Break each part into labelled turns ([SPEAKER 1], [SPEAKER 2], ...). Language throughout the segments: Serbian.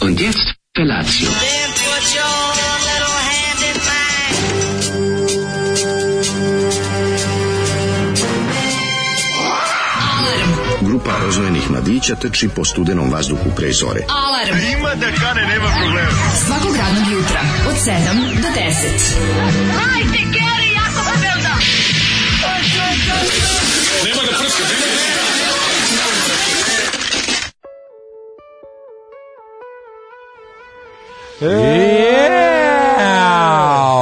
[SPEAKER 1] Und jetzt Felatio.
[SPEAKER 2] Then put your little hand in mine.
[SPEAKER 3] Grupa rozvojenih mladića trči po studenom vazduhu pre zore.
[SPEAKER 4] Alarm. Ima da kane, nema problema. Svakog radnog jutra, od 7 do 10. Hajde, Geri, jako se velda.
[SPEAKER 5] E,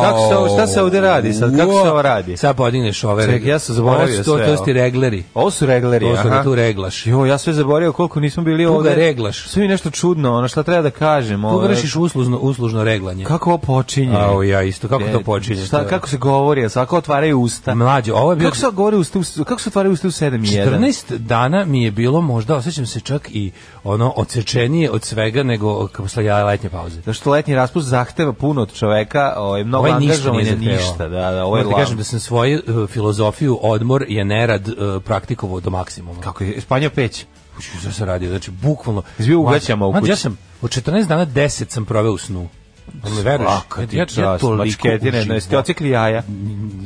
[SPEAKER 5] Kako se ovo, šta se ovde radi sad? Kako se ovo radi?
[SPEAKER 6] Sad podigneš ove
[SPEAKER 5] Čekaj,
[SPEAKER 6] regle.
[SPEAKER 5] ja sam zaboravio
[SPEAKER 6] Ovo su to-
[SPEAKER 5] sve
[SPEAKER 6] To
[SPEAKER 5] ovo.
[SPEAKER 6] su ti regleri.
[SPEAKER 5] Ovo su regleri,
[SPEAKER 6] To su
[SPEAKER 5] aha.
[SPEAKER 6] tu reglaš.
[SPEAKER 5] Jo, ja sve zaboravio koliko nismo bili
[SPEAKER 6] Pruga
[SPEAKER 5] ovde.
[SPEAKER 6] reglaš.
[SPEAKER 5] Sve mi nešto čudno, ono šta treba da kažem.
[SPEAKER 6] Tu
[SPEAKER 5] ovo-
[SPEAKER 6] vršiš uslužno, uslužno reglanje.
[SPEAKER 5] Kako ovo počinje?
[SPEAKER 6] Au, ja isto, kako to
[SPEAKER 5] E,
[SPEAKER 6] počinje? To
[SPEAKER 5] Šta,
[SPEAKER 6] je-
[SPEAKER 5] kako se govori? a Svako otvaraju usta.
[SPEAKER 6] Mlađe, ovo je bio...
[SPEAKER 5] Kako se govori usta, u- kako se otvaraju usta u 7 i 1?
[SPEAKER 6] 14 dana mi je bilo možda, osjećam se čak i ono odsečenije od svega nego posle ja letnje pauze.
[SPEAKER 5] Da što letnji raspust zahteva puno od čoveka, ovaj mnogo
[SPEAKER 6] Ovaj ništa
[SPEAKER 5] angažovanja
[SPEAKER 6] nije zahtevao.
[SPEAKER 5] ništa, da, da, ovaj
[SPEAKER 6] Moram ti kažem da sam svoju e, filozofiju odmor je nerad e, praktikovao do maksimuma.
[SPEAKER 5] kako je Spanja peć.
[SPEAKER 6] Uči, šta se radio? Znači, bukvalno...
[SPEAKER 5] Jesi bio u gaćama u
[SPEAKER 6] Mlađe,
[SPEAKER 5] kući?
[SPEAKER 6] Ja sam od 14 dana 10 sam proveo u snu. Ali veruješ?
[SPEAKER 5] Svaka ti
[SPEAKER 6] ja, ja, ja
[SPEAKER 5] čast,
[SPEAKER 6] toliko
[SPEAKER 5] mačketine, no jeste
[SPEAKER 6] uživam.
[SPEAKER 5] ocekli jaja.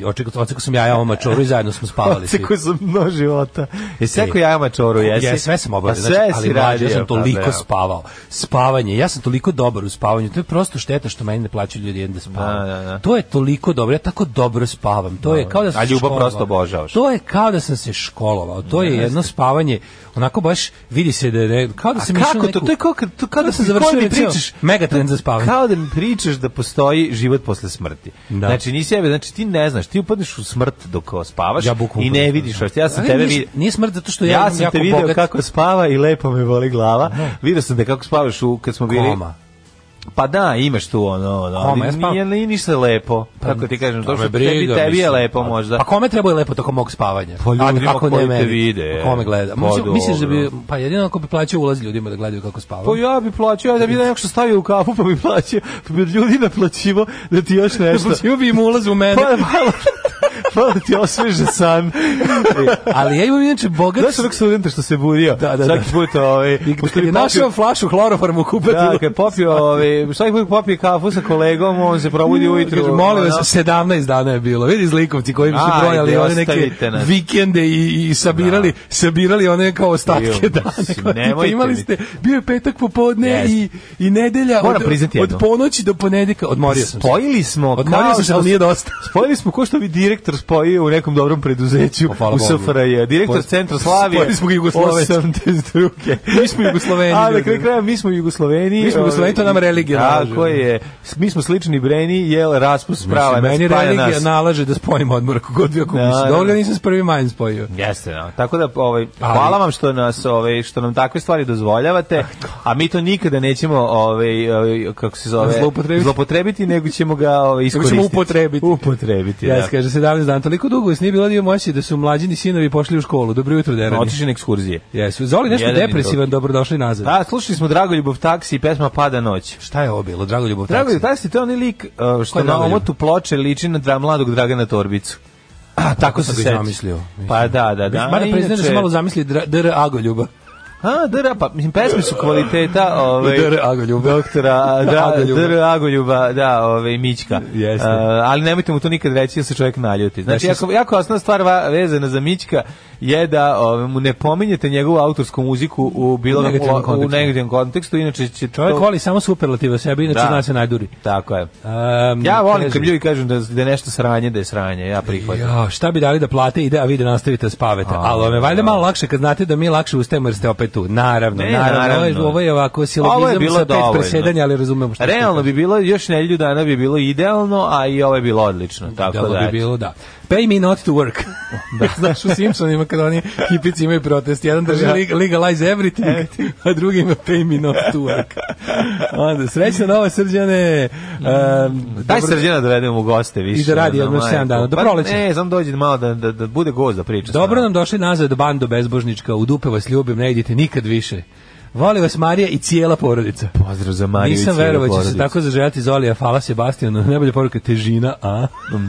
[SPEAKER 6] Očekao očekao sam jaja ovom mačoru i zajedno smo spavali svi.
[SPEAKER 5] Ocekao sam mnogo života. Jesi sekao jaja mačoru, jesi?
[SPEAKER 6] Ja sve sam obavio,
[SPEAKER 5] Pa
[SPEAKER 6] znači,
[SPEAKER 5] sve si
[SPEAKER 6] ali mlađe,
[SPEAKER 5] radio.
[SPEAKER 6] ja sam
[SPEAKER 5] pa
[SPEAKER 6] toliko
[SPEAKER 5] bravo.
[SPEAKER 6] spavao. Spavanje, ja sam toliko dobar u spavanju, to je prosto šteta što meni ne plaćaju ljudi jedan da spavam.
[SPEAKER 5] Da, da, da.
[SPEAKER 6] To je toliko dobro, ja tako dobro spavam. To je kao da sam
[SPEAKER 5] A
[SPEAKER 6] se
[SPEAKER 5] ljubav
[SPEAKER 6] školovao.
[SPEAKER 5] prosto obožavaš.
[SPEAKER 6] To je kao da sam se školovao. To je jedno spavanje, onako baš vidi se da je ne- kao da
[SPEAKER 5] A
[SPEAKER 6] sam išao
[SPEAKER 5] kako
[SPEAKER 6] u
[SPEAKER 5] to?
[SPEAKER 6] neku-
[SPEAKER 5] To je kao kad, to kao
[SPEAKER 6] Kao
[SPEAKER 5] da
[SPEAKER 6] da sam
[SPEAKER 5] ti- kao
[SPEAKER 6] završio
[SPEAKER 5] da mi
[SPEAKER 6] recimo,
[SPEAKER 5] pričaš.
[SPEAKER 6] megatrend za spavanje.
[SPEAKER 5] Kao da mi pričaš da postoji život posle smrti.
[SPEAKER 6] Da.
[SPEAKER 5] Znači nisi jebe, znači ti ne znaš, ti upadneš u smrt dok spavaš
[SPEAKER 6] Ja bukvalno
[SPEAKER 5] i ne
[SPEAKER 6] upadnem,
[SPEAKER 5] vidiš
[SPEAKER 6] da.
[SPEAKER 5] što. Ja sam
[SPEAKER 6] Ali
[SPEAKER 5] tebe
[SPEAKER 6] nije-
[SPEAKER 5] vidio.
[SPEAKER 6] nije smrt zato što ja
[SPEAKER 5] ja
[SPEAKER 6] imam
[SPEAKER 5] sam
[SPEAKER 6] jako
[SPEAKER 5] te video
[SPEAKER 6] bogat-
[SPEAKER 5] kako spava i lepo me boli glava. Video sam te kako spavaš u kad smo bili.
[SPEAKER 6] Koma.
[SPEAKER 5] Pa da, imaš tu ono, ono
[SPEAKER 6] Koma, ja
[SPEAKER 5] ali
[SPEAKER 6] spavam. Pa
[SPEAKER 5] nije, nije ništa lepo. kako ti kažem, to
[SPEAKER 6] me
[SPEAKER 5] što tebi,
[SPEAKER 6] briga,
[SPEAKER 5] tebi je
[SPEAKER 6] mislim.
[SPEAKER 5] lepo
[SPEAKER 6] Pa-
[SPEAKER 5] možda.
[SPEAKER 6] Pa kome treba je lepo tokom mog spavanja?
[SPEAKER 5] Pa ljudima
[SPEAKER 6] A kako
[SPEAKER 5] koji
[SPEAKER 6] ne
[SPEAKER 5] te
[SPEAKER 6] meni?
[SPEAKER 5] vide.
[SPEAKER 6] Pa Kome gleda?
[SPEAKER 5] Pa
[SPEAKER 6] Mislim, misliš da bi,
[SPEAKER 5] dobro.
[SPEAKER 6] pa jedino ako bi plaćao ulaz ljudima da gledaju kako spavam.
[SPEAKER 5] Pa ja bi plaćao, ja da bi
[SPEAKER 6] Znači-
[SPEAKER 5] da nešto stavio u kafu pa bi plaćao, pa bi od ljudi naplaćivo da ti još nešto.
[SPEAKER 6] Plaćao bi im ulaz u mene.
[SPEAKER 5] Pa malo, malo ti osveže
[SPEAKER 6] E.
[SPEAKER 5] san.
[SPEAKER 6] Ali ja imam inače bogat...
[SPEAKER 5] Znaš onog studenta što se budio?
[SPEAKER 6] Da, da,
[SPEAKER 5] Svaki
[SPEAKER 6] da.
[SPEAKER 5] put, ovaj,
[SPEAKER 6] I
[SPEAKER 5] pošto
[SPEAKER 6] kad
[SPEAKER 5] bi
[SPEAKER 6] je našao flašu hloroforma u kupatilu.
[SPEAKER 5] Da, kad je popio, ovaj, svaki put popije kafu sa kolegom, on se probudi ujutru.
[SPEAKER 6] Kaže, molim
[SPEAKER 5] ono.
[SPEAKER 6] vas, 17 dana je bilo. Vidi zlikovci koji su
[SPEAKER 5] Ajde,
[SPEAKER 6] brojali one neke
[SPEAKER 5] ostavite nas.
[SPEAKER 6] vikende i, i sabirali, sabirali one kao ostatke
[SPEAKER 5] Jo,
[SPEAKER 6] dana.
[SPEAKER 5] mislim,
[SPEAKER 6] Kao, tipa,
[SPEAKER 5] nemojte
[SPEAKER 6] imali
[SPEAKER 5] mi.
[SPEAKER 6] ste, bio je petak popodne
[SPEAKER 5] Jeste.
[SPEAKER 6] i, i nedelja
[SPEAKER 5] Moram
[SPEAKER 6] od,
[SPEAKER 5] priznati
[SPEAKER 6] od
[SPEAKER 5] jedno.
[SPEAKER 6] ponoći do ponedjeljka. Odmorio sam se.
[SPEAKER 5] Spojili smo,
[SPEAKER 6] Odmorio sam se, ali nije dosta.
[SPEAKER 5] Spojili smo ko što bi direktor spojio u nekom dobrom preduzeću
[SPEAKER 6] Pa, hvala
[SPEAKER 5] u
[SPEAKER 6] Bogu.
[SPEAKER 5] SFRJ. Direktor
[SPEAKER 6] Spojili-
[SPEAKER 5] Centra Slavije.
[SPEAKER 6] spojili smo ga Jugoslavije.
[SPEAKER 5] 82.
[SPEAKER 6] Mi smo Jugosloveni,
[SPEAKER 5] A, na
[SPEAKER 6] ljudi.
[SPEAKER 5] kraju kraja, mi smo Jugosloveni.
[SPEAKER 6] Mi smo Jugosloveni, to nam religija nalaže.
[SPEAKER 5] Tako je. Mi smo slični Breni, jel, raspust sprava.
[SPEAKER 6] Mislim,
[SPEAKER 5] nas
[SPEAKER 6] meni
[SPEAKER 5] spaja
[SPEAKER 6] religija
[SPEAKER 5] nas.
[SPEAKER 6] nalaže da spojimo odmor ako god vi ako
[SPEAKER 5] Da,
[SPEAKER 6] mislim.
[SPEAKER 5] da,
[SPEAKER 6] Dovoljno
[SPEAKER 5] da.
[SPEAKER 6] nisam s prvim majem spojio.
[SPEAKER 5] Jeste, no. Tako da ovaj hvala vam što nas ovaj što nam takve stvari dozvoljavate, a mi to nikada nećemo ovaj, ovaj kako se zove
[SPEAKER 6] Zloupotrebiti.
[SPEAKER 5] zloupotrebiti, nego ćemo ga ovaj
[SPEAKER 6] ćemo
[SPEAKER 5] iskoristiti.
[SPEAKER 6] upotrebiti.
[SPEAKER 5] Upotrebiti.
[SPEAKER 6] Ja
[SPEAKER 5] da.
[SPEAKER 6] se kaže 17 dana, toliko dugo vas nije bilo dio moći da su mlađini sinovi pošli u školu. Dobro jutro, Derani.
[SPEAKER 5] Otišli na ekskurzije.
[SPEAKER 6] Jesu. Zoli nešto
[SPEAKER 5] Jedan i
[SPEAKER 6] depresivan, dobrodošli nazad.
[SPEAKER 5] Da, slušali smo Dragoljubov taksi i pesma Pada noć.
[SPEAKER 6] Šta je ovo bilo? Drago ljubav
[SPEAKER 5] Dragoljubov
[SPEAKER 6] taksi.
[SPEAKER 5] taksi to je onaj lik uh,
[SPEAKER 6] Ko
[SPEAKER 5] što
[SPEAKER 6] je
[SPEAKER 5] na
[SPEAKER 6] Dragoljub?
[SPEAKER 5] omotu ploče liči na dra, mladog Dragana Torbicu. A, tako
[SPEAKER 6] sam
[SPEAKER 5] se
[SPEAKER 6] ga i
[SPEAKER 5] sećam.
[SPEAKER 6] zamislio. Mislim.
[SPEAKER 5] Pa da, da, da.
[SPEAKER 6] Da, Mada priznaš da
[SPEAKER 5] inače-
[SPEAKER 6] sam malo zamisli dra- DR Agoljuba.
[SPEAKER 5] A, dr, pa, mislim, pesme su kvaliteta, ovaj,
[SPEAKER 6] DR Agoljuba.
[SPEAKER 5] doktora, da,
[SPEAKER 6] Agoljuba.
[SPEAKER 5] dr, Agoljuba, da, ovaj, Mićka.
[SPEAKER 6] Jeste.
[SPEAKER 5] A, ali nemojte mu to nikad reći, jer se čovjek naljuti. Znači,
[SPEAKER 6] Znači,
[SPEAKER 5] jako, jako osnovna stvar va- vezana za Mićka je da ovaj, mu ne pominjete njegovu autorsku muziku u bilo
[SPEAKER 6] U negativnom
[SPEAKER 5] u- u
[SPEAKER 6] kontekstu.
[SPEAKER 5] negativnom kontekstu, inače će
[SPEAKER 6] Čovjek
[SPEAKER 5] to...
[SPEAKER 6] voli samo superlative o sebi, inače
[SPEAKER 5] Da.
[SPEAKER 6] zna se najduri.
[SPEAKER 5] Tako je.
[SPEAKER 6] Um,
[SPEAKER 5] Ja volim kad
[SPEAKER 6] kaže-
[SPEAKER 5] ljudi kažu da, da je nešto sranje, da je sranje, ja prihvatam.
[SPEAKER 6] Ja, šta bi dali da plate ide, a vi da nastavite da spavate. Ali vam je valjda malo lakše kad znate da mi lakše ustajemo jer ste opet tu. Naravno,
[SPEAKER 5] Ne,
[SPEAKER 6] naravno.
[SPEAKER 5] naravno.
[SPEAKER 6] Ovo, je, ovo je ovako
[SPEAKER 5] Ovo je
[SPEAKER 6] silogizam
[SPEAKER 5] bilo
[SPEAKER 6] sa pet
[SPEAKER 5] dovoljno.
[SPEAKER 6] presedanja, ali razumemo šta ste
[SPEAKER 5] Realno bi bilo, još nedelju dana bi bilo idealno, a i ovo je bilo odlično. Tako
[SPEAKER 6] Tako
[SPEAKER 5] da,
[SPEAKER 6] bi
[SPEAKER 5] eto.
[SPEAKER 6] bilo, da. Pay me not to work. Da. Znaš, u Simpsonima kad oni hipici imaju protest, jedan drži
[SPEAKER 5] Da.
[SPEAKER 6] leg- legalize everything, a drugi ima pay me not to work. Onda, srećno nova srđane. Um,
[SPEAKER 5] Daj Srđana dovedemo u goste više.
[SPEAKER 6] I da radi
[SPEAKER 5] ono,
[SPEAKER 6] jedno
[SPEAKER 5] majko.
[SPEAKER 6] sedam dana, do
[SPEAKER 5] Pa
[SPEAKER 6] proleća.
[SPEAKER 5] Ne, znam dođe malo da, da, da bude gost da priča. s
[SPEAKER 6] Dobro
[SPEAKER 5] nama.
[SPEAKER 6] nam došli nazad bando bezbožnička, u dupe vas ljubim, ne idite nikad više. Voli vas Marija i cijela porodica.
[SPEAKER 5] Pozdrav za Mariju
[SPEAKER 6] Nisam
[SPEAKER 5] i cijelu
[SPEAKER 6] verovao da će se
[SPEAKER 5] porodicu.
[SPEAKER 6] tako zaželjati Zolija, hvala Sebastianu. Najbolja poruka težina, a?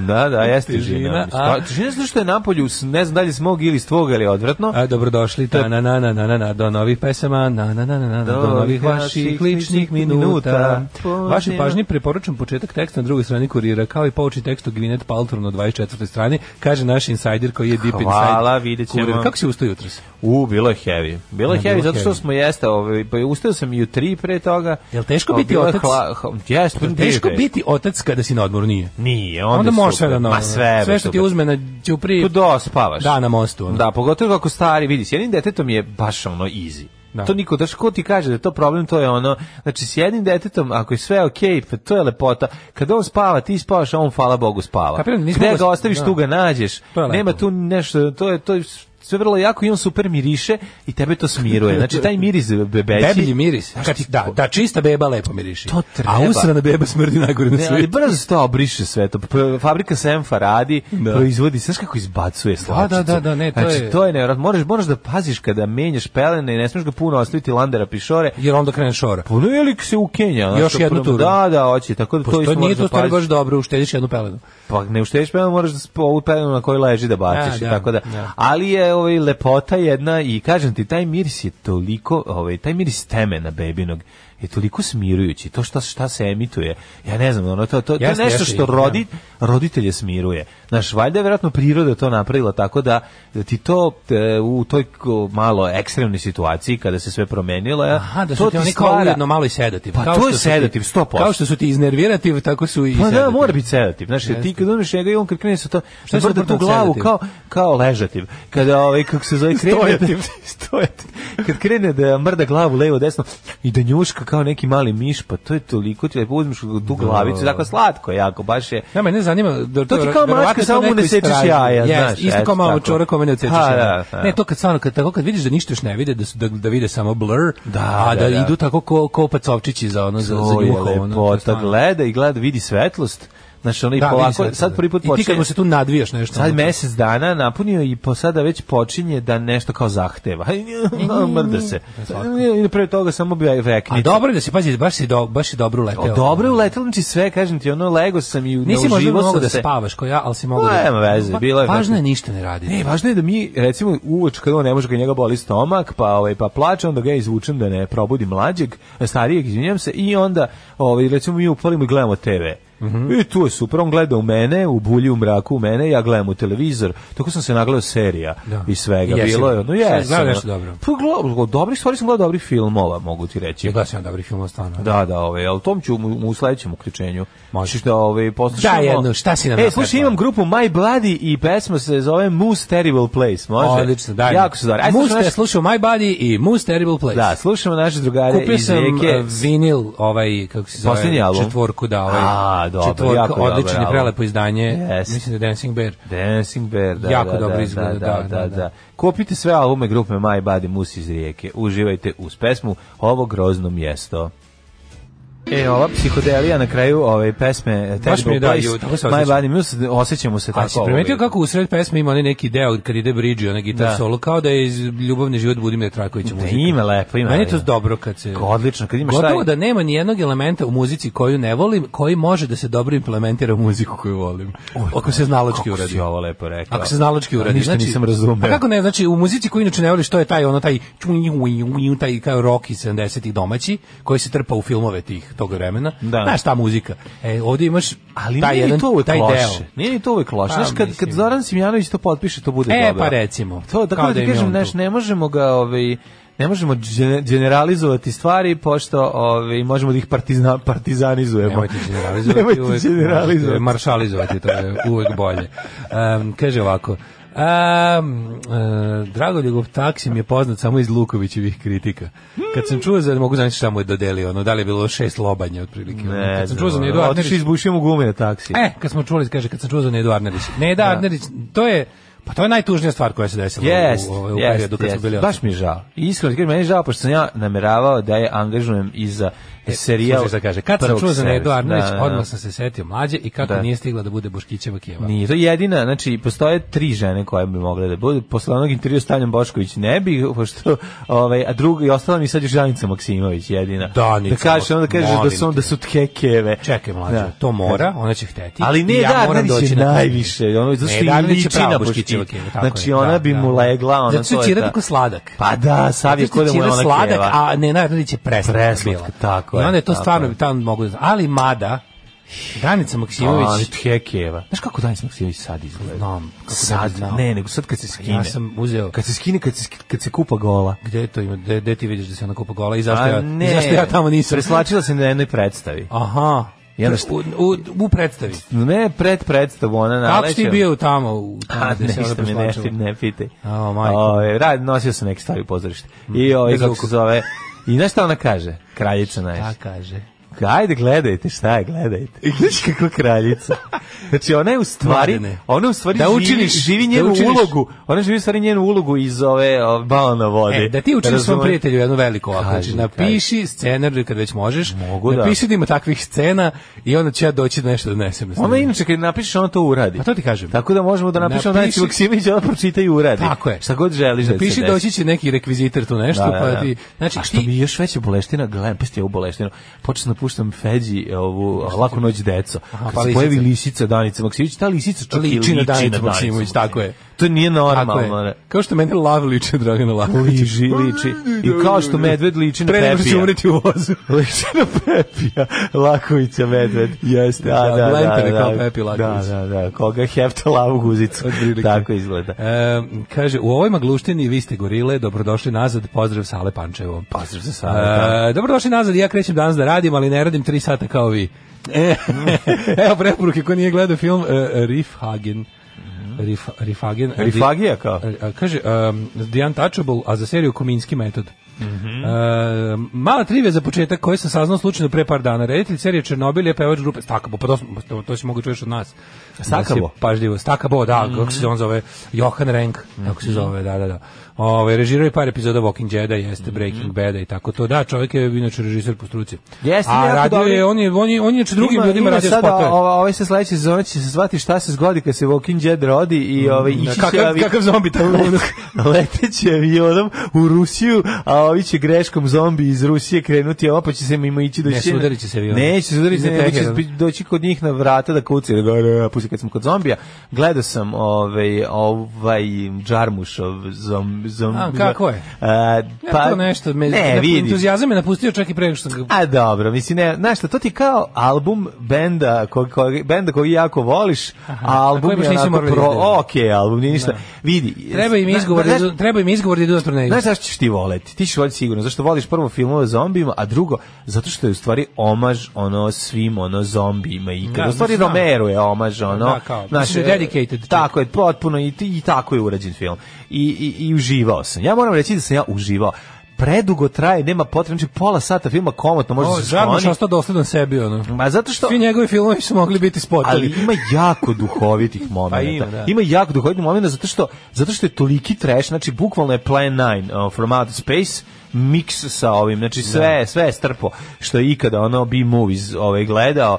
[SPEAKER 5] Da, da, jeste
[SPEAKER 6] Težina,
[SPEAKER 5] žina.
[SPEAKER 6] a-
[SPEAKER 5] Šta- Težina zato što je napolju, s- ne znam da li smog ili stvog ili odvratno.
[SPEAKER 6] A dobrodošli ta na na na na na na do novih pesama na na na na na do, do novih vaših ličnih minuta.
[SPEAKER 5] Poziv.
[SPEAKER 6] Vašoj pažnji preporučam početak teksta na drugoj strani kurira kao i pouči tekst o Gwyneth Paltrow na 24. strani, kaže naš insajder koji je deep inside.
[SPEAKER 5] Hvala, vidjet ćemo.
[SPEAKER 6] Kurir. Kako si ustao jutros?
[SPEAKER 5] U, bilo je heavy. Bilo je
[SPEAKER 6] Ne, bilo
[SPEAKER 5] heavy
[SPEAKER 6] je
[SPEAKER 5] zato što
[SPEAKER 6] heavy.
[SPEAKER 5] smo jeste, ovaj pa ustao sam i u 3 pre toga.
[SPEAKER 6] Jel teško
[SPEAKER 5] A,
[SPEAKER 6] biti
[SPEAKER 5] bilo je
[SPEAKER 6] otac?
[SPEAKER 5] hla- hla- Jeste,
[SPEAKER 6] Jel
[SPEAKER 5] nije
[SPEAKER 6] Teško biti otac kada si na odmoru nije.
[SPEAKER 5] Nije, Pa onda,
[SPEAKER 6] Onda,
[SPEAKER 5] je
[SPEAKER 6] možeš sve
[SPEAKER 5] super.
[SPEAKER 6] da ono,
[SPEAKER 5] Ma sve,
[SPEAKER 6] sve što ti uzme na ćupri.
[SPEAKER 5] tu dospavaš.
[SPEAKER 6] Da, na mostu, ono.
[SPEAKER 5] Da, pogotovo ako stari, vidi, s jednim detetom je baš ono easy.
[SPEAKER 6] Da.
[SPEAKER 5] To niko, daš, ko ti kaže da je to problem, to je ono, znači s jednim detetom, ako je sve okej, pa to je lepota, kad on spava, ti spavaš, a on, hvala Bogu, spava.
[SPEAKER 6] Kapiram, nismo
[SPEAKER 5] Gde
[SPEAKER 6] mogli-
[SPEAKER 5] ga ostaviš,
[SPEAKER 6] da.
[SPEAKER 5] tu ga nađeš,
[SPEAKER 6] To je lepo.
[SPEAKER 5] nema tu nešto, to je, to je sve vrlo jako i on super miriše i tebe to smiruje. Znači, taj miris bebeći.
[SPEAKER 6] Deblji miris.
[SPEAKER 5] Znaš
[SPEAKER 6] Kad
[SPEAKER 5] ti-
[SPEAKER 6] ti, da, da čista beba lepo miriši.
[SPEAKER 5] To treba.
[SPEAKER 6] A usrana beba smrdi najgore na
[SPEAKER 5] Ne, ali
[SPEAKER 6] svijetu.
[SPEAKER 5] brzo se to obriše sve to. P- Fabrika Senfa radi,
[SPEAKER 6] Da.
[SPEAKER 5] proizvodi, znaš kako izbacuje slačicu.
[SPEAKER 6] da, da, da, ne, to
[SPEAKER 5] znači,
[SPEAKER 6] je-
[SPEAKER 5] to je nevjerojatno. Moraš, moraš da paziš kada menjaš pelene i ne smiješ ga puno ostaviti landera pišore.
[SPEAKER 6] Jer onda krene šora.
[SPEAKER 5] Puno je lik se u Kenja. znaš,
[SPEAKER 6] Još
[SPEAKER 5] to
[SPEAKER 6] jednu
[SPEAKER 5] prvo-
[SPEAKER 6] turu.
[SPEAKER 5] Da, da, hoće. Tako da to
[SPEAKER 6] Pošto
[SPEAKER 5] isto
[SPEAKER 6] Pa nije
[SPEAKER 5] moraš
[SPEAKER 6] to
[SPEAKER 5] da
[SPEAKER 6] stvari baš
[SPEAKER 5] paziš.
[SPEAKER 6] dobro, uštediš jednu pelenu.
[SPEAKER 5] Pa ne uštediš pelenu, moraš da sp- ovu pelenu na kojoj leži da baciš.
[SPEAKER 6] Da, da,
[SPEAKER 5] i tako da.
[SPEAKER 6] da.
[SPEAKER 5] Ali je ovaj, lepota jedna i kažem ti, taj miris je toliko, ovaj, taj miris temena bebinog je toliko smirujući, to šta, šta se emituje, ja ne znam, ono, to, to, to je
[SPEAKER 6] Jeste,
[SPEAKER 5] nešto
[SPEAKER 6] jeste,
[SPEAKER 5] što
[SPEAKER 6] da.
[SPEAKER 5] rodi, roditelje smiruje. Znaš, valjda je vjerojatno priroda to napravila tako da ti to e, u toj ko- malo ekstremnoj situaciji kada se sve promenilo, ja,
[SPEAKER 6] Aha, da
[SPEAKER 5] to
[SPEAKER 6] su ti oni kao
[SPEAKER 5] stvara-
[SPEAKER 6] ujedno malo i sedativ.
[SPEAKER 5] Pa
[SPEAKER 6] Kao
[SPEAKER 5] to je
[SPEAKER 6] što su ti-
[SPEAKER 5] sedativ, 100%.
[SPEAKER 6] Kao što su ti iznervirativ, tako su i
[SPEAKER 5] Pa da,
[SPEAKER 6] sedativ.
[SPEAKER 5] mora biti sedativ. Znaš, jer ti kad uzmeš njega i on kad krene sa to,
[SPEAKER 6] Šta
[SPEAKER 5] šta
[SPEAKER 6] je
[SPEAKER 5] je da tu
[SPEAKER 6] suprotno od
[SPEAKER 5] glavu
[SPEAKER 6] sedativ?
[SPEAKER 5] kao, kao ležativ. Kada, ovaj, kako se zove, krene...
[SPEAKER 6] Stojativ.
[SPEAKER 5] da- stojativ. Kad krene da mrda glavu levo, desno i da njuška kao neki mali miš, pa to je toliko ti lepo uzmeš tu glavicu, tako slatko jako, baš je...
[SPEAKER 6] Ja, mene zanima, da
[SPEAKER 5] To ti kao
[SPEAKER 6] verovatno
[SPEAKER 5] mačka,
[SPEAKER 6] je to
[SPEAKER 5] samo mu
[SPEAKER 6] neko
[SPEAKER 5] ne sečeš
[SPEAKER 6] istražio.
[SPEAKER 5] jaja,
[SPEAKER 6] Jest,
[SPEAKER 5] znaš,
[SPEAKER 6] isto kao
[SPEAKER 5] eto,
[SPEAKER 6] malo
[SPEAKER 5] tako.
[SPEAKER 6] čora kome ne odsečeš
[SPEAKER 5] Ha,
[SPEAKER 6] jaja.
[SPEAKER 5] da, pa. da.
[SPEAKER 6] Ne, to kad stvarno, kad, tako kad vidiš da ništa još ne vide, da, su, da, da vide samo blur,
[SPEAKER 5] Da,
[SPEAKER 6] a da,
[SPEAKER 5] da, da.
[SPEAKER 6] idu tako ko, ko pacovčići za ono, za, za
[SPEAKER 5] To je
[SPEAKER 6] juho. ono, to je
[SPEAKER 5] lepota,
[SPEAKER 6] stvarno.
[SPEAKER 5] gleda i gleda, vidi svetlost. Znači, ono i
[SPEAKER 6] Da, vidi
[SPEAKER 5] polako,
[SPEAKER 6] se to,
[SPEAKER 5] sad
[SPEAKER 6] da.
[SPEAKER 5] prvi put
[SPEAKER 6] I ti kad
[SPEAKER 5] počinje...
[SPEAKER 6] mu se tu nadvijaš nešto.
[SPEAKER 5] Sad
[SPEAKER 6] ono, to-
[SPEAKER 5] mesec dana napunio i po sada već počinje da nešto kao zahteva. Mrda se. I pre toga samo bi
[SPEAKER 6] Mm. A
[SPEAKER 5] rekni.
[SPEAKER 6] dobro je da si, pazi, baš si, do, baš si dobro uleteo.
[SPEAKER 5] O, dobro je uletelo, znači sve, kažem ti, ono, lego sam i
[SPEAKER 6] Nisi možda
[SPEAKER 5] nauživo
[SPEAKER 6] mogao
[SPEAKER 5] sam
[SPEAKER 6] da
[SPEAKER 5] se.
[SPEAKER 6] spavaš ko ja, ali si mogao da...
[SPEAKER 5] Nema veze,
[SPEAKER 6] Pa-
[SPEAKER 5] bilo je
[SPEAKER 6] Važno
[SPEAKER 5] nešto-
[SPEAKER 6] je ništa ne raditi.
[SPEAKER 5] Ne, E, važno je da mi, recimo, uveč kada on ne može kad njega boli stomak, pa, ovaj, pa plače, onda ga ja izvučem da ne probudi mlađeg, starijeg, izvinjam se, i onda, ovaj, recimo, mi upalimo i gledamo TV.
[SPEAKER 6] Mhm.
[SPEAKER 5] I tu je super, on gleda u mene, u bulji, u mraku u mene, ja gledam u televizor, tako sam se nagledao serija
[SPEAKER 6] Da.
[SPEAKER 5] i svega,
[SPEAKER 6] I jesi
[SPEAKER 5] bilo je,
[SPEAKER 6] li?
[SPEAKER 5] ono,
[SPEAKER 6] Šta,
[SPEAKER 5] jesam.
[SPEAKER 6] gledao nešto
[SPEAKER 5] ono.
[SPEAKER 6] dobro?
[SPEAKER 5] Pa, gledao- dobrih stvari sam gledao dobrih filmova, mogu ti reći.
[SPEAKER 6] Ja gledam sam dobri film stvarno.
[SPEAKER 5] Da, da, ovaj, al tom ću mu, u sledećem uključenju.
[SPEAKER 6] Može.
[SPEAKER 5] Možeš da ovaj poslušamo.
[SPEAKER 6] Daj jednu, šta si nam
[SPEAKER 5] E,
[SPEAKER 6] naslepila?
[SPEAKER 5] slušaj, imam grupu My Bloody i pesma se zove Moose Terrible Place, može?
[SPEAKER 6] Odlično, daj.
[SPEAKER 5] Jako se dobro. Aj,
[SPEAKER 6] Moose
[SPEAKER 5] slušamo
[SPEAKER 6] je
[SPEAKER 5] naš-
[SPEAKER 6] slušao My Body i Moose Terrible Place.
[SPEAKER 5] Da, slušamo naše drugare
[SPEAKER 6] Kupio
[SPEAKER 5] iz
[SPEAKER 6] sam eh,
[SPEAKER 5] Rijeke.
[SPEAKER 6] vinil, ovaj, kako se zove,
[SPEAKER 5] Poslednji album?
[SPEAKER 6] četvorku, da, ovaj,
[SPEAKER 5] A, dobro,
[SPEAKER 6] četvorka,
[SPEAKER 5] jako dobar
[SPEAKER 6] odlično i
[SPEAKER 5] album.
[SPEAKER 6] prelepo izdanje,
[SPEAKER 5] Yes.
[SPEAKER 6] mislim da je Dancing Bear.
[SPEAKER 5] Dancing Bear, da,
[SPEAKER 6] Jako
[SPEAKER 5] da,
[SPEAKER 6] dobro
[SPEAKER 5] da,
[SPEAKER 6] izgleda,
[SPEAKER 5] da, da, da. Kupite sve albume grupe My Bloody Moose iz Rijeke. Uživajte uz pesmu Ovo grozno mjesto. E, ova psihodelija na kraju ove pesme eh,
[SPEAKER 6] Baš mi je,
[SPEAKER 5] Terrible
[SPEAKER 6] da,
[SPEAKER 5] Place,
[SPEAKER 6] ju, tako se
[SPEAKER 5] My
[SPEAKER 6] osjećam.
[SPEAKER 5] Bloody Moose, osjećamo se tako.
[SPEAKER 6] A si primetio
[SPEAKER 5] ovaj.
[SPEAKER 6] kako u sred pesme ima onaj neki deo kad ide bridge, onaj gitar
[SPEAKER 5] Da.
[SPEAKER 6] solo, kao da je iz Ljubavni život Budimira Trakovića
[SPEAKER 5] Da
[SPEAKER 6] muzika.
[SPEAKER 5] ima lepo, ima.
[SPEAKER 6] Meni je to
[SPEAKER 5] ima.
[SPEAKER 6] dobro kad se...
[SPEAKER 5] Odlično, kad imaš
[SPEAKER 6] Gotovo da
[SPEAKER 5] taj-
[SPEAKER 6] nema ni jednog elementa u muzici koju ne volim, koji može da se dobro implementira u muziku koju volim. Ako se znalački
[SPEAKER 5] Kako
[SPEAKER 6] uradi.
[SPEAKER 5] si ovo lepo rekao?
[SPEAKER 6] Ako se znalački uradi.
[SPEAKER 5] Ništa
[SPEAKER 6] znači,
[SPEAKER 5] nisam razumeo.
[SPEAKER 6] A kako ne, znači u muzici koju inače ne voliš, to je taj ono taj čunj, unj, unj, taj kao rock iz 70-ih domaći, koji se trpa u filmove tih tog vremena.
[SPEAKER 5] Da.
[SPEAKER 6] Znaš ta muzika. E, ovdje imaš
[SPEAKER 5] Ali
[SPEAKER 6] taj
[SPEAKER 5] nije
[SPEAKER 6] jedan
[SPEAKER 5] ni to uvek
[SPEAKER 6] taj
[SPEAKER 5] loše.
[SPEAKER 6] deo.
[SPEAKER 5] Nije ni to uvek loše.
[SPEAKER 6] Pa,
[SPEAKER 5] Znaš, kad, kad
[SPEAKER 6] mislim.
[SPEAKER 5] Zoran Simjanović to potpiše, to bude
[SPEAKER 6] E,
[SPEAKER 5] dobro.
[SPEAKER 6] pa recimo.
[SPEAKER 5] To,
[SPEAKER 6] Kao
[SPEAKER 5] tako da
[SPEAKER 6] da im
[SPEAKER 5] ti
[SPEAKER 6] je
[SPEAKER 5] kažem,
[SPEAKER 6] on
[SPEAKER 5] znaš,
[SPEAKER 6] tu.
[SPEAKER 5] ne možemo ga, ovaj, ne možemo džene- generalizovati stvari, pošto ovaj, možemo da ih partizna, partizanizujemo.
[SPEAKER 6] Nemojte generalizovati.
[SPEAKER 5] Nemojte
[SPEAKER 6] uvek-
[SPEAKER 5] generalizovati.
[SPEAKER 6] Maršalizovati, to je uvek bolje. Em, kaže ovako, Um, uh, Dragoljubov taksi mi je poznat samo iz Lukovićevih kritika. Kad sam čuo za, ne mogu znači šta mu je dodelio, ono, da li je bilo šest lobanja otprilike. ono.
[SPEAKER 5] Ne,
[SPEAKER 6] kad sam čuo za
[SPEAKER 5] znam,
[SPEAKER 6] Nedu Arnerić,
[SPEAKER 5] otišli izbušio mu gume na taksi.
[SPEAKER 6] E, kad smo čuli, kaže, kad sam čuo za Nedu Arnerić. Neda Arnerić, to je Pa to je najtužnija stvar koja se desila
[SPEAKER 5] Jest,
[SPEAKER 6] u, u, u
[SPEAKER 5] jest,
[SPEAKER 6] periodu kad
[SPEAKER 5] jest.
[SPEAKER 6] smo bili
[SPEAKER 5] Baš mi je žao. Iskreno, ti kažem, meni je žao, pošto sam ja nameravao da je angažujem i za serijal.
[SPEAKER 6] E, Slušaj sad kaže, kad sam
[SPEAKER 5] prvog
[SPEAKER 6] čuo za Nedu
[SPEAKER 5] servisa.
[SPEAKER 6] Arnarić,
[SPEAKER 5] Da, da, da.
[SPEAKER 6] odmah sam se setio mlađe i kako
[SPEAKER 5] Da.
[SPEAKER 6] nije stigla da bude Boškićeva keva.
[SPEAKER 5] Nije to jedina, znači postoje tri žene koje bi mogle da budu. Posle onog intervjua s Tanjom Bošković ne bi, pošto ovaj a druga i ostala mi je sad još Danica Maksimović jedina.
[SPEAKER 6] Danica,
[SPEAKER 5] da kaže, onda kaže da
[SPEAKER 6] molim
[SPEAKER 5] su
[SPEAKER 6] te.
[SPEAKER 5] da su tke keve.
[SPEAKER 6] Čekaj mlađe,
[SPEAKER 5] Da.
[SPEAKER 6] to mora, ona će hteti.
[SPEAKER 5] Ali ne
[SPEAKER 6] i ja
[SPEAKER 5] da,
[SPEAKER 6] moram
[SPEAKER 5] Arnarić
[SPEAKER 6] doći
[SPEAKER 5] je
[SPEAKER 6] na to.
[SPEAKER 5] najviše, ono zato
[SPEAKER 6] Ne,
[SPEAKER 5] što i
[SPEAKER 6] Arnarić je
[SPEAKER 5] liči
[SPEAKER 6] prava
[SPEAKER 5] na
[SPEAKER 6] Boškićeva
[SPEAKER 5] Boškića.
[SPEAKER 6] keva, tako
[SPEAKER 5] Znači
[SPEAKER 6] je,
[SPEAKER 5] ona
[SPEAKER 6] da,
[SPEAKER 5] bi
[SPEAKER 6] da.
[SPEAKER 5] mu legla, ona
[SPEAKER 6] Zato što
[SPEAKER 5] Ono, to
[SPEAKER 6] će
[SPEAKER 5] je
[SPEAKER 6] Ćira
[SPEAKER 5] ta-
[SPEAKER 6] tako sladak.
[SPEAKER 5] Pa da, sav je
[SPEAKER 6] Zato što
[SPEAKER 5] ko da mu je
[SPEAKER 6] Ćira
[SPEAKER 5] ona
[SPEAKER 6] sladak,
[SPEAKER 5] keva.
[SPEAKER 6] a ne Arnarić je preslatka.
[SPEAKER 5] Preslatka,
[SPEAKER 6] bila.
[SPEAKER 5] tako
[SPEAKER 6] I
[SPEAKER 5] je,
[SPEAKER 6] onda je to
[SPEAKER 5] tako
[SPEAKER 6] stvarno,
[SPEAKER 5] je.
[SPEAKER 6] tamo mogu da znam. Ali mada, Danica
[SPEAKER 5] Ali
[SPEAKER 6] Maksimović,
[SPEAKER 5] tke keva. Znaš kako Danica Maksimović sad izgleda?
[SPEAKER 6] Znam, kako da bi
[SPEAKER 5] sad,
[SPEAKER 6] znao.
[SPEAKER 5] ne, nego sad kad se skine.
[SPEAKER 6] ja sam uzeo
[SPEAKER 5] Kad se skine, kad se, kad se kupa gola.
[SPEAKER 6] Gde to ima? Gde, gde ti vidiš da se ona kupa gola i zašto, ja,
[SPEAKER 5] A
[SPEAKER 6] i
[SPEAKER 5] Pa ne,
[SPEAKER 6] zašto ja tamo nisam?
[SPEAKER 5] Preslačila se na jednoj predstavi.
[SPEAKER 6] Aha.
[SPEAKER 5] Jel
[SPEAKER 6] Pre-
[SPEAKER 5] šta?
[SPEAKER 6] U, u, u predstavi.
[SPEAKER 5] Ne, pred predstavu, ona naleće.
[SPEAKER 6] Kako si ti bio tamo? U, tamo
[SPEAKER 5] A,
[SPEAKER 6] gde se
[SPEAKER 5] ne,
[SPEAKER 6] ona
[SPEAKER 5] ništa me ne,
[SPEAKER 6] preslačila?
[SPEAKER 5] pi- ne pitaj.
[SPEAKER 6] A, majko.
[SPEAKER 5] Ove, rad, nosio sam neki stari u pozorište. I ove,
[SPEAKER 6] Bez
[SPEAKER 5] kako
[SPEAKER 6] ruku.
[SPEAKER 5] se zove... I znaš šta ona kaže? Kraljica najviše.
[SPEAKER 6] Šta Pa kaže?
[SPEAKER 5] Ajde, gledajte, šta je, gledajte. Znaš kakva kraljica. Znači, ona je u stvari,
[SPEAKER 6] Mladene.
[SPEAKER 5] ona u stvari
[SPEAKER 6] Da
[SPEAKER 5] živi,
[SPEAKER 6] učiniš,
[SPEAKER 5] živi
[SPEAKER 6] da
[SPEAKER 5] njenu
[SPEAKER 6] učiniš.
[SPEAKER 5] ulogu. Ona živi u stvari njenu ulogu iz ove o, balona vode.
[SPEAKER 6] E, da ti učiniš svom
[SPEAKER 5] Razumeš?
[SPEAKER 6] prijatelju jednu veliku ovako.
[SPEAKER 5] Kaži,
[SPEAKER 6] Znači, napiši scenariju kad već možeš.
[SPEAKER 5] Mogu da.
[SPEAKER 6] Napiši da ima takvih scena i onda ću ja doći da nešto da nesem.
[SPEAKER 5] Ona inače kad napišeš, ona to uradi.
[SPEAKER 6] Pa to ti kažem.
[SPEAKER 5] Tako da možemo da napišemo
[SPEAKER 6] Napiši-
[SPEAKER 5] Napiši... Nancy Maksimović, ona pročita i uradi.
[SPEAKER 6] Tako je.
[SPEAKER 5] Šta god želiš da
[SPEAKER 6] Napiši
[SPEAKER 5] se
[SPEAKER 6] doći će neki rekvizitor tu nešto,
[SPEAKER 5] Da, da, da.
[SPEAKER 6] pa ti... Znači,
[SPEAKER 5] A što
[SPEAKER 6] ti-
[SPEAKER 5] mi je još veća boleština, gledam, pa ste ovu boleštinu, počeo sam da puštam Feđi ovu a, Laku noć deco.
[SPEAKER 6] Aha,
[SPEAKER 5] Kad
[SPEAKER 6] pa
[SPEAKER 5] se
[SPEAKER 6] lisica.
[SPEAKER 5] pojavi lisica Danica Maksimović, ta lisica čak i
[SPEAKER 6] Liči na Danicu Maksimović, tako je.
[SPEAKER 5] To nije
[SPEAKER 6] Tako je.
[SPEAKER 5] normalno. ne.
[SPEAKER 6] Kao što mene lav liče Dragana Lakovića.
[SPEAKER 5] Liči, liči. I kao što medved liči na
[SPEAKER 6] Pre nego što će
[SPEAKER 5] Pepija.
[SPEAKER 6] umreti u vozu.
[SPEAKER 5] Liči na Pepija, Lakovića medved. Jeste, da, da, da,
[SPEAKER 6] Lemper je
[SPEAKER 5] da,
[SPEAKER 6] kao Pepi Laković.
[SPEAKER 5] Da, da, da, koga hefta lavu guzicu.
[SPEAKER 6] Otprilike.
[SPEAKER 5] Tako izgleda.
[SPEAKER 6] E, kaže, u ovoj magluštini vi ste gorile, dobrodošli nazad, pozdrav Sale Pančevo.
[SPEAKER 5] Pozdrav za sada. da.
[SPEAKER 6] E, dobrodošli nazad, ja krećem danas da radim, ali ne radim 3 sata kao vi. E, evo preporuke, ko nije gledao film, e, Rifhagen. Rif, Rifhagen.
[SPEAKER 5] Rifagija kao?
[SPEAKER 6] E, Kaže, um, The Untouchable, a za seriju Kominski metod. E, mala trivija za početak koju sam saznao slučajno pre par dana. Reditelj serije Černobil je pevač grupe Stakabo, pa to, smo- to, to si mogu čuješ od nas.
[SPEAKER 5] Stakabo?
[SPEAKER 6] Nas je Pažljivo, Stakabo, da, kako se on zove, Johan Renk, kako se zove, da, da, da. Ove, režirao je par epizoda Walking Deada, jeste Breaking Bada i tako to. Da, čovjek je inače režiser po struci.
[SPEAKER 5] Jeste,
[SPEAKER 6] A
[SPEAKER 5] jako
[SPEAKER 6] radio
[SPEAKER 5] dobri.
[SPEAKER 6] je, on je, on je, on je inače Znači, drugim
[SPEAKER 5] Ima-
[SPEAKER 6] ljudima
[SPEAKER 5] ima
[SPEAKER 6] radio
[SPEAKER 5] sada,
[SPEAKER 6] spotove.
[SPEAKER 5] ova- ovaj se sledeće sezone će se zvati šta se zgodi kad se Walking Dead rodi i ovaj ići će
[SPEAKER 6] Mm, Kakav,
[SPEAKER 5] avi-
[SPEAKER 6] kakav zombi tako
[SPEAKER 5] leteće avionom u Rusiju, a ovi će greškom zombi iz Rusije krenuti, a pa će se mimo ići doći.
[SPEAKER 6] Ne, sudarit će se avion.
[SPEAKER 5] Neće se udariti,
[SPEAKER 6] Iznad
[SPEAKER 5] nego će
[SPEAKER 6] Teherana.
[SPEAKER 5] spi- doći kod njih na vrata da kuci, da gore, pusti kad smo kod zombija. Gledao sam ovaj, ovaj Džarmušov zom, zom,
[SPEAKER 6] A, kako je?
[SPEAKER 5] A,
[SPEAKER 6] Pa, to nešto, me,
[SPEAKER 5] ne, vidi.
[SPEAKER 6] entuzijazam me napustio čak i pre nego što sam ga
[SPEAKER 5] A dobro, mislim, ne, znaš šta, to ti je kao album benda kog, kog, benda koji jako voliš, a
[SPEAKER 6] koji
[SPEAKER 5] album
[SPEAKER 6] baš
[SPEAKER 5] je
[SPEAKER 6] nisu
[SPEAKER 5] onako
[SPEAKER 6] morali da
[SPEAKER 5] pro,
[SPEAKER 6] izdaju.
[SPEAKER 5] ok, album, nije ništa. Vidi.
[SPEAKER 6] Treba im
[SPEAKER 5] zna-
[SPEAKER 6] izgovor, da,
[SPEAKER 5] znaš-
[SPEAKER 6] idu- treba im izgovor da idu na turneju.
[SPEAKER 5] Znaš zašto ćeš ti voleti? Ti ćeš voleti sigurno, zašto voliš prvo filmove o zombijima, a drugo, zato što je u stvari omaž ono svim ono zombijima i
[SPEAKER 6] Da,
[SPEAKER 5] kad u stvari
[SPEAKER 6] znam.
[SPEAKER 5] Romero je omaž ono.
[SPEAKER 6] Da, kao,
[SPEAKER 5] znaš,
[SPEAKER 6] mislim da je dedicated.
[SPEAKER 5] Tako je, potpuno i, ti- i tako je urađen film. I, i, I uživao sam. Ja moram reći da sam ja uživao predugo traje, nema potrebe, znači pola sata filma komotno može
[SPEAKER 6] O,
[SPEAKER 5] se
[SPEAKER 6] Žarmuš
[SPEAKER 5] skloni.
[SPEAKER 6] ostao dosledan sebi, ono.
[SPEAKER 5] Ma zato što
[SPEAKER 6] Svi njegovi filmovi su mogli biti
[SPEAKER 5] ali
[SPEAKER 6] spotovi.
[SPEAKER 5] ima jako duhovitih
[SPEAKER 6] Pa
[SPEAKER 5] momenata.
[SPEAKER 6] ima, da.
[SPEAKER 5] jako duhovitih momenata zato što zato što je toliki trash, znači bukvalno je Plan 9 uh, from Outer Space mix sa ovim, znači sve, sve je strpo što je ikada ono B-movies ovaj, gledao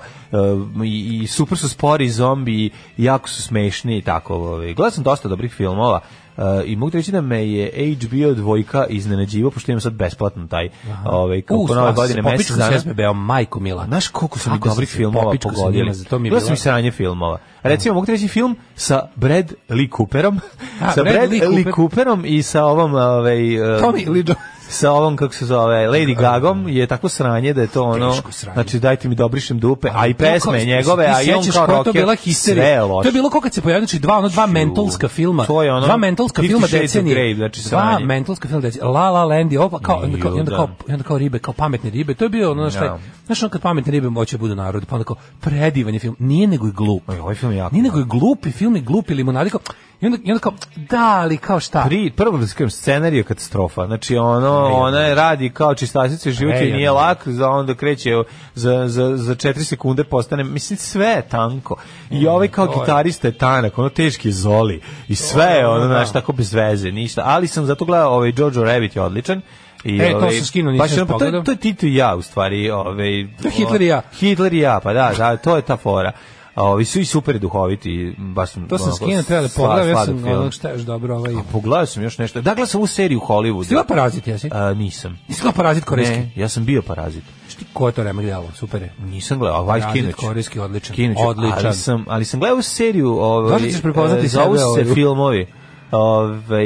[SPEAKER 5] uh, i, i super su spori zombi i jako su smešni i tako. Ovaj. Gledao sam dosta dobrih filmova uh, i mogu ti reći da me je HBO dvojka iznenađivo, pošto imam sad besplatno taj ovaj,
[SPEAKER 6] U,
[SPEAKER 5] kako nove
[SPEAKER 6] stvarno,
[SPEAKER 5] godine
[SPEAKER 6] popičku
[SPEAKER 5] mesec
[SPEAKER 6] sam
[SPEAKER 5] dana.
[SPEAKER 6] se SBB-om, majku mila.
[SPEAKER 5] A Znaš koliko su mi
[SPEAKER 6] Kako sam
[SPEAKER 5] dobrih
[SPEAKER 6] se
[SPEAKER 5] filmova
[SPEAKER 6] popičku sa njima,
[SPEAKER 5] pogodili?
[SPEAKER 6] za to mi je
[SPEAKER 5] Gledao sam
[SPEAKER 6] bila-
[SPEAKER 5] i sranje filmova. Recimo, mogu ti reći film sa Brad Lee Cooperom,
[SPEAKER 6] A,
[SPEAKER 5] sa
[SPEAKER 6] Brad
[SPEAKER 5] Brad
[SPEAKER 6] Lee Cooper.
[SPEAKER 5] Lee Cooperom i sa ovom, ovaj, eh,
[SPEAKER 6] Tommy Lee Jones.
[SPEAKER 5] sa ovom, kako se zove, Lady Gagom je tako sranje da je to ono,
[SPEAKER 6] Teško sranje.
[SPEAKER 5] znači dajte mi dobrišem dupe, a i
[SPEAKER 6] To kao-
[SPEAKER 5] pesme njegove,
[SPEAKER 6] ti
[SPEAKER 5] a i on
[SPEAKER 6] sećaš
[SPEAKER 5] kao
[SPEAKER 6] koja je To
[SPEAKER 5] rocker,
[SPEAKER 6] bila
[SPEAKER 5] sve je
[SPEAKER 6] histerija. To
[SPEAKER 5] loše.
[SPEAKER 6] je bilo kako kad se pojavio, znači dva, ono, dva mentalska filma.
[SPEAKER 5] to je ono
[SPEAKER 6] dva mentalska
[SPEAKER 5] Fifty
[SPEAKER 6] filma
[SPEAKER 5] Shades of
[SPEAKER 6] decenije.
[SPEAKER 5] Grey, znači,
[SPEAKER 6] dva
[SPEAKER 5] sranje.
[SPEAKER 6] mentalska filma decenije. La La Land i opa, kao, i onda kao, i onda kao, i onda kao ribe, kao pametne ribe. To je bio ono, šta je,
[SPEAKER 5] Da.
[SPEAKER 6] znaš, ono kad pametne ribe moće budu narod, pa onda kao, predivan je film. Nije nego i glup.
[SPEAKER 5] Oj, ovaj film je jako
[SPEAKER 6] Nije nego i glupi film i glupi limonadi. Kao, i, onda, I onda kao, da, ali kao šta?
[SPEAKER 5] Pri, prvo da ti kažem, scenarij je katastrofa. Znači, ono, ona je radi kao čistasica, život joj nije lak, za onda kreće za, za, za 4 sekunde postane, mislim sve je tanko.
[SPEAKER 6] Mm,
[SPEAKER 5] I ovaj kao gitarista je tanak, ono teški zoli. I sve je ono, znaš, tako bez veze, ništa. Ali sam zato gledao, ovaj Jojo Rabbit je odličan. I,
[SPEAKER 6] E, to
[SPEAKER 5] ovaj,
[SPEAKER 6] sam skinuo,
[SPEAKER 5] baš
[SPEAKER 6] nisam
[SPEAKER 5] ono, pa to, je-
[SPEAKER 6] pogledao.
[SPEAKER 5] to je Tito i ja, u stvari. Ovaj,
[SPEAKER 6] To je Hitler i ja.
[SPEAKER 5] Hitler i ja, pa da, da to je ta fora. A ovi su i super duhoviti, baš sam...
[SPEAKER 6] To sam
[SPEAKER 5] onako,
[SPEAKER 6] skinuo, trebali
[SPEAKER 5] sla-
[SPEAKER 6] pogledati, ja
[SPEAKER 5] sladak
[SPEAKER 6] sam
[SPEAKER 5] film.
[SPEAKER 6] ono šta još dobro ovaj.
[SPEAKER 5] A pogledao sam još nešto. Dakle, sam u seriju Hollywooda.
[SPEAKER 6] Stila parazit, jesi?
[SPEAKER 5] A, nisam.
[SPEAKER 6] Stila parazit korejski.
[SPEAKER 5] Ne, ja sam bio parazit.
[SPEAKER 6] Šti ko je to remek delo, super je.
[SPEAKER 5] Nisam gledao, a Vajs
[SPEAKER 6] Parazit
[SPEAKER 5] Kinoć.
[SPEAKER 6] korejski, odličan.
[SPEAKER 5] Kinoć,
[SPEAKER 6] Odličan.
[SPEAKER 5] Ali sam, ali sam gledao seriju... Ovaj,
[SPEAKER 6] Možda ćeš prepoznati
[SPEAKER 5] e, Zovu
[SPEAKER 6] sebe,
[SPEAKER 5] se
[SPEAKER 6] ovaj.
[SPEAKER 5] filmovi. Ove,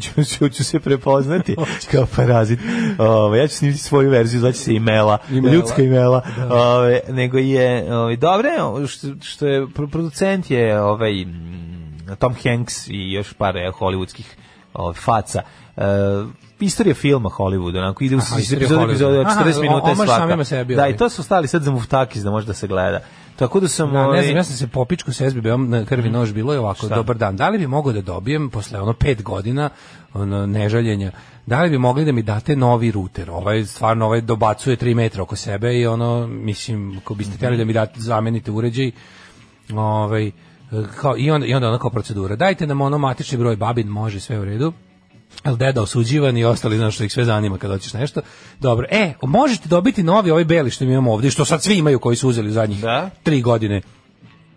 [SPEAKER 5] ću, ću, ću se prepoznati kao parazit. Ove, ja ću snimiti svoju verziju, zvaće se imela,
[SPEAKER 6] Imela.
[SPEAKER 5] ljudska imela. Ove, nego je, ove, dobre, što, što je, pro- producent je ovaj, mm, Tom Hanks i još par e, hollywoodskih ovaj, faca. E, istorija filma Hollywooda, onako ide u
[SPEAKER 6] Aha,
[SPEAKER 5] iz
[SPEAKER 6] istorija
[SPEAKER 5] epizode, do
[SPEAKER 6] Hollywooda.
[SPEAKER 5] epizode, 40
[SPEAKER 6] Aha,
[SPEAKER 5] minuta je
[SPEAKER 6] omaž
[SPEAKER 5] svaka.
[SPEAKER 6] samima sebi,
[SPEAKER 5] Da,
[SPEAKER 6] ovaj.
[SPEAKER 5] i to su stali sad za muftakis da može da se gleda. Tako da sam...
[SPEAKER 6] Na, ne
[SPEAKER 5] ovaj,
[SPEAKER 6] znam, ja sam se popičku s SBB-om na krvi nož bilo je ovako, dobar dan, da li bi mogao da dobijem posle ono pet godina ono, nežaljenja, da li bi mogli da mi date novi ruter, ovaj stvarno ovaj dobacuje tri metra oko sebe i ono, mislim, ako biste htjeli da mi date, zamenite uređaj, ovaj, kao, i, onda, i onda ono kao procedura, dajte nam ono matični broj babin, može sve u redu, El deda osuđivan i ostali znaš što ih sve zanima kad hoćeš nešto. Dobro, e, možete dobiti novi ovaj beli što mi imamo ovdje, što sad svi imaju koji su uzeli u zadnjih
[SPEAKER 5] Da.
[SPEAKER 6] tri godine.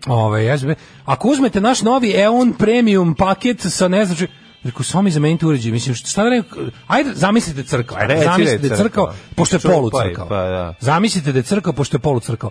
[SPEAKER 6] Ove, SB. Ako uzmete naš novi EON premium paket sa ne znači, Rekao, samo mi zamenite uređaj. Mislim, šta- šta da ne... Ajde, zamislite crkva. Ajde,
[SPEAKER 5] Reci da je
[SPEAKER 6] zamislite da je crkva,
[SPEAKER 5] crkva.
[SPEAKER 6] pošto je
[SPEAKER 5] Čuj,
[SPEAKER 6] polu
[SPEAKER 5] pa i-
[SPEAKER 6] crkva.
[SPEAKER 5] pa da.
[SPEAKER 6] Zamislite da je crkao, pošto je polu crkao.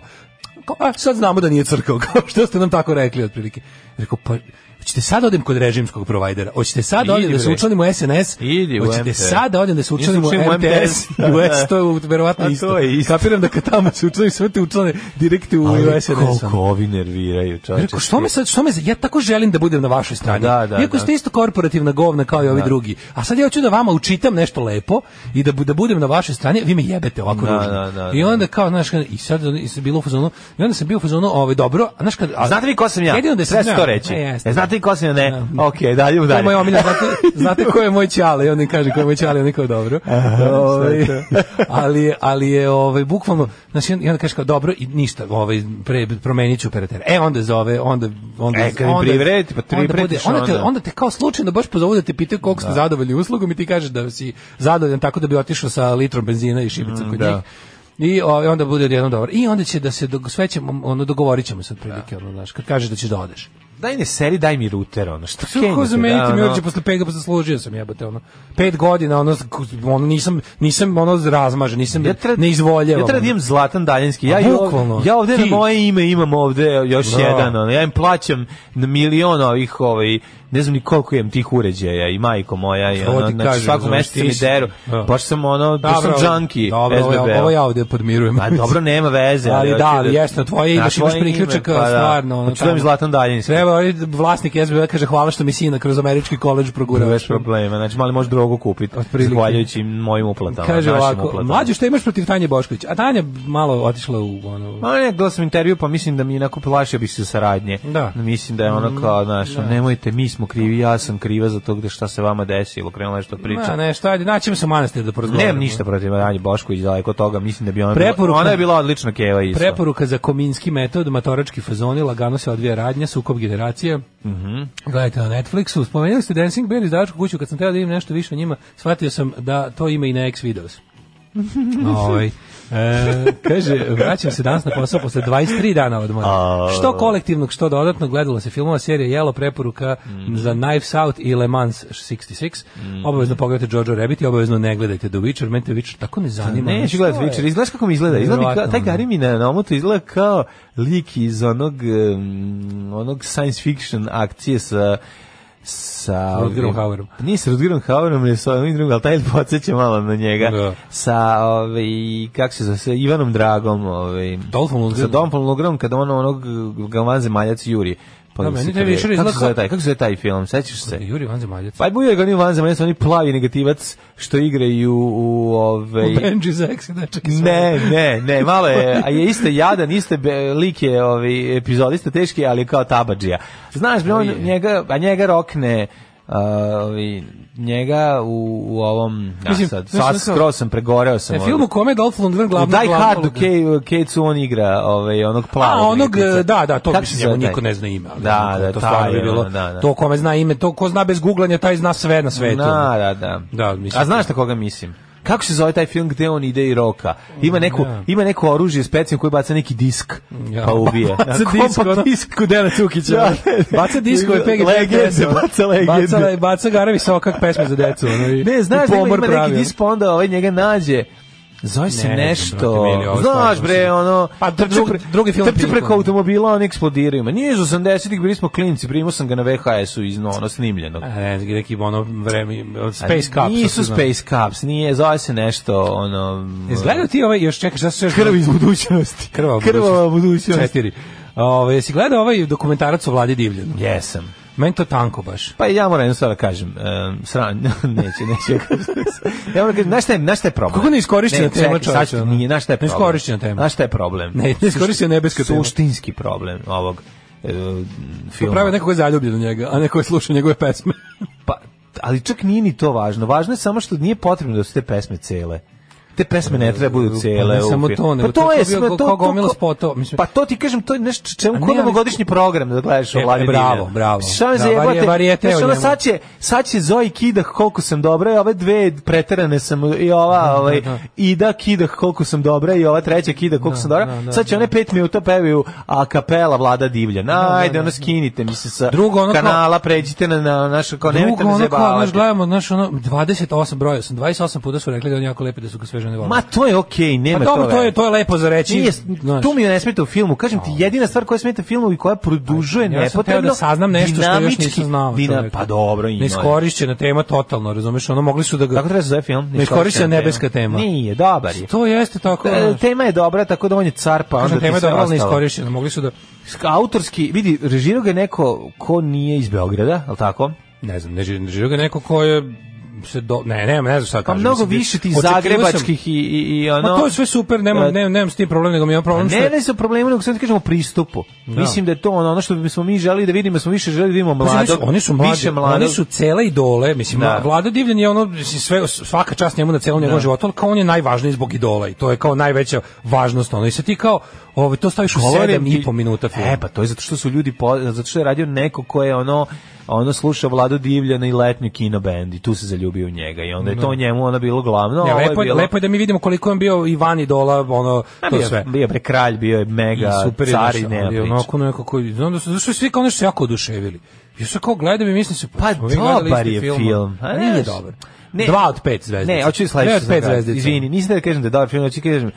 [SPEAKER 6] Kao, a, sad znamo da nije crkao, kao što ste nam tako rekli otprilike. Rekao, pa, hoćete sad odem kod režimskog provajdera, hoćete sad
[SPEAKER 5] Idi,
[SPEAKER 6] odem da se
[SPEAKER 5] bre.
[SPEAKER 6] učlanim u SNS,
[SPEAKER 5] Idi u
[SPEAKER 6] hoćete
[SPEAKER 5] MTS.
[SPEAKER 6] sad da odem da se
[SPEAKER 5] Nisam
[SPEAKER 6] učlanim u
[SPEAKER 5] učio u
[SPEAKER 6] MTS,
[SPEAKER 5] Da,
[SPEAKER 6] i u
[SPEAKER 5] da.
[SPEAKER 6] S, to je verovatno
[SPEAKER 5] A
[SPEAKER 6] isto.
[SPEAKER 5] to je isto.
[SPEAKER 6] Kapiram da kad tamo se učlanim, sve te učlane direkte u
[SPEAKER 5] Ali
[SPEAKER 6] SNS.
[SPEAKER 5] koliko ovi nerviraju, čovječe.
[SPEAKER 6] Rekao, što me sad, što me, ja tako želim da budem na vašoj strani.
[SPEAKER 5] Da, da,
[SPEAKER 6] Iako
[SPEAKER 5] da.
[SPEAKER 6] ste isto korporativna govna kao i ovi drugi. A sad ja hoću da vama učitam nešto lepo i da, bu- da budem na vašoj strani, vi me jebete ovako
[SPEAKER 5] Da,
[SPEAKER 6] ružno.
[SPEAKER 5] da, da,
[SPEAKER 6] I
[SPEAKER 5] da.
[SPEAKER 6] onda kao, znaš, i sad i sam bilo u fazonu, i onda sam bio u fazonu, ovaj, dobro, a znaš kad... A,
[SPEAKER 5] Znate vi ko sam ja?
[SPEAKER 6] Jedino da sam
[SPEAKER 5] Treba se
[SPEAKER 6] ja.
[SPEAKER 5] to reći.
[SPEAKER 6] E, jeste.
[SPEAKER 5] E, znate vi ko sam ja? Ne.
[SPEAKER 6] Da.
[SPEAKER 5] Ok, dalje,
[SPEAKER 6] To je
[SPEAKER 5] dalje.
[SPEAKER 6] moj omiljen, znate, znate ko je moj ćale? I on mi kaže ko je moj ćale, on je kao dobro. Ovaj, ali, je- ali je ovaj, bukvalno, znači, i onda kaže kao dobro i ništa, ovaj, pre, promenit ću operatera. E, onda zove, onda... onda
[SPEAKER 5] E, kad mi privredite, pa tri
[SPEAKER 6] onda, bude-
[SPEAKER 5] pretiš,
[SPEAKER 6] onda, te,
[SPEAKER 5] onda.
[SPEAKER 6] onda te kao slučajno baš pozovu da te pitaju koliko ste zadovoljni uslugom i ti kažeš da si zadovoljan tako da bi otišao sa litrom benzina i šibicom kod
[SPEAKER 5] Mm, da.
[SPEAKER 6] njih. I ovaj, onda bude odjednom dobro. I onda će da se dog, sve ćemo, ono, dogovorit ćemo se otprilike, ono, znaš, kad kažeš da ćeš da odeš.
[SPEAKER 5] Daj ne seri, daj mi ruter, ono. Šta
[SPEAKER 6] Sve ko
[SPEAKER 5] kenjate,
[SPEAKER 6] zameniti
[SPEAKER 5] da,
[SPEAKER 6] mi
[SPEAKER 5] ono?
[SPEAKER 6] uopće posle pega pa zaslužio sam jebote ono. 5 godina ono ono nisam nisam ono razmažen, nisam
[SPEAKER 5] Ja treba,
[SPEAKER 6] ne izvoljavam.
[SPEAKER 5] Ja treba da imam Zlatan Daljinski. Ja,
[SPEAKER 6] A,
[SPEAKER 5] i ov-
[SPEAKER 6] bukvalno.
[SPEAKER 5] ja ovde na
[SPEAKER 6] Ti.
[SPEAKER 5] moje ime imam ovde još
[SPEAKER 6] Da.
[SPEAKER 5] jedan. Ono. Ja im plaćam na milion ovih, ovaj, ne znam ni koliko imam tih uređaja i majko moja. I,
[SPEAKER 6] Ovo
[SPEAKER 5] ono,
[SPEAKER 6] ti
[SPEAKER 5] znači,
[SPEAKER 6] kažem,
[SPEAKER 5] svako
[SPEAKER 6] znaš,
[SPEAKER 5] meseca
[SPEAKER 6] ti
[SPEAKER 5] mi
[SPEAKER 6] si-
[SPEAKER 5] deru.
[SPEAKER 6] Da.
[SPEAKER 5] Baš sam ono, baš
[SPEAKER 6] Dobro,
[SPEAKER 5] sam
[SPEAKER 6] ovo-
[SPEAKER 5] junkie.
[SPEAKER 6] Dobro, ovo, ja-
[SPEAKER 5] SBB.
[SPEAKER 6] ovo ja ovde podmirujem.
[SPEAKER 5] Pa dobro, nema veze.
[SPEAKER 6] Ali da,
[SPEAKER 5] hoću
[SPEAKER 6] ali jeste, na tvoje ime, imaš
[SPEAKER 5] tvoje ime,
[SPEAKER 6] priključak,
[SPEAKER 5] pa da.
[SPEAKER 6] stvarno, ono,
[SPEAKER 5] Hoću da mi
[SPEAKER 6] tamo.
[SPEAKER 5] Zlatan Daljinski.
[SPEAKER 6] Treba ovaj vlasnik SBB kaže hvala što mi sina kroz američki koleđ progurao.
[SPEAKER 5] Bez problema, znači mali može drogu kupiti,
[SPEAKER 6] Otprilike.
[SPEAKER 5] zahvaljujući mojim uplatama,
[SPEAKER 6] Kaže
[SPEAKER 5] našim
[SPEAKER 6] ovako,
[SPEAKER 5] uplatama.
[SPEAKER 6] mlađe što imaš protiv Tanje Bošković? A Tanja malo otišla u ono...
[SPEAKER 5] Ma ne, gledao sam intervju, pa mislim da mi inako plašio bih se saradnje.
[SPEAKER 6] Da. Mm,
[SPEAKER 5] Mislim da je ono kao, znaš, nemojte, mi smo krivi, ja sam kriva za to gde šta se vama desilo, krenula nešto
[SPEAKER 6] Ma,
[SPEAKER 5] priča. Ne,
[SPEAKER 6] ne, šta, ajde, naćemo se u manastir da porazgovaramo.
[SPEAKER 5] Nemam ništa protiv Anje Bošković, daleko od toga, mislim da bi ona bila,
[SPEAKER 6] Preporuka-
[SPEAKER 5] ona je bila odlična keva isto.
[SPEAKER 6] Preporuka za kominski metod, matorački fazoni, lagano se odvija radnja, sukob generacija.
[SPEAKER 5] Mhm.
[SPEAKER 6] Gledajte na Netflixu. Spomenuli ste Dancing Bear iz Dačku kuću, kad sam teo da vidim nešto više o njima, shvatio sam da to ima i na X-Videos. Ovaj, e, kaže, vraćam se danas na posao posle 23 dana odmora. Što kolektivnog, što dodatno, gledalo se filmova serija Jelo, preporuka
[SPEAKER 5] Mhm.
[SPEAKER 6] za Knives Out i Le Mans 66. Obavezno pogledajte Jojo Rabbit i obavezno ne gledajte The Witcher. Meni The Witcher tako ne zanima.
[SPEAKER 5] Ne,
[SPEAKER 6] Što
[SPEAKER 5] ću gledati
[SPEAKER 6] je?
[SPEAKER 5] Witcher, izgledaš kako mi izgleda. Izgleda mi kao,
[SPEAKER 6] Verovatno,
[SPEAKER 5] taj
[SPEAKER 6] ne.
[SPEAKER 5] Gary mi na, na omotu izgleda kao lik iz onog, um, onog science fiction akcije sa sa
[SPEAKER 6] Rutgerom
[SPEAKER 5] ovim-
[SPEAKER 6] Hauerom.
[SPEAKER 5] Nije sa Rutgerom Hauerom, ne sa ovim drugim, ali taj podsjeća malo na njega.
[SPEAKER 6] Da.
[SPEAKER 5] Sa, ovaj, kako se zove, sa Ivanom Dragom, ovaj,
[SPEAKER 6] Dolphom
[SPEAKER 5] sa
[SPEAKER 6] Lundgrenom.
[SPEAKER 5] Dolphom Lundgrenom, kada ono, onog Galvan Zemaljac Juri. Pa
[SPEAKER 6] Da,
[SPEAKER 5] se
[SPEAKER 6] meni taj
[SPEAKER 5] krije.
[SPEAKER 6] Witcher
[SPEAKER 5] Kako
[SPEAKER 6] izgleda
[SPEAKER 5] se zove
[SPEAKER 6] kao-
[SPEAKER 5] taj, kako se zove taj film, sećaš se?
[SPEAKER 6] Juri Vanzemaljac.
[SPEAKER 5] Pa i Bujeg, oni vanzemaljac, oni plavi negativac što igraju u, ovaj,
[SPEAKER 6] Benji Zaxi, da čekaj. samo.
[SPEAKER 5] Ne, ne, ne, malo je, a je iste jadan, iste be, lik je ovaj epizodista teški, ali kao tabadžija. Znaš, bre, on njega, a njega rokne ovaj, njega u, u ovom... Ja,
[SPEAKER 6] Mislim,
[SPEAKER 5] sad,
[SPEAKER 6] znaš
[SPEAKER 5] sad
[SPEAKER 6] šta sam-
[SPEAKER 5] skroz sam, pregoreo sam.
[SPEAKER 6] E,
[SPEAKER 5] ovaj.
[SPEAKER 6] film u kome je Dolph Lundgren
[SPEAKER 5] U
[SPEAKER 6] glavno...
[SPEAKER 5] Die
[SPEAKER 6] glavno-
[SPEAKER 5] Hardu Ke- Kecu on igra ovaj, onog plavog.
[SPEAKER 6] A onog, e,
[SPEAKER 5] lipica.
[SPEAKER 6] da, da, to
[SPEAKER 5] Kako
[SPEAKER 6] mislim,
[SPEAKER 5] se
[SPEAKER 6] njemu
[SPEAKER 5] zove taj?
[SPEAKER 6] niko ne zna ime. ali
[SPEAKER 5] Da,
[SPEAKER 6] ono,
[SPEAKER 5] da,
[SPEAKER 6] to
[SPEAKER 5] taj
[SPEAKER 6] stvarno bi
[SPEAKER 5] je
[SPEAKER 6] bilo,
[SPEAKER 5] ono, da, da.
[SPEAKER 6] to kome zna ime, to ko zna bez googlanja, taj zna sve na svetu.
[SPEAKER 5] Da, da, da.
[SPEAKER 6] Da, mislim-
[SPEAKER 5] A znaš na koga mislim? Kako se zove taj film gde on ide i roka? Ima neko,
[SPEAKER 6] Da.
[SPEAKER 5] ima neko oružje specijalno koje baca neki disk
[SPEAKER 6] Ja.
[SPEAKER 5] pa ubije.
[SPEAKER 6] Baca
[SPEAKER 5] A
[SPEAKER 6] disk,
[SPEAKER 5] kompa
[SPEAKER 6] ono.
[SPEAKER 5] disk kod Dena Cukića.
[SPEAKER 6] Da, ono, baca disko i PG
[SPEAKER 5] Legende, baca legende.
[SPEAKER 6] ono. Baca, baca Garavi Sokak pesme za decu. Ono, i,
[SPEAKER 5] Ne,
[SPEAKER 6] i
[SPEAKER 5] znaš da ima,
[SPEAKER 6] pomor
[SPEAKER 5] ima
[SPEAKER 6] pravi,
[SPEAKER 5] neki
[SPEAKER 6] ono.
[SPEAKER 5] disk pa onda ovaj njega nađe. Zove se
[SPEAKER 6] Ne znam,
[SPEAKER 5] nešto.
[SPEAKER 6] brate, meni ovo
[SPEAKER 5] Znaš
[SPEAKER 6] stvarno se-
[SPEAKER 5] bre, ono...
[SPEAKER 6] Pa,
[SPEAKER 5] trči
[SPEAKER 6] drug- drugi film
[SPEAKER 5] Trči
[SPEAKER 6] prilikom.
[SPEAKER 5] preko automobila, on eksplodiraju. Ma nije iz 80-ih, bili smo klinci, primio sam ga na VHS-u iz ono snimljenog.
[SPEAKER 6] A, Ne, neki ono vreme,
[SPEAKER 5] Ali
[SPEAKER 6] Space Cups.
[SPEAKER 5] Nisu
[SPEAKER 6] ako znam.
[SPEAKER 5] Space Cups, nije, zove se nešto, ono...
[SPEAKER 6] Izgledao ti ovaj, još čekaj, šta su još...
[SPEAKER 5] Krv iz budućnosti.
[SPEAKER 6] Krvava
[SPEAKER 5] Krvava budućnost.
[SPEAKER 6] Četiri. Ove, jesi gledao ovaj dokumentarac o Vladi Divljanu?
[SPEAKER 5] Jesam.
[SPEAKER 6] Meni to tanko baš.
[SPEAKER 5] Pa i ja moram jednu stvar da kažem, um, sran, neće, neće. ja kažem. ja moram da kažem, znaš šta je, znaš šta je problem?
[SPEAKER 6] Kako neiskorišćena
[SPEAKER 5] Ne,
[SPEAKER 6] tema,
[SPEAKER 5] čekaj,
[SPEAKER 6] čoveče,
[SPEAKER 5] sad ću-
[SPEAKER 6] ono?
[SPEAKER 5] Nije, znaš šta je problem?
[SPEAKER 6] Neiskorišćena tema.
[SPEAKER 5] Znaš šta je problem?
[SPEAKER 6] Ne, neiskorišćena nebeska tema.
[SPEAKER 5] Suštinski problem ovog e, filma.
[SPEAKER 6] Pravi neko ko je zaljubljen u njega, a neko je slušao njegove pesme.
[SPEAKER 5] Pa, ali čak nije ni to važno. Važno je samo što nije potrebno da su te pesme cele. Te pesme ne treba budu cele.
[SPEAKER 6] Pa ne
[SPEAKER 5] u
[SPEAKER 6] samo
[SPEAKER 5] filmu. Pa
[SPEAKER 6] to, nego to je
[SPEAKER 5] je
[SPEAKER 6] bio
[SPEAKER 5] sve-
[SPEAKER 6] kao- kao gomila spotova, mislim.
[SPEAKER 5] Pa to ti kažem, to je nešto
[SPEAKER 6] A
[SPEAKER 5] čemu
[SPEAKER 6] ne,
[SPEAKER 5] kod
[SPEAKER 6] ali-
[SPEAKER 5] novogodišnji program da gledaš o
[SPEAKER 6] E,
[SPEAKER 5] Vladi
[SPEAKER 6] bravo,
[SPEAKER 5] Divljanu.
[SPEAKER 6] bravo.
[SPEAKER 5] Šta me
[SPEAKER 6] Da,
[SPEAKER 5] zajebate?
[SPEAKER 6] varije- varijete
[SPEAKER 5] Znaš,
[SPEAKER 6] o
[SPEAKER 5] ono,
[SPEAKER 6] njemu.
[SPEAKER 5] sad će, sad će Zoji kidah koliko sam dobra i ove dve preterane sam i ova ovaj, Ida kidah koliko sam dobra i ova treća kidah koliko sam dobra.
[SPEAKER 6] da, da,
[SPEAKER 5] sad će one pet minuta pevaju a kapela Vlada Divljana. Ajde, ono skinite mi se sa
[SPEAKER 6] Drugo, ono kao-
[SPEAKER 5] kanala, pređite na, na naš, kao Pa nemojte
[SPEAKER 6] Drugo,
[SPEAKER 5] me
[SPEAKER 6] ono kao, znaš,
[SPEAKER 5] zajebavati.
[SPEAKER 6] gledamo, znaš, ono, 28 broja sam, 28 puta su rekli da je on jako lepi, da su ga sve žene vole.
[SPEAKER 5] Ma to je okej, nema
[SPEAKER 6] Pa dobro, to je,
[SPEAKER 5] veze.
[SPEAKER 6] to je lepo za reći.
[SPEAKER 5] Nije,
[SPEAKER 6] znaš.
[SPEAKER 5] tu mi ne smeta u filmu. Kažem ti, jedina stvar koja smeta filmu i koja produžuje
[SPEAKER 6] Ja sam
[SPEAKER 5] nepotrebno...
[SPEAKER 6] teo da saznam nešto što još
[SPEAKER 5] dinamički-
[SPEAKER 6] nisam znao.
[SPEAKER 5] dina-
[SPEAKER 6] čoveče.
[SPEAKER 5] pa dobro, ima.
[SPEAKER 6] Neiskorišćena tema totalno, razumeš? Ono mogli su da ga
[SPEAKER 5] Tako treba se zove film.
[SPEAKER 6] Neiskorišćena nebeska tema.
[SPEAKER 5] Nije, dobar je.
[SPEAKER 6] To jeste tako.
[SPEAKER 5] E,
[SPEAKER 6] znaš.
[SPEAKER 5] Tema je dobra, tako da on je car, pa onda
[SPEAKER 6] Kažem,
[SPEAKER 5] ti
[SPEAKER 6] tema je
[SPEAKER 5] sve
[SPEAKER 6] dobro, ali
[SPEAKER 5] ostalo.
[SPEAKER 6] neiskorišćena. Mogli su da
[SPEAKER 5] Autorski, vidi, režirao ga je neko ko nije iz Beograda, ali tako?
[SPEAKER 6] ne znam, ne žiri, ne žiri ga neko ko je se do, ne, ne, ne znam šta
[SPEAKER 5] Pa
[SPEAKER 6] kažem.
[SPEAKER 5] mnogo
[SPEAKER 6] mislim,
[SPEAKER 5] više ti
[SPEAKER 6] očekivao sam-
[SPEAKER 5] zagrebačkih i, i, i ono...
[SPEAKER 6] Ma to je sve super, nemam,
[SPEAKER 5] E, Pa
[SPEAKER 6] nemam, nemam s tim problem, nego mi imam problem što
[SPEAKER 5] Ne,
[SPEAKER 6] je-
[SPEAKER 5] ne sa problemu, nego sad ti kažemo o pristupu. Mislim da je to ono, ono što bismo mi želeli da vidimo, smo više želeli da vidimo
[SPEAKER 6] Pazi,
[SPEAKER 5] mladog,
[SPEAKER 6] oni su- Pa oni su mladi,
[SPEAKER 5] više mladog.
[SPEAKER 6] oni su cele idole, mislim,
[SPEAKER 5] Da.
[SPEAKER 6] Vlada Divljan je ono, mislim, sve, svaka čast njemu na celom njegovom životu, ali kao on je najvažniji zbog idola i to je kao najveća važnost, ono, i se ti kao, ove, to staviš u
[SPEAKER 5] Govorim
[SPEAKER 6] sedam
[SPEAKER 5] ti-
[SPEAKER 6] i po minuta filma.
[SPEAKER 5] E, pa to je zato što su ljudi, po, zato što je radio neko ko je ono, ono sluša Vladu Divljana i letnju kinobend i tu se zaljubio u njega i onda je to njemu ono bilo glavno.
[SPEAKER 6] Ne,
[SPEAKER 5] a ovo
[SPEAKER 6] lepo, je,
[SPEAKER 5] bilo,
[SPEAKER 6] lepo je da mi vidimo koliko je on bio Ivan idola, ono,
[SPEAKER 5] A,
[SPEAKER 6] to
[SPEAKER 5] bio,
[SPEAKER 6] sve.
[SPEAKER 5] Bio je pre kralj, bio je mega,
[SPEAKER 6] I super je ono
[SPEAKER 5] car i
[SPEAKER 6] došao,
[SPEAKER 5] nema
[SPEAKER 6] ali
[SPEAKER 5] priče.
[SPEAKER 6] onako nekako, znam da su, zašto svi kao nešto jako oduševili. Ja se kao gledam i mislim se,
[SPEAKER 5] Pa
[SPEAKER 6] smo mi gledali
[SPEAKER 5] dobar
[SPEAKER 6] isti
[SPEAKER 5] je
[SPEAKER 6] film.
[SPEAKER 5] film.
[SPEAKER 6] A
[SPEAKER 5] A
[SPEAKER 6] nije
[SPEAKER 5] znaš,
[SPEAKER 6] dobar.
[SPEAKER 5] ne-
[SPEAKER 6] Dva od pet zvezdica.
[SPEAKER 5] Ne, hoću
[SPEAKER 6] Dve
[SPEAKER 5] sledeći
[SPEAKER 6] od pet zvezdica.
[SPEAKER 5] Izvini, nisam da kažem da je dobar film, hoću da kažem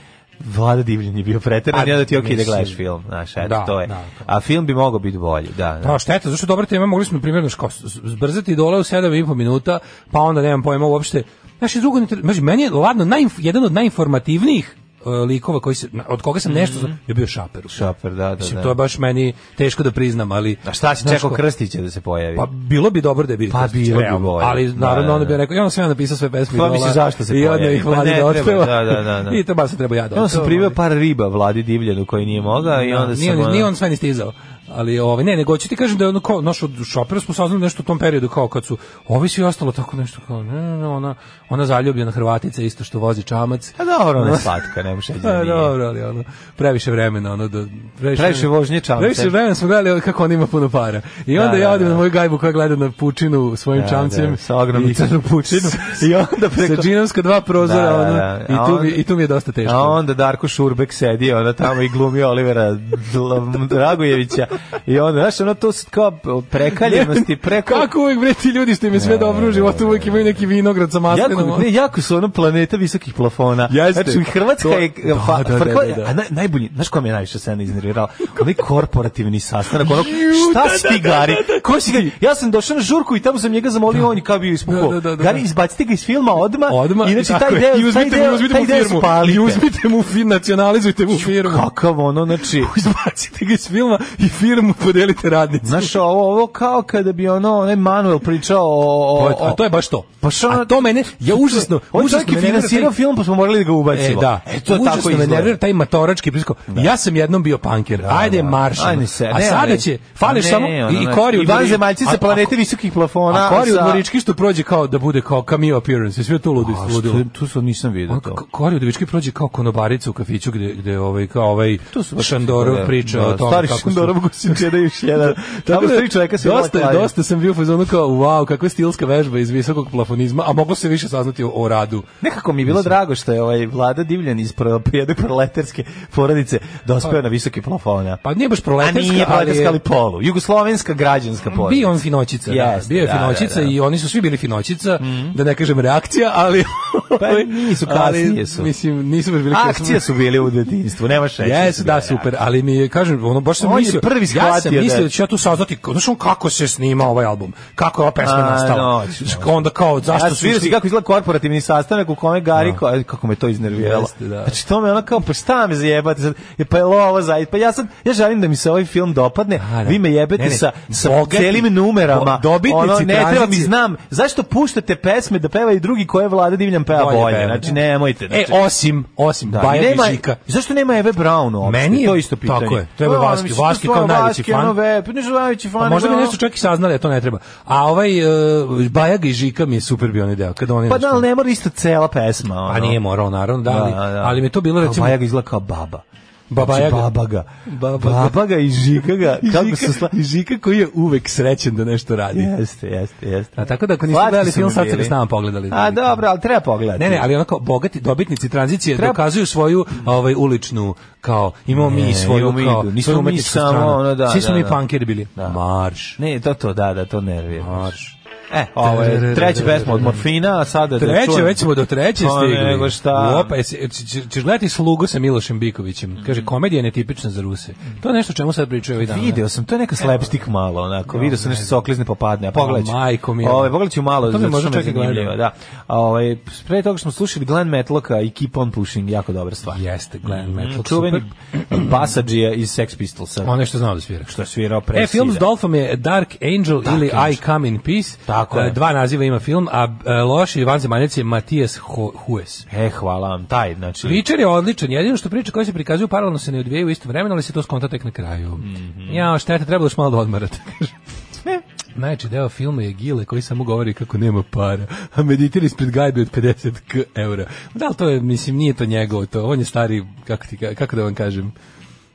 [SPEAKER 5] Vlada Divljin je bio preteran,
[SPEAKER 6] Pa,
[SPEAKER 5] ja da ti je okej da
[SPEAKER 6] mislim.
[SPEAKER 5] gledaš film, znaš, eto,
[SPEAKER 6] Da,
[SPEAKER 5] to je.
[SPEAKER 6] da, Pa, da.
[SPEAKER 5] A film bi mogao biti bolji, da, da.
[SPEAKER 6] Da, šteta, zašto dobra tema, mogli smo primjerno ško, zbrzati dole u 7,5 minuta, pa onda nemam pojma uopšte. Znaš, i drugo, ne tre- znaš, meni je ladno, najinf, jedan od najinformativnijih e, likova koji se, na- od koga sam nešto zna- je bio Šaper.
[SPEAKER 5] Mhm. Šaper, da, da,
[SPEAKER 6] Mislim,
[SPEAKER 5] da.
[SPEAKER 6] to je baš meni teško da priznam, ali...
[SPEAKER 5] A šta si
[SPEAKER 6] znaš
[SPEAKER 5] čekao
[SPEAKER 6] ko-
[SPEAKER 5] Krstića da se pojavi?
[SPEAKER 6] Pa bilo bi dobro da je bio
[SPEAKER 5] Pa
[SPEAKER 6] Krstić,
[SPEAKER 5] bilo bi
[SPEAKER 6] realno.
[SPEAKER 5] bolje.
[SPEAKER 6] Ali
[SPEAKER 5] Da,
[SPEAKER 6] naravno
[SPEAKER 5] da,
[SPEAKER 6] onda bi
[SPEAKER 5] da.
[SPEAKER 6] rekao, ja sam ja napisao sve pesme.
[SPEAKER 5] Pa
[SPEAKER 6] idola
[SPEAKER 5] mislim, zašto se
[SPEAKER 6] I onda
[SPEAKER 5] pojavi?
[SPEAKER 6] ih
[SPEAKER 5] Pa
[SPEAKER 6] vladi
[SPEAKER 5] ne
[SPEAKER 6] da
[SPEAKER 5] treba,
[SPEAKER 6] otpeva.
[SPEAKER 5] da, da, da, da.
[SPEAKER 6] I to ono, baš se treba ja da
[SPEAKER 5] Ja sam
[SPEAKER 6] otpevam,
[SPEAKER 5] primio
[SPEAKER 6] ali-
[SPEAKER 5] par riba Vladi Divljanu koji nije mogao i onda sam...
[SPEAKER 6] nije, on,
[SPEAKER 5] ono-
[SPEAKER 6] nije on sve ni stizao. Ali ovaj ne, nego ću ti kažem da je ono kao naš od šopera smo saznali nešto u tom periodu kao kad su ovi svi ostalo tako nešto kao ne, ne, ne, ona ona zaljubljena Hrvatica isto što vozi čamac. Ono,
[SPEAKER 5] A Pa dobro, ona je slatka, ne može da
[SPEAKER 6] Pa
[SPEAKER 5] nije.
[SPEAKER 6] dobro, ali ono previše vremena ono da previše,
[SPEAKER 5] Previše vožnje čamcem.
[SPEAKER 6] Previše vremena smo gledali kako on ima puno para. I onda
[SPEAKER 5] Da,
[SPEAKER 6] ja
[SPEAKER 5] da,
[SPEAKER 6] odem
[SPEAKER 5] da.
[SPEAKER 6] na moju gajbu koja gleda na pučinu svojim
[SPEAKER 5] Da,
[SPEAKER 6] čamcem
[SPEAKER 5] da, sa ogromnom
[SPEAKER 6] i-
[SPEAKER 5] crnom pučinu. I onda preko-
[SPEAKER 6] sa džinovska dva prozora
[SPEAKER 5] Da, da,
[SPEAKER 6] ono,
[SPEAKER 5] da. A
[SPEAKER 6] i tu
[SPEAKER 5] onda-
[SPEAKER 6] mi i tu mi je dosta teško.
[SPEAKER 5] A onda Darko Šurbek sedi, ona tamo i glumi Olivera Dl- Dragojevića. I onda, znaš, ono to s- kao prekaljenosti, preko...
[SPEAKER 6] Kako uvek bre ti ljudi što im je sve dobro u životu, uvek imaju neki vinograd sa maslinom.
[SPEAKER 5] Jako,
[SPEAKER 6] ono.
[SPEAKER 5] ne, jako su ono planeta visokih plafona.
[SPEAKER 6] Jeste.
[SPEAKER 5] Znači, Hrvatska
[SPEAKER 6] To-
[SPEAKER 5] je...
[SPEAKER 6] da,
[SPEAKER 5] fa-
[SPEAKER 6] da, da,
[SPEAKER 5] farko-
[SPEAKER 6] da, da.
[SPEAKER 5] A na- najbolji, znaš koja me je najviše sena iznervirala? Onaj korporativni sastanak, ono, šta si ti, Gari? Ko si Gari? Ja sam došao na žurku i tamo sam njega zamolio, on je kao bio ispukuo.
[SPEAKER 6] Da, da, da, da.
[SPEAKER 5] Gari, izbacite ga iz filma odma,
[SPEAKER 6] Odmah,
[SPEAKER 5] inače
[SPEAKER 6] tako
[SPEAKER 5] taj
[SPEAKER 6] je.
[SPEAKER 5] deo,
[SPEAKER 6] I uzmite
[SPEAKER 5] taj
[SPEAKER 6] mu-
[SPEAKER 5] deo,
[SPEAKER 6] uzmite
[SPEAKER 5] taj
[SPEAKER 6] mu
[SPEAKER 5] deo
[SPEAKER 6] firmu.
[SPEAKER 5] spalite.
[SPEAKER 6] I uzmite mu, fi- nacionalizujte mu firmu.
[SPEAKER 5] Kakav ono, znači...
[SPEAKER 6] Izbacite ga iz filma i firmu podelite radnici.
[SPEAKER 5] Znaš, ovo, ovo kao kada bi ono, onaj Manuel pričao o... o,
[SPEAKER 6] To je-
[SPEAKER 5] o
[SPEAKER 6] a to je baš to.
[SPEAKER 5] Pa šta
[SPEAKER 6] a
[SPEAKER 5] ono-
[SPEAKER 6] to mene, ja užasno,
[SPEAKER 5] On čak
[SPEAKER 6] užasno
[SPEAKER 5] je
[SPEAKER 6] me nervira taj-
[SPEAKER 5] finansirao film, pa smo morali da ga
[SPEAKER 6] E,
[SPEAKER 5] ubacimo.
[SPEAKER 6] da.
[SPEAKER 5] E, to tako
[SPEAKER 6] užasno me
[SPEAKER 5] izgleda.
[SPEAKER 6] nervira taj matorački prisko. Ja sam jednom bio panker. Ajde
[SPEAKER 5] da.
[SPEAKER 6] marš.
[SPEAKER 5] Ajde se,
[SPEAKER 6] A
[SPEAKER 5] ne,
[SPEAKER 6] sada
[SPEAKER 5] ali-
[SPEAKER 6] će fališ
[SPEAKER 5] Ne,
[SPEAKER 6] samo
[SPEAKER 5] ono,
[SPEAKER 6] znači, i
[SPEAKER 5] ne.
[SPEAKER 6] kori
[SPEAKER 5] I vanzemaljci sa planete visokih plafona.
[SPEAKER 6] A kori u
[SPEAKER 5] sa-
[SPEAKER 6] dvorički što prođe kao da bude kao cameo appearance. Sve to ludi
[SPEAKER 5] A što-
[SPEAKER 6] ludilo.
[SPEAKER 5] Tu su nisam vidio
[SPEAKER 6] On
[SPEAKER 5] to.
[SPEAKER 6] pa k- Kori Udovički prođe kao konobarica u kafiću gde, gde ovaj, kao ovaj
[SPEAKER 5] To su baš-
[SPEAKER 6] Šandorov
[SPEAKER 5] da,
[SPEAKER 6] priča
[SPEAKER 5] da,
[SPEAKER 6] o tome
[SPEAKER 5] stari
[SPEAKER 6] kako su-
[SPEAKER 5] Šandorov Gusinče da još jedan. Tamo su tri čoveka se
[SPEAKER 6] dosta,
[SPEAKER 5] dosta, dosta.
[SPEAKER 6] dosta sam bio u fazonu kao, wow, kakva stilska vežba iz visokog plafonizma, a moglo se više saznati o, o radu.
[SPEAKER 5] Nekako mi je bilo drago što je ovaj Vlada Divljan iz pro- jedne proletarske porodice dospeo na visoke plafone.
[SPEAKER 6] Pa nije baš
[SPEAKER 5] A
[SPEAKER 6] proletarska,
[SPEAKER 5] nije proletarska,
[SPEAKER 6] je-
[SPEAKER 5] ali polu. Jugoslovenska građanska porodica.
[SPEAKER 6] Bio on finočica, da.
[SPEAKER 5] Jeste,
[SPEAKER 6] bio je
[SPEAKER 5] da,
[SPEAKER 6] finočica
[SPEAKER 5] da, da.
[SPEAKER 6] i oni su svi bili finočica, da ne kažem reakcija, ali...
[SPEAKER 5] Pa nisu,
[SPEAKER 6] ali,
[SPEAKER 5] kasnije su.
[SPEAKER 6] Mislim, nisu baš bili
[SPEAKER 5] Akcije su bili u detinjstvu, nema šeće.
[SPEAKER 6] Jesu, da, super, ali mi je, kažem, ono, baš sam
[SPEAKER 5] On je
[SPEAKER 6] mislio,
[SPEAKER 5] prvi
[SPEAKER 6] ja sam
[SPEAKER 5] shvatio da-
[SPEAKER 6] mislio da ću ja tu saznati, kao, znaš on kako se snima ovaj album, kako je ova pesma
[SPEAKER 5] A,
[SPEAKER 6] nastala,
[SPEAKER 5] noć,
[SPEAKER 6] Znaš, onda kao, zašto
[SPEAKER 5] Ja
[SPEAKER 6] su
[SPEAKER 5] sviđa
[SPEAKER 6] išli-
[SPEAKER 5] si kako izgleda korporativni sastanak u kome Gari, ko, aj, kako me to iznerviralo.
[SPEAKER 6] Jeste, da.
[SPEAKER 5] Znači to me ono kao, pa šta me zajebate sad? Je, pa je li ovo zajedno? Pa ja sad, ja želim da mi se ovaj film dopadne,
[SPEAKER 6] A, da.
[SPEAKER 5] vi me jebete
[SPEAKER 6] Ne, ne,
[SPEAKER 5] sa, sa
[SPEAKER 6] bogati-
[SPEAKER 5] celim numerama.
[SPEAKER 6] bo- dobitnici
[SPEAKER 5] ono, ne treba mi
[SPEAKER 6] tranzicije.
[SPEAKER 5] znam, zašto puštate pesme da peva i drugi koje Vlada Divljan peva
[SPEAKER 6] Bolje
[SPEAKER 5] bolje?
[SPEAKER 6] peva,
[SPEAKER 5] Znači
[SPEAKER 6] da.
[SPEAKER 5] nemojte. Znači,
[SPEAKER 6] E, osim, osim,
[SPEAKER 5] Da,
[SPEAKER 6] da,
[SPEAKER 5] i
[SPEAKER 6] Baja Pa
[SPEAKER 5] nema,
[SPEAKER 6] Žika.
[SPEAKER 5] zašto nema Eve Brown uopšte?
[SPEAKER 6] Meni je-
[SPEAKER 5] to je isto pitanje.
[SPEAKER 6] tako je, treba
[SPEAKER 5] Pa, ono,
[SPEAKER 6] Vaske,
[SPEAKER 5] mislim,
[SPEAKER 6] Vaske kao
[SPEAKER 5] stvarno
[SPEAKER 6] najveći
[SPEAKER 5] Vaske,
[SPEAKER 6] fan.
[SPEAKER 5] ono, ve- pa nisu najveći fan.
[SPEAKER 6] Pa možda bi
[SPEAKER 5] nego ono-
[SPEAKER 6] nešto čak i saznali, a to ne treba. A ovaj uh, Bajaga i Žika mi je super bio onaj deo. Kada oni
[SPEAKER 5] Pa
[SPEAKER 6] nešto-
[SPEAKER 5] da, ali ne mora isto cela pesma. Ono.
[SPEAKER 6] Pa nije morao, naravno, da, Pa ali,
[SPEAKER 5] Da, da.
[SPEAKER 6] ali mi je to bilo, recimo,
[SPEAKER 5] Babajaga izgleda kao baba. Znači,
[SPEAKER 6] Baba Jaga.
[SPEAKER 5] Babaga.
[SPEAKER 6] Babaga.
[SPEAKER 5] Babaga i Žikaga. Kako
[SPEAKER 6] Žika,
[SPEAKER 5] se sla...
[SPEAKER 6] i Žika koji je uvek srećen da nešto radi.
[SPEAKER 5] Jeste, jeste, jeste.
[SPEAKER 6] A tako da ako niste
[SPEAKER 5] Slatki
[SPEAKER 6] gledali
[SPEAKER 5] su
[SPEAKER 6] film,
[SPEAKER 5] mi
[SPEAKER 6] sad ste
[SPEAKER 5] bili.
[SPEAKER 6] ga s nama pogledali.
[SPEAKER 5] A dobro, ali treba pogledati.
[SPEAKER 6] Ne, ne, ali onako bogati dobitnici tranzicije
[SPEAKER 5] Treba-
[SPEAKER 6] dokazuju svoju ovaj uličnu kao imamo mi i svoju
[SPEAKER 5] imamo mi
[SPEAKER 6] kao
[SPEAKER 5] idu. Nismo mi
[SPEAKER 6] svoju umetničku
[SPEAKER 5] samo
[SPEAKER 6] stranu.
[SPEAKER 5] ono, da,
[SPEAKER 6] Svi smo
[SPEAKER 5] da,
[SPEAKER 6] mi
[SPEAKER 5] da.
[SPEAKER 6] punkeri bili.
[SPEAKER 5] Da.
[SPEAKER 6] Marš.
[SPEAKER 5] Ne, to to, da, da, to nervira.
[SPEAKER 6] Marš.
[SPEAKER 5] E, ovo je treća pesma od Morfina, a sada da
[SPEAKER 6] Treće,
[SPEAKER 5] čujem.
[SPEAKER 6] već smo do treće
[SPEAKER 5] Pa
[SPEAKER 6] stigli.
[SPEAKER 5] nego šta.
[SPEAKER 6] Opa, jesi, jesi- će- ćeš gledati slugu sa Milošem Bikovićem. Kaže, komedija je netipična za Ruse. To je nešto o čemu sad pričaju ovaj dan. ne?
[SPEAKER 5] Mm. Video sam, to je neka slapstick malo, onako. Video sam nešto se oklizne popadne, a pogledaj. ću.
[SPEAKER 6] A, Pa, majko mila.
[SPEAKER 5] Ovaj, pogledaj ću malo,
[SPEAKER 6] To bi
[SPEAKER 5] zato
[SPEAKER 6] možda
[SPEAKER 5] što me
[SPEAKER 6] čak i gledao.
[SPEAKER 5] zanimljivo, da. A ovaj pre toga što smo slušali Glenn Metlocka i Keep on Pushing, jako dobra stvar.
[SPEAKER 6] Jeste, Glenn Metal.
[SPEAKER 5] Mm, Čuveni basadžija iz Sex Pistolsa.
[SPEAKER 6] Mhm, On nešto Ono znao da svira.
[SPEAKER 5] što je svirao pre
[SPEAKER 6] E, film s
[SPEAKER 5] Sida.
[SPEAKER 6] Dolfom je Dark Angel ili I Come in Peace.
[SPEAKER 5] Tako
[SPEAKER 6] E,
[SPEAKER 5] je.
[SPEAKER 6] Dva naziva ima film, a e, loši vanzemaljac je Matijas Ho- Hues.
[SPEAKER 5] E, hvala vam, taj, znači...
[SPEAKER 6] Pričar je odličan, jedino što priče koje se prikazuju paralelno se ne odvijaju u isto vremenu, ali se to skonta tek na kraju.
[SPEAKER 5] Mhm.
[SPEAKER 6] Ja, šteta, trebalo još malo da odmarate. kaže. Najveći deo filma je Gile koji samo govori kako nema para, a meditira ispred gajbe od 50 k eura. Da li to je, mislim, nije to njegovo to, on je stari, kako, ti, ka- kako da vam kažem,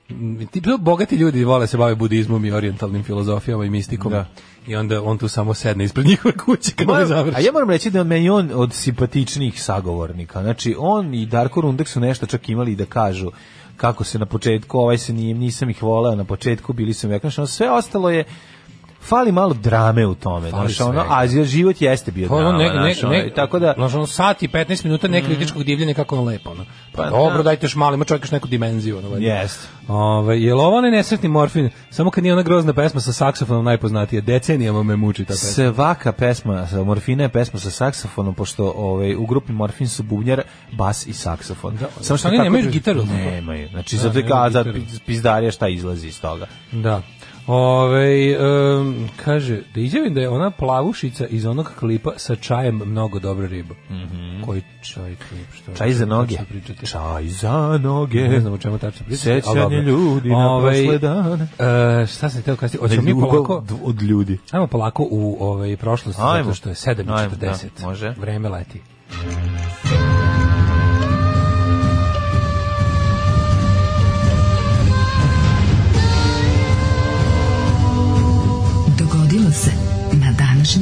[SPEAKER 6] Mm, ti to bogati ljudi vole se bave budizmom i orijentalnim filozofijama i mistikom. I onda on tu samo sedne ispred njihove kuće kad ne
[SPEAKER 5] Moram-
[SPEAKER 6] završi.
[SPEAKER 5] a ja moram reći da meni je on od simpatičnijih sagovornika. Znači, on i Darko Rundek su nešto čak imali da kažu kako se na početku, ovaj se nije, nisam ih voleo na početku, bili sam vekanšan, ono, sve ostalo je fali malo drame u tome,
[SPEAKER 6] Fali
[SPEAKER 5] znaš, ono,
[SPEAKER 6] svega.
[SPEAKER 5] a život jeste bio
[SPEAKER 6] Pa ono,
[SPEAKER 5] drama,
[SPEAKER 6] ne, ne,
[SPEAKER 5] znaš, ono,
[SPEAKER 6] ne,
[SPEAKER 5] i tako da, Mhm.
[SPEAKER 6] znaš, ono, sat i 15 minuta nekritičkog divljenja kako je on lepo, ono. Pa,
[SPEAKER 5] Pa
[SPEAKER 6] dobro,
[SPEAKER 5] da.
[SPEAKER 6] dajte još malo, ima čovjek još neku dimenziju, ono. valjda.
[SPEAKER 5] jeste.
[SPEAKER 6] Ove, je li ovo onaj nesretni morfin? Samo kad nije ona grozna pesma sa saksofonom najpoznatija. Decenijama me muči ta pesma.
[SPEAKER 5] Svaka pesma sa Morfina je pesma sa saksofonom, pošto ovaj, u grupi Morfin su bubnjar, bas i saksofon.
[SPEAKER 6] Samo što oni
[SPEAKER 5] tako-
[SPEAKER 6] nemaju gitaru. ono.
[SPEAKER 5] Nemaju. Znači,
[SPEAKER 6] Da,
[SPEAKER 5] zato je
[SPEAKER 6] nemaju
[SPEAKER 5] kao za
[SPEAKER 6] gitaru.
[SPEAKER 5] pizdarija šta izlazi iz toga.
[SPEAKER 6] Da. Ove, em, kaže, da izjavim da je ona plavušica iz onog klipa sa čajem mnogo dobra riba. Koji čaj klip? Što
[SPEAKER 5] Mhm. Čaj za
[SPEAKER 6] što
[SPEAKER 5] noge.
[SPEAKER 6] pričate?
[SPEAKER 5] Čaj za noge.
[SPEAKER 6] Ne znam o čemu tačno pričate. ali
[SPEAKER 5] Sećanje
[SPEAKER 6] dobro.
[SPEAKER 5] ljudi na
[SPEAKER 6] Ovaj,
[SPEAKER 5] prošle dane. Znači,
[SPEAKER 6] e, šta sam teo kasnije? Hoćemo
[SPEAKER 5] Ljubav
[SPEAKER 6] mi polako...
[SPEAKER 5] d- od ljudi.
[SPEAKER 6] Ajmo polako u ovaj prošlost,
[SPEAKER 5] Ajmo.
[SPEAKER 6] zato što je
[SPEAKER 5] Ajmo,
[SPEAKER 6] 7.40.
[SPEAKER 5] da, može.
[SPEAKER 6] Vreme leti.
[SPEAKER 4] Dogodilo se na današnji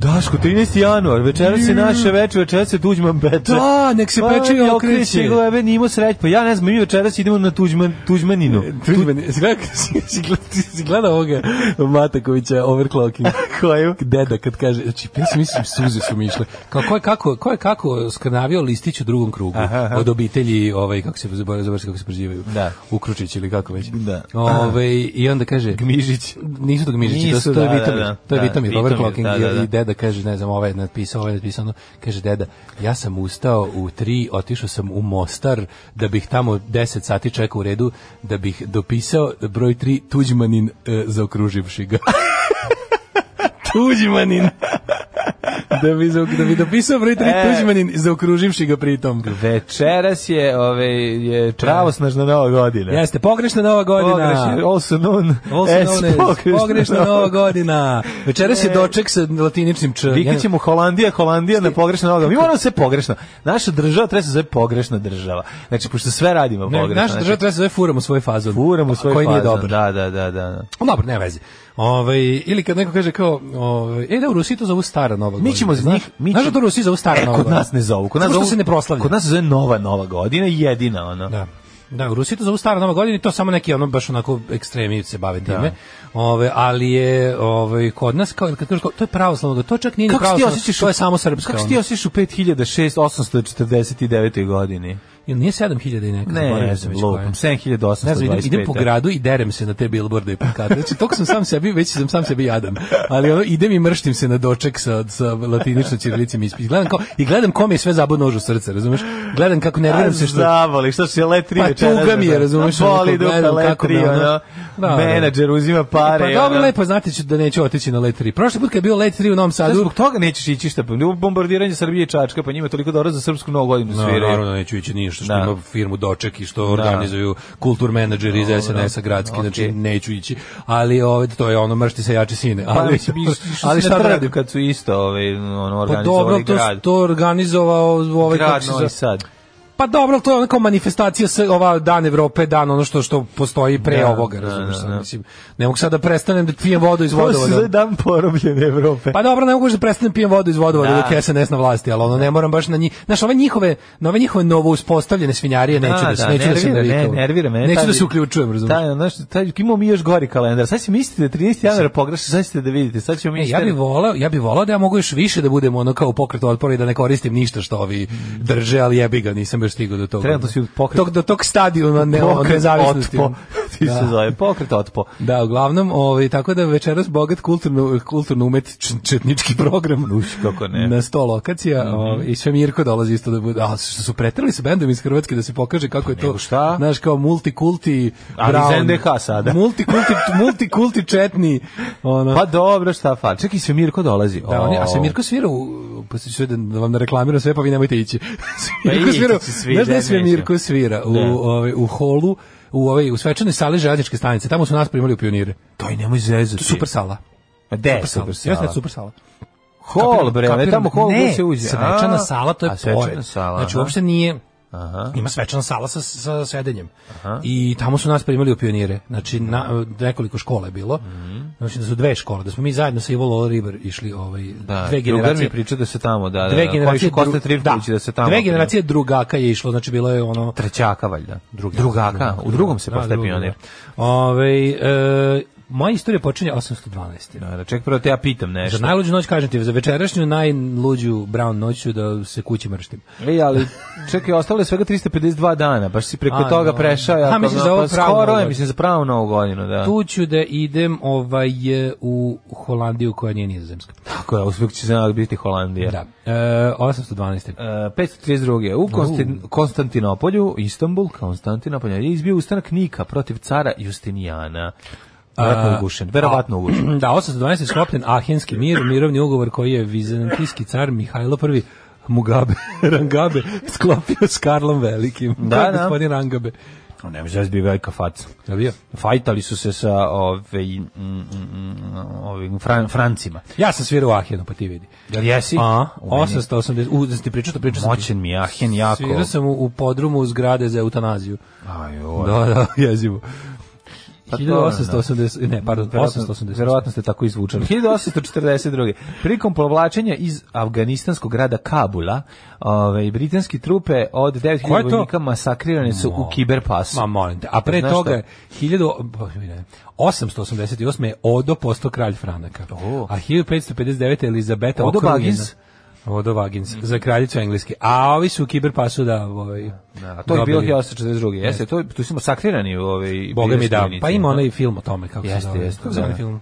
[SPEAKER 5] Daško, 13. januar, večeras se naše veče, večeras se Tuđman peče.
[SPEAKER 6] Da, nek se peče i
[SPEAKER 5] Pa,
[SPEAKER 6] okreće.
[SPEAKER 5] glave, nimo sreć, pa ja ne znam, mi večeras idemo na Tuđman, Tuđmaninu.
[SPEAKER 6] Tuđman, si gledao, si, si gledao, si gledao ovoga Matakovića overclocking?
[SPEAKER 5] Koju?
[SPEAKER 6] Deda kad kaže, znači, ja sam mislim, suze su mi išle. Kao, ko je kako, ko je kako skrnavio listić u drugom krugu od obitelji, ovaj, kako se zaboravio, zaboravio se kako se prezivaju.
[SPEAKER 5] Da.
[SPEAKER 6] Ukručić ili kako već.
[SPEAKER 5] Da.
[SPEAKER 6] Ovaj, I onda kaže,
[SPEAKER 5] Gmižić.
[SPEAKER 6] nisu to gmižići, to,
[SPEAKER 5] Nisu,
[SPEAKER 6] su- to je
[SPEAKER 5] da, da,
[SPEAKER 6] vitamir,
[SPEAKER 5] da.
[SPEAKER 6] to je
[SPEAKER 5] Da,
[SPEAKER 6] vitamir,
[SPEAKER 5] vitamir,
[SPEAKER 6] overclocking
[SPEAKER 5] da, da,
[SPEAKER 6] i-
[SPEAKER 5] da.
[SPEAKER 6] i deda kaže, ne znam, ovaj je napisao, ovaj je napisao, ono, kaže deda, ja sam ustao u tri, otišao sam u Mostar, da bih tamo 10 sati čekao u redu, da bih dopisao broj 3 Tuđmanin e, zaokruživši ga. Tuđmanin. da bi, za- da bi dopisao broj 3
[SPEAKER 5] E.
[SPEAKER 6] Tuđmanin, zaokruživši ga pritom.
[SPEAKER 5] Večeras je, ove, je pravosnažna nova godina.
[SPEAKER 6] Jeste, pogrešna nova godina.
[SPEAKER 5] Pogrešna, E, also known
[SPEAKER 6] Olsen
[SPEAKER 5] as
[SPEAKER 6] Ones, pogrešna nova godina. Večeras
[SPEAKER 5] E.
[SPEAKER 6] je doček sa latiničnim č.
[SPEAKER 5] Vikit ćemo Holandija, Holandija na pogrešna noga. Mi moramo sve pogrešno. Naša država treba se zove pogrešna država. Znači, pošto sve radimo
[SPEAKER 6] Ne,
[SPEAKER 5] pogrešno.
[SPEAKER 6] naš država
[SPEAKER 5] znači,
[SPEAKER 6] treba se zove furamo svoj fazon.
[SPEAKER 5] furamo svoj
[SPEAKER 6] Koji nije
[SPEAKER 5] fazon.
[SPEAKER 6] dobar.
[SPEAKER 5] Da, da, da, da.
[SPEAKER 6] O, dobro, ne veze. Ovaj ili kad neko kaže kao, ovaj, e da u Rusiji to zovu stara nova godina.
[SPEAKER 5] Mi ćemo za
[SPEAKER 6] znaš?
[SPEAKER 5] njih, mi
[SPEAKER 6] Znaš
[SPEAKER 5] ćemo-
[SPEAKER 6] da to u Rusiji zovu stara
[SPEAKER 5] E,
[SPEAKER 6] nova
[SPEAKER 5] kod
[SPEAKER 6] godina?
[SPEAKER 5] nas ne zovu. Kod nas
[SPEAKER 6] Zato što
[SPEAKER 5] zovu-
[SPEAKER 6] se ne proslavlja.
[SPEAKER 5] Kod nas se zove nova nova godina, jedina ono. ona.
[SPEAKER 6] Da. Da, u Rusiji to zovu stara nova godina i to samo neki ono baš onako ekstremi se bave time. Ove, ali je ove, kod nas kao, kad kažu kao, to je pravoslavno, to čak nije ni
[SPEAKER 5] Kako se ti
[SPEAKER 6] pravoslavno,
[SPEAKER 5] osjećaš?
[SPEAKER 6] to
[SPEAKER 5] u-
[SPEAKER 6] je samo srpska.
[SPEAKER 5] Kako se
[SPEAKER 6] ono.
[SPEAKER 5] ti osjećaš u 5649. godini?
[SPEAKER 6] Ili nije 7000 i neka?
[SPEAKER 5] Ne,
[SPEAKER 6] zaboravio sam
[SPEAKER 5] ne znam,
[SPEAKER 6] već koja je.
[SPEAKER 5] lupam, 7825.
[SPEAKER 6] Ne znam, idem, idem po gradu i derem se na te billboarde i plakate. Znači, toliko sam sam sebi, već sam sam sebi jadan. Ali ono, idem i mrštim se na doček sa, sa latinično ćirilicom ispis. Gledam kao, I gledam kom je sve zabodno nož u srce, razumeš? Gledam kako nerviram se što...
[SPEAKER 5] Zavoli, što se le tri
[SPEAKER 6] Pa
[SPEAKER 5] večeras,
[SPEAKER 6] tuga mi je,
[SPEAKER 5] ono,
[SPEAKER 6] razumeš,
[SPEAKER 5] Boli
[SPEAKER 6] ono,
[SPEAKER 5] dupe
[SPEAKER 6] gledam
[SPEAKER 5] le
[SPEAKER 6] kako
[SPEAKER 5] tri,
[SPEAKER 6] me, ono,
[SPEAKER 5] ono,
[SPEAKER 6] da, da.
[SPEAKER 5] menadžer uzima pare.
[SPEAKER 6] Pa dobro,
[SPEAKER 5] ono.
[SPEAKER 6] lepo, znate ću da neću otići na let 3. Prošli put kad je bio let 3 u Novom
[SPEAKER 5] Da,
[SPEAKER 6] Sadu,
[SPEAKER 5] zbog toga nećeš ići šta, pa, bombardiranje Srbije i Čačka, pa njima toliko dobro za srpsku novu godinu
[SPEAKER 6] No,
[SPEAKER 5] sviraju.
[SPEAKER 6] naravno neću ići ništa što
[SPEAKER 5] Da.
[SPEAKER 6] ima firmu Doček i što organizuju kultur menadžeri iz SNS-a gradski, znači
[SPEAKER 5] okej.
[SPEAKER 6] neću ići. Ali ovaj to je ono mršti se jači sine.
[SPEAKER 5] Pa,
[SPEAKER 6] Ali,
[SPEAKER 5] mislim, išli su
[SPEAKER 6] ali
[SPEAKER 5] na
[SPEAKER 6] šta da
[SPEAKER 5] trg
[SPEAKER 6] radim?
[SPEAKER 5] Kad su isto ovaj, ono,
[SPEAKER 6] Pa
[SPEAKER 5] organizovali
[SPEAKER 6] dobro, to,
[SPEAKER 5] grad.
[SPEAKER 6] to organizovao ovaj kako
[SPEAKER 5] grad
[SPEAKER 6] se
[SPEAKER 5] Novi
[SPEAKER 6] zove-
[SPEAKER 5] Sad.
[SPEAKER 6] Pa dobro, ali to je onako manifestacija sa ova Dan Evrope, dan ono što što postoji pre
[SPEAKER 5] Da,
[SPEAKER 6] ovoga,
[SPEAKER 5] da,
[SPEAKER 6] razumiješ,
[SPEAKER 5] da, da.
[SPEAKER 6] mislim. Ne mogu sad da prestanem da pijem vodu iz
[SPEAKER 5] To se
[SPEAKER 6] vodovoda.
[SPEAKER 5] zove dan porobljene Evrope.
[SPEAKER 6] Pa dobro, ne mogu još da prestanem pijem vodu iz vodovoda
[SPEAKER 5] Da.
[SPEAKER 6] dok je SNS na vlasti, ali ono ne moram baš na njih. Znaš, ove njihove, na ove njihove novo uspostavljene svinjarije neću da, se- neću da se
[SPEAKER 5] nervira,
[SPEAKER 6] narikavam.
[SPEAKER 5] ne, nervira mene.
[SPEAKER 6] Neću
[SPEAKER 5] taj-
[SPEAKER 6] da se uključujem, razumiješ.
[SPEAKER 5] Taj, ono, znaš, taj, imamo mi još gori kalendar. Sad si mislite da 13. januara pogreši, sad ćete da vidite. Sad ćemo mi...
[SPEAKER 6] E, ja bih voleo, ja bih voleo da ja mogu još više da budem ono kao u pokretu otpora i da ne koristim ništa što ovi drže, ali jebi ga, nisam još stigao do toga.
[SPEAKER 5] Trenutno si u pokretu.
[SPEAKER 6] Tog, do tog stadiona ne, pokret, nezavisnosti. ono.
[SPEAKER 5] Otpo. Ti se
[SPEAKER 6] Da.
[SPEAKER 5] zove pokret otpo.
[SPEAKER 6] Da, uglavnom, ovaj, tako da večeras bogat kulturno, kulturno umetnički program.
[SPEAKER 5] Uš, kako ne. Mhm.
[SPEAKER 6] Na sto lokacija ovaj, i sve Mirko dolazi isto da bude. A što su pretrali sa bendom iz Hrvatske da se pokaže kako je to,
[SPEAKER 5] Pa nego šta?
[SPEAKER 6] znaš, kao multikulti
[SPEAKER 5] Ali iz
[SPEAKER 6] brown.
[SPEAKER 5] NDH sada.
[SPEAKER 6] Multikulti, multikulti četni. Ono.
[SPEAKER 5] Pa dobro, šta fa. Čekaj, sve Mirko dolazi.
[SPEAKER 6] Da, on je, a se
[SPEAKER 5] O.
[SPEAKER 6] Mirko svira u, pa se sve da da vam ne reklamiram sve, pa vi nemojte ići.
[SPEAKER 5] Pa
[SPEAKER 6] Mirko
[SPEAKER 5] idite
[SPEAKER 6] svira,
[SPEAKER 5] se svi,
[SPEAKER 6] znaš
[SPEAKER 5] da,
[SPEAKER 6] da sve
[SPEAKER 5] neću.
[SPEAKER 6] Mirko svira u,
[SPEAKER 5] Da.
[SPEAKER 6] ovaj, u holu, u, ovaj, u svečanoj sali željezničke stanice, tamo su nas primali u pionire.
[SPEAKER 5] Daj, nemoj zezati.
[SPEAKER 6] Super sala.
[SPEAKER 5] Ma De,
[SPEAKER 6] Super
[SPEAKER 5] E, super
[SPEAKER 6] sala.
[SPEAKER 5] sala.
[SPEAKER 6] Jeste, super sala.
[SPEAKER 5] Hol, bre, ne tamo hol
[SPEAKER 6] ne,
[SPEAKER 5] gdje se uđe.
[SPEAKER 6] svečana
[SPEAKER 5] A,
[SPEAKER 6] sala, to je
[SPEAKER 5] a, svečana
[SPEAKER 6] pored.
[SPEAKER 5] sala,
[SPEAKER 6] Znači,
[SPEAKER 5] aha.
[SPEAKER 6] uopšte nije...
[SPEAKER 5] Aha.
[SPEAKER 6] Ima svečana sala sa, sa sedenjem. I tamo su nas primali u pionire. Znači, na, nekoliko škola je bilo.
[SPEAKER 5] Mhm.
[SPEAKER 6] Znači, da su dve škole. Da smo mi zajedno sa Ivo Lola River išli ovaj,
[SPEAKER 5] Da,
[SPEAKER 6] dve
[SPEAKER 5] Drugar
[SPEAKER 6] generacije.
[SPEAKER 5] mi priča da se tamo, da, da.
[SPEAKER 6] Dve
[SPEAKER 5] da.
[SPEAKER 6] generacije,
[SPEAKER 5] Kosti- Kosta
[SPEAKER 6] dru-
[SPEAKER 5] Trivković da se tamo.
[SPEAKER 6] dve generacije drugaka je išlo, znači bilo je ono...
[SPEAKER 5] Trećaka, valjda. Drugaka. U drugom se
[SPEAKER 6] Da,
[SPEAKER 5] postaje
[SPEAKER 6] drugo,
[SPEAKER 5] pionir.
[SPEAKER 6] da. Ovaj, e, moja istorija počinje 812.
[SPEAKER 5] Da, da, ček, prvo te ja pitam
[SPEAKER 6] Za
[SPEAKER 5] nešto.
[SPEAKER 6] najluđu noć kažem ti, za večerašnju najluđu brown noć ću da se kući mrštim.
[SPEAKER 5] Ej, ali čekaj, ostalo je svega 352 dana, baš si preko
[SPEAKER 6] A,
[SPEAKER 5] toga
[SPEAKER 6] no.
[SPEAKER 5] prešao.
[SPEAKER 6] A,
[SPEAKER 5] ja pa
[SPEAKER 6] misliš za ovu pravu novu
[SPEAKER 5] Skoro je,
[SPEAKER 6] godinu.
[SPEAKER 5] mislim, za pravu novu godinu, da.
[SPEAKER 6] Tu ću da idem ovaj, e, u Holandiju koja nije nizozemska.
[SPEAKER 5] Tako je, uspjeh će se nadam biti Holandija.
[SPEAKER 6] Da. E, 812.
[SPEAKER 5] E, 532. U Konstin- Konstantinopolju, Istanbul, Konstantinopolju, je izbio ustanak Nika protiv cara Justinijana. Verovatno ugušen, verovatno ugušen.
[SPEAKER 6] Da, 812 je sklopljen Ahenski mir, mirovni ugovor koji je vizantijski car Mihajlo I Mugabe, Rangabe, sklopio s Karlom Velikim.
[SPEAKER 5] Da,
[SPEAKER 6] To je
[SPEAKER 5] da.
[SPEAKER 6] Gospodin Rangabe.
[SPEAKER 5] Ne može da zbije velika faca.
[SPEAKER 6] Da bio?
[SPEAKER 5] Fajtali su se sa ove, mm, mm, mm, ovim Fran, Francima.
[SPEAKER 6] Ja sam svirao u Ahenu, pa ti vidi.
[SPEAKER 5] Jel jesi?
[SPEAKER 6] A,
[SPEAKER 5] U meni-
[SPEAKER 6] 880, u, da sam ti pričao, to pričao sam ti.
[SPEAKER 5] Moćen mi je Ahen jako.
[SPEAKER 6] Svirao sam u, u podrumu zgrade za eutanaziju.
[SPEAKER 5] Ajoj.
[SPEAKER 6] Da, da, jezivo.
[SPEAKER 5] Pa to,
[SPEAKER 6] 1880, ne, pardon,
[SPEAKER 5] Verovatno-
[SPEAKER 6] 880.
[SPEAKER 5] Verovatno ste tako izvučeni. 1842. Prilikom povlačenja iz afganistanskog grada Kabula, ove, britanske trupe od
[SPEAKER 6] Ko je
[SPEAKER 5] 9000
[SPEAKER 6] to?
[SPEAKER 5] vojnika masakrirane su u kiberpasu.
[SPEAKER 6] Ma molim te. A pre
[SPEAKER 5] Znaš
[SPEAKER 6] toga
[SPEAKER 5] šta?
[SPEAKER 6] je 1000 pa, ne, 888 je Odo postao kralj Franaka.
[SPEAKER 5] O.
[SPEAKER 6] A 1559 je Elizabeta
[SPEAKER 5] Odo
[SPEAKER 6] okrunjena-
[SPEAKER 5] Bagins?
[SPEAKER 6] Odo Bagins, za kraljicu Engleske. A ovi su u kiberpasu da... Ovaj,
[SPEAKER 5] A to je bilo
[SPEAKER 6] dobili.
[SPEAKER 5] 1842. Jeste, to, tu su masakrirani ove,
[SPEAKER 6] Boga mi da.
[SPEAKER 5] britanski
[SPEAKER 6] Pa ima
[SPEAKER 5] vojnici,
[SPEAKER 6] onaj film o tome kako se
[SPEAKER 5] Jeste,
[SPEAKER 6] zove.
[SPEAKER 5] jeste,
[SPEAKER 6] Kako se zove
[SPEAKER 5] da.
[SPEAKER 6] onaj film?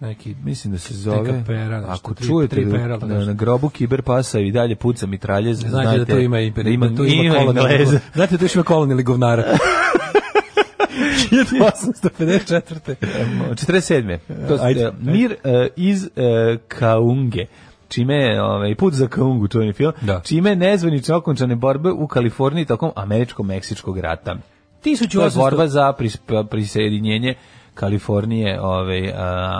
[SPEAKER 6] Neki...
[SPEAKER 5] Mislim da se zove,
[SPEAKER 6] Neka pera, nešto,
[SPEAKER 5] ako
[SPEAKER 6] tri-
[SPEAKER 5] čujete
[SPEAKER 6] tri
[SPEAKER 5] da-
[SPEAKER 6] pera,
[SPEAKER 5] da
[SPEAKER 6] nešto.
[SPEAKER 5] na grobu kiberpasa i dalje puca mitralje,
[SPEAKER 6] Znate, da tu ima i
[SPEAKER 5] da ima,
[SPEAKER 6] da tu ima,
[SPEAKER 5] ima
[SPEAKER 6] kolonel-
[SPEAKER 5] Engleza.
[SPEAKER 6] Znate da tu još ima kolonel i govnara. 1854.
[SPEAKER 5] 47. To su,
[SPEAKER 6] Ajde.
[SPEAKER 5] e, mir e, iz e, Kaunge. čime ovaj put za Kaungu čuveni film,
[SPEAKER 6] Da.
[SPEAKER 5] čime nezvanično okončane borbe u Kaliforniji tokom američko-meksičkog rata. To je
[SPEAKER 6] 1800
[SPEAKER 5] borba za pris, prisjedinjenje Kalifornije ovaj, a,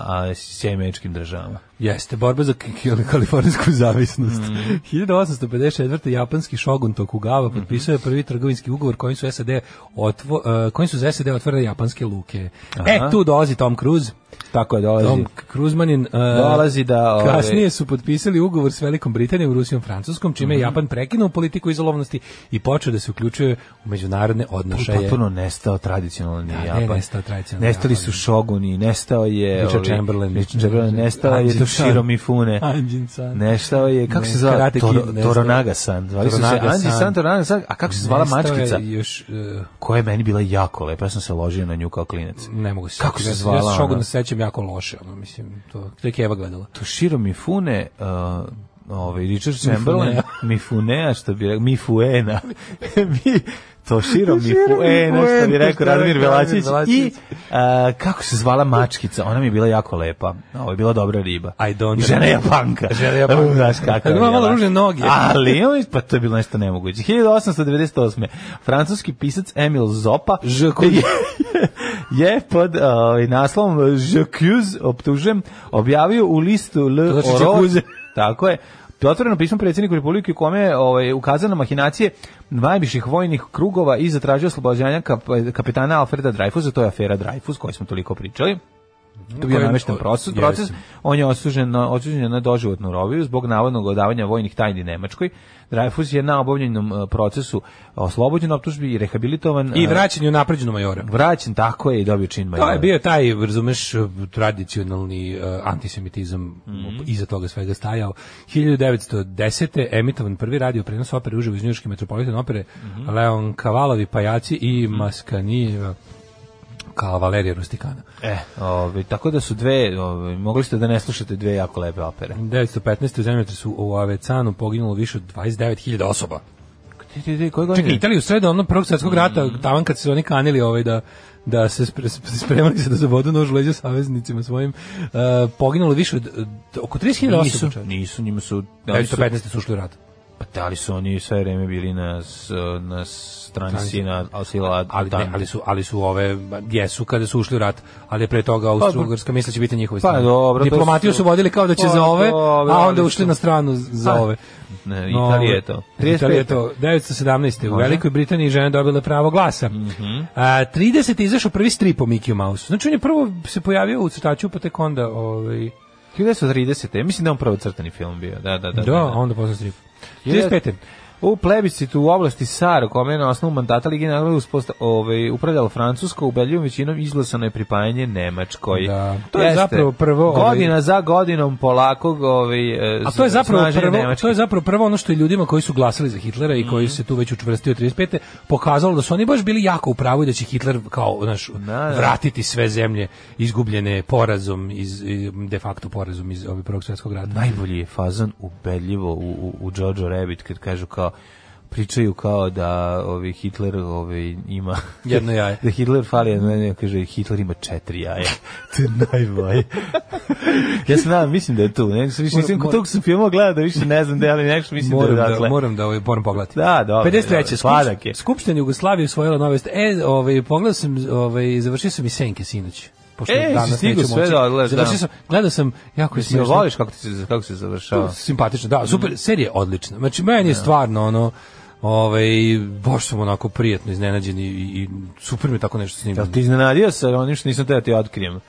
[SPEAKER 5] a, s sjemečkim državama.
[SPEAKER 6] Jeste, borba za k- k- kalifornijsku zavisnost.
[SPEAKER 5] Mhm.
[SPEAKER 6] 1854. japanski šogun Tokugawa potpisao je prvi trgovinski ugovor kojim su SAD otvo, eh, kojim su za SAD otvorene japanske luke. E, tu dolazi Tom Cruise.
[SPEAKER 5] Tako je, dolazi.
[SPEAKER 6] Tom Kruzmanin
[SPEAKER 5] Dolazi da, ove-
[SPEAKER 6] kasnije su potpisali ugovor s Velikom Britanijom, Rusijom, Francuskom, čime
[SPEAKER 5] Mhm.
[SPEAKER 6] je Japan prekinuo politiku izolovnosti i počeo da se uključuje u međunarodne odnošaje.
[SPEAKER 5] potpuno nestao tradicionalni
[SPEAKER 6] Da,
[SPEAKER 5] Japan.
[SPEAKER 6] ne nestao tradicionalni
[SPEAKER 5] Nestali
[SPEAKER 6] Japan.
[SPEAKER 5] su šoguni, nestao je...
[SPEAKER 6] Richard
[SPEAKER 5] ovi-
[SPEAKER 6] Chamberlain.
[SPEAKER 5] Richard Chamberlain, nestao je
[SPEAKER 6] Anjin-san.
[SPEAKER 5] Toshiro Mifune.
[SPEAKER 6] Anjin-san.
[SPEAKER 5] Nestao je, kako
[SPEAKER 6] Ne,
[SPEAKER 5] se zvala?
[SPEAKER 6] Karate Kid
[SPEAKER 5] Toro,
[SPEAKER 6] nestao.
[SPEAKER 5] Toronaga-san. Zvali su se
[SPEAKER 6] Toronaga-san.
[SPEAKER 5] Anji-san, Toronaga-san. A kako se zvala
[SPEAKER 6] Nestao je
[SPEAKER 5] mačkica?
[SPEAKER 6] Još, eh,
[SPEAKER 5] Koja je meni bila jako lepa. Ja sam se ložio na nju kao klinec.
[SPEAKER 6] ne mogu se
[SPEAKER 5] Kako
[SPEAKER 6] setiti.
[SPEAKER 5] se
[SPEAKER 6] Ja sam-
[SPEAKER 5] zvala
[SPEAKER 6] Ja se
[SPEAKER 5] ona?
[SPEAKER 6] šoguna sećam jako loše, ono, mislim, to, to je Keva gledala.
[SPEAKER 5] Toshiro Mifune, uh, ovaj Richard Chamberlain, Mifunea, što bi rekao, Mifuena. Mi, Toshiro Mifuena,
[SPEAKER 6] Mifuena,
[SPEAKER 5] što bi rekao
[SPEAKER 6] što je
[SPEAKER 5] Radomir
[SPEAKER 6] rekao Radomir
[SPEAKER 5] Velačić. I
[SPEAKER 6] Velačić.
[SPEAKER 5] uh, kako se zvala mačkica, ona mi je bila jako lepa. Ovo je bila dobra riba.
[SPEAKER 6] I don't
[SPEAKER 5] I žena
[SPEAKER 6] know.
[SPEAKER 5] je panka.
[SPEAKER 6] Žena Japanka.
[SPEAKER 5] Znaš kako
[SPEAKER 6] Ima malo ružne noge.
[SPEAKER 5] Ali, on je- pa to je bilo nešto nemoguće. 1898. Francuski pisac Emil Zopa je, je pod ovaj, naslovom J'accuse, optužujem, objavio u listu L.
[SPEAKER 6] To znači
[SPEAKER 5] Oro-
[SPEAKER 6] Jacuzzi.
[SPEAKER 5] Tako je. Otvoreno pismo predsjedniku Republike u kome je ovaj, ukazano mahinacije najviših vojnih krugova i zatražio oslobođenja kap, kapetana Alfreda Dreyfusa, to je afera Dreyfus koju smo toliko pričali. To bio
[SPEAKER 6] Koji-
[SPEAKER 5] namešten proces,
[SPEAKER 6] Jeste.
[SPEAKER 5] proces. On je osuđen na, osuđen je na doživotnu robiju zbog navodnog odavanja vojnih tajni Nemačkoj. Dreyfus je na obavljenom eh, procesu oslobođen optužbi i rehabilitovan.
[SPEAKER 6] I
[SPEAKER 5] eh,
[SPEAKER 6] vraćanje u napređenu majora.
[SPEAKER 5] vraćen tako je i dobio čin
[SPEAKER 6] To
[SPEAKER 5] majora.
[SPEAKER 6] je bio taj, razumeš, tradicionalni eh, antisemitizam iza toga svega stajao. 1910. emitovan prvi radio prenos opere uživo iz Njuške metropolitan opere Leon Kavalovi Pajaci i Maskanijeva kao Valerija Rustikana.
[SPEAKER 5] E, ovaj, tako da su dve, ovaj, mogli ste da ne slušate dve jako lepe opere.
[SPEAKER 6] 1915. u zemljotresu u Avecanu poginulo više od 29.000 osoba.
[SPEAKER 5] Ti, ti, ti, koje godine?
[SPEAKER 6] Čekaj, Italija u sred ono prvog
[SPEAKER 5] Mm.
[SPEAKER 6] svjetskog rata, tavan kad se oni kanili ovaj da da se spre- spre- spremali se da zabodu nož u leđa saveznicima svojim, e, poginulo više od e, oko 30.000
[SPEAKER 5] Nisu,
[SPEAKER 6] osoba. čovječe.
[SPEAKER 5] nisu, njima su, da li su,
[SPEAKER 6] 1915. su ušli u rat.
[SPEAKER 5] pa da li su oni sve vreme bili na, s- na strani
[SPEAKER 6] Strani-
[SPEAKER 5] sina Asila
[SPEAKER 6] Ali, ne, ali, su, ali su ove, ba, jesu kada su ušli u rat, ali je pre toga Austro-Ugrska misle će biti njihove strane.
[SPEAKER 5] Pa, dobro, to
[SPEAKER 6] Diplomatiju
[SPEAKER 5] su-
[SPEAKER 6] su vodili kao da će
[SPEAKER 5] Pa
[SPEAKER 6] za ove,
[SPEAKER 5] dobro,
[SPEAKER 6] a onda
[SPEAKER 5] ali
[SPEAKER 6] ušli
[SPEAKER 5] su-
[SPEAKER 6] na stranu za
[SPEAKER 5] Pa,
[SPEAKER 6] ove.
[SPEAKER 5] ne, Italija je to.
[SPEAKER 6] Italija je to. 917. U
[SPEAKER 5] Može. Mhm.
[SPEAKER 6] Velikoj Britaniji žene dobile pravo glasa. A, 30. je izašao prvi strip o Mickey Mouse. Znači on je prvo se pojavio u crtaču, pa tek onda... Ovaj,
[SPEAKER 5] 1930. Ja mislim da je on prvo crtani film bio. Da, da,
[SPEAKER 6] da,
[SPEAKER 5] da. da.
[SPEAKER 6] onda posle strip.
[SPEAKER 5] Jeste.
[SPEAKER 6] 35.
[SPEAKER 5] U plebiscitu u oblasti SAR, kome je na osnovu mandata Ligi nagrada usposta- ovaj, upravljala Francusko, ubedljivom većinom izglasano je pripajanje Nemačkoj.
[SPEAKER 6] Da, to je zapravo prvo, ovaj-
[SPEAKER 5] Godina za godinom polakog ovaj, e,
[SPEAKER 6] A to je zapravo
[SPEAKER 5] snaženja
[SPEAKER 6] prvo,
[SPEAKER 5] Nemačke. Mhm.
[SPEAKER 6] to je zapravo prvo ono što je ljudima koji su glasali za Hitlera i koji se tu već učvrstio 35. pokazalo da su oni baš bili jako u pravu i da će Hitler kao znaš,
[SPEAKER 5] da.
[SPEAKER 6] vratiti sve zemlje izgubljene porazom iz i de facto porazom iz ovog prvog svjetskog rata.
[SPEAKER 5] najbolji je fazan ubedljivo u, u, u Jojo Rabbit kad kažu kao pričaju kao da ovi Hitler ovi ima
[SPEAKER 6] Jedno jaje.
[SPEAKER 5] da Hitler fali jedno jaje, kaže Hitler ima četiri jaja to je najbolje ja se nadam mislim da je tu ne sam više
[SPEAKER 6] Moram-
[SPEAKER 5] mislim kod
[SPEAKER 6] moram-
[SPEAKER 5] tog sam filmova gledao da više ne znam da je, ali nešto mislim
[SPEAKER 6] Moram
[SPEAKER 5] da je
[SPEAKER 6] da,
[SPEAKER 5] odatle.
[SPEAKER 6] moram da ovaj moram pogledati.
[SPEAKER 5] Dakle. Da, dobro, dobro,
[SPEAKER 6] 53.
[SPEAKER 5] sladak je.
[SPEAKER 6] Skup, Skupština Jugoslavije usvojila novost. E, ovaj pogledao sam, ovaj završio sam i Senke sinoć. Pošto
[SPEAKER 5] E, si stigao
[SPEAKER 6] neću
[SPEAKER 5] sve
[SPEAKER 6] moći.
[SPEAKER 5] da odgledaš, da.
[SPEAKER 6] Završio sam, gledao sam jako je
[SPEAKER 5] Jel
[SPEAKER 6] smiješno.
[SPEAKER 5] voliš kako, ti se, kako se završava
[SPEAKER 6] simpatično.
[SPEAKER 5] Mhm.
[SPEAKER 6] Da, super, serija je odlična. Znači meni je stvarno ono ovaj baš sam onako prijetno iznenađen i, i super mi je tako nešto snimljeno.
[SPEAKER 5] Jel ti iznenadio se onim što nisam teo ti otkrijem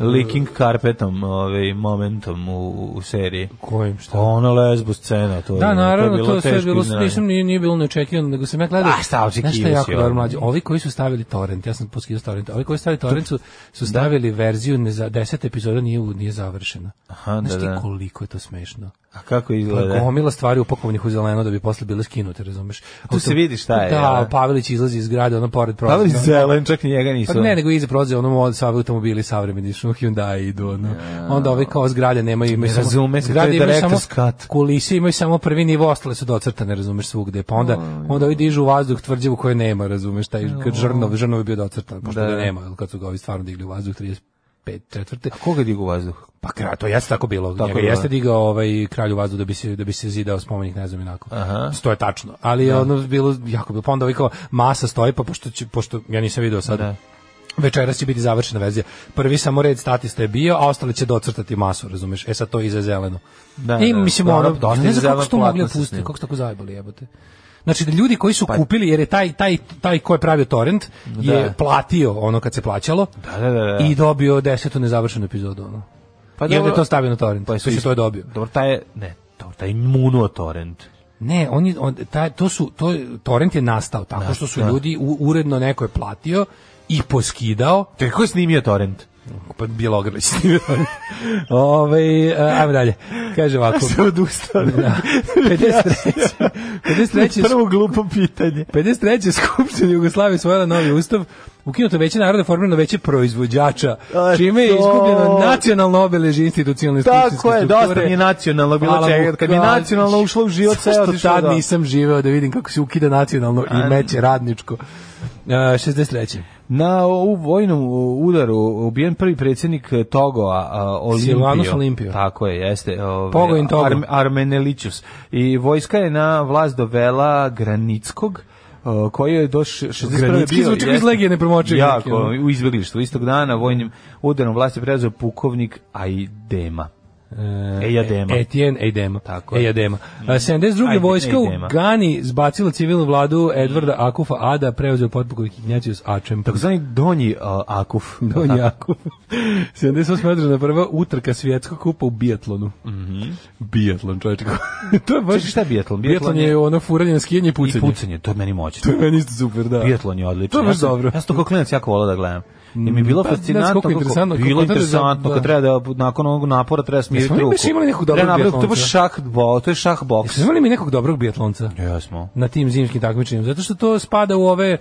[SPEAKER 5] Leaking carpetom, ovaj momentom u, u seriji.
[SPEAKER 6] Kojim šta?
[SPEAKER 5] Ona Pa ono lesbo scena, to je.
[SPEAKER 6] Da, naravno,
[SPEAKER 5] je
[SPEAKER 6] to, je sve
[SPEAKER 5] teško
[SPEAKER 6] bilo,
[SPEAKER 5] iznenađenje.
[SPEAKER 6] nisam, nije, nije bilo neočekivano, nego sam ja gledao.
[SPEAKER 5] A, šta, očekivao
[SPEAKER 6] Znaš šta je
[SPEAKER 5] si,
[SPEAKER 6] jako
[SPEAKER 5] ono.
[SPEAKER 6] dobro mlađe? Ovi koji su stavili torrent, ja sam poskidao torrent, ovi koji su stavili torrent su, su stavili verziju, ne za, deseta epizoda nije, u- nije završena.
[SPEAKER 5] Aha,
[SPEAKER 6] Znaš
[SPEAKER 5] da,
[SPEAKER 6] ti
[SPEAKER 5] da.
[SPEAKER 6] koliko je to smešno?
[SPEAKER 5] A kako
[SPEAKER 6] Pa
[SPEAKER 5] izgleda?
[SPEAKER 6] gomila stvari upakovanih u zeleno da bi posle bile skinute, razumeš?
[SPEAKER 5] Tu se vidi šta je,
[SPEAKER 6] Da,
[SPEAKER 5] jel?
[SPEAKER 6] Pavelić izlazi iz grada, ono pored prozora.
[SPEAKER 5] Pavelić zelen, čak ni njega nisu.
[SPEAKER 6] Pa ne, nego iza prođe ono od save automobili savremeni, što Hyundai idu, ono. Onda ove kao zgrade nemaju, imaju
[SPEAKER 5] Ne
[SPEAKER 6] samo...
[SPEAKER 5] razume se, to
[SPEAKER 6] zgrade
[SPEAKER 5] je
[SPEAKER 6] imaju
[SPEAKER 5] director's
[SPEAKER 6] samo-
[SPEAKER 5] cut.
[SPEAKER 6] Kulise imaju samo prvi nivo, ostale su docrtane, razumeš, svugde. Pa onda, onda ovi dižu u vazduh tvrđavu koje nema, razumeš, taj kad žrnov, žrnov je bio docrtan, pošto
[SPEAKER 5] Da,
[SPEAKER 6] da,
[SPEAKER 5] da.
[SPEAKER 6] nema, jel, kad su ga ovi stvarno digli u vazduh 30 4.
[SPEAKER 5] A koga digu vazduh?
[SPEAKER 6] Pa kralj, to jeste tako bilo.
[SPEAKER 5] Tako
[SPEAKER 6] Tako Njega
[SPEAKER 5] je,
[SPEAKER 6] jeste
[SPEAKER 5] da.
[SPEAKER 6] digao ovaj kralju vazdu da bi se da bi se zidao spomenik, ne znam inako.
[SPEAKER 5] Aha.
[SPEAKER 6] To je tačno. Ali je ono bilo jako bilo. Pa onda ovaj kao masa stoji pa pošto će, pošto ja nisam video sad.
[SPEAKER 5] Da.
[SPEAKER 6] Večeras će biti završena verzija. Prvi samo red statista je bio, a ostale će docrtati masu, razumeš? E sad to je iza zeleno.
[SPEAKER 5] Da,
[SPEAKER 6] I
[SPEAKER 5] da,
[SPEAKER 6] mislim
[SPEAKER 5] da,
[SPEAKER 6] ono,
[SPEAKER 5] da, dosta
[SPEAKER 6] ja ne
[SPEAKER 5] iza
[SPEAKER 6] znam kako
[SPEAKER 5] zeleno
[SPEAKER 6] su to mogli
[SPEAKER 5] platno se
[SPEAKER 6] opustiti,
[SPEAKER 5] snima.
[SPEAKER 6] kako su tako zajebali, jebote. Znači da ljudi koji su kupili jer je taj taj taj ko je pravio torrent je
[SPEAKER 5] Pa- Da.
[SPEAKER 6] platio ono kad se plaćalo
[SPEAKER 5] Da, da, da, da.
[SPEAKER 6] i dobio desetu nezavršenu epizodu ono. Pa I onda je
[SPEAKER 5] dobro,
[SPEAKER 6] to stavio na torrent, pa
[SPEAKER 5] je
[SPEAKER 6] su
[SPEAKER 5] is-
[SPEAKER 6] to je dobio.
[SPEAKER 5] Dobro, taj je, ne, dobro, taj je munuo torrent.
[SPEAKER 6] Ne, oni on, taj, to su to torrent je nastao tako što su ljudi u, uredno neko je platio i poskidao,
[SPEAKER 5] Te ko je snimio torrent?
[SPEAKER 6] pa bilo ogrlić. Ovaj a, ajmo dalje. Kaže ovako.
[SPEAKER 5] odustao.
[SPEAKER 6] Da. 53. 53.
[SPEAKER 5] Prvo glupo pitanje.
[SPEAKER 6] 53. Skupština Jugoslavije usvojila novi ustav, ukinuto veće naroda, formirano veće proizvođača,
[SPEAKER 5] A
[SPEAKER 6] čime je
[SPEAKER 5] to-
[SPEAKER 6] izgubljeno nacionalno obeležje institucionalne skupštinske
[SPEAKER 5] Tako je, dosta
[SPEAKER 6] strukture.
[SPEAKER 5] mi je nacionalno bilo
[SPEAKER 6] Hvala
[SPEAKER 5] čega.
[SPEAKER 6] mu,
[SPEAKER 5] Kad mi je
[SPEAKER 6] hvala.
[SPEAKER 5] nacionalno ušlo u život, sve je
[SPEAKER 6] Zašto
[SPEAKER 5] otišlo.
[SPEAKER 6] tad
[SPEAKER 5] do-
[SPEAKER 6] nisam živeo da vidim kako se ukida nacionalno i meće radničko. Uh, 63.
[SPEAKER 5] Na ovu vojnom udaru ubijen prvi predsjednik Togoa, a, Olimpio.
[SPEAKER 6] Silvanus Olimpio.
[SPEAKER 5] Tako je, jeste. Ove,
[SPEAKER 6] Pogojin Togo.
[SPEAKER 5] Armenelićus. I vojska je na vlast dovela Granickog, a, koji je do š- 61.
[SPEAKER 6] Granicki
[SPEAKER 5] bio,
[SPEAKER 6] zvuči kao iz
[SPEAKER 5] jeste.
[SPEAKER 6] Legije nepromočivih neki,
[SPEAKER 5] Jako,
[SPEAKER 6] ono.
[SPEAKER 5] u izbjeglištvu. Istog dana vojnim udarom vlast je preuzeo pukovnik Aidema. Ejadema.
[SPEAKER 6] E, Etienne Ejdema.
[SPEAKER 5] E, Tako je.
[SPEAKER 6] Ejadema. Uh, 72.
[SPEAKER 5] Ajde,
[SPEAKER 6] vojska
[SPEAKER 5] Ejdema.
[SPEAKER 6] u Gani zbacila civilnu vladu Edvarda Akufa Ada, preuzeo potpukovnik Ignatius Ačem.
[SPEAKER 5] Tako zvani Donji a, Akuf.
[SPEAKER 6] Don Jakov. 78 održana prva utrka svjetskog kupa u biatlonu. Mm Biatlon, čovječe. to je baš...
[SPEAKER 5] Mhm. Čekaj, šta je biatlon?
[SPEAKER 6] Biatlon je ono furanje na skijanje i pucanje.
[SPEAKER 5] I pucanje, to je meni moćno.
[SPEAKER 6] To je meni isto super, da.
[SPEAKER 5] Biatlon je odličan.
[SPEAKER 6] Pa, To je baš
[SPEAKER 5] Ja sam-
[SPEAKER 6] dobro.
[SPEAKER 5] Ja sam to kao klinac jako volao da gledam. I mi je bilo
[SPEAKER 6] Pa, ne znam
[SPEAKER 5] fascinantno
[SPEAKER 6] koliko je interesantno,
[SPEAKER 5] bilo
[SPEAKER 6] koliko treba
[SPEAKER 5] interesantno
[SPEAKER 6] da-
[SPEAKER 5] kad treba da nakon ovog napora treba smiriti
[SPEAKER 6] Jesmo li
[SPEAKER 5] ruku.
[SPEAKER 6] baš imali nekog dobrog
[SPEAKER 5] Treba napraviti- To je
[SPEAKER 6] biatlonca?
[SPEAKER 5] baš šah, bo, to je šah boks.
[SPEAKER 6] Jeste imali mi nekog dobrog biatlonca
[SPEAKER 5] Jesmo.
[SPEAKER 6] na tim zimskim takmičenjima? Zato što to spada u ove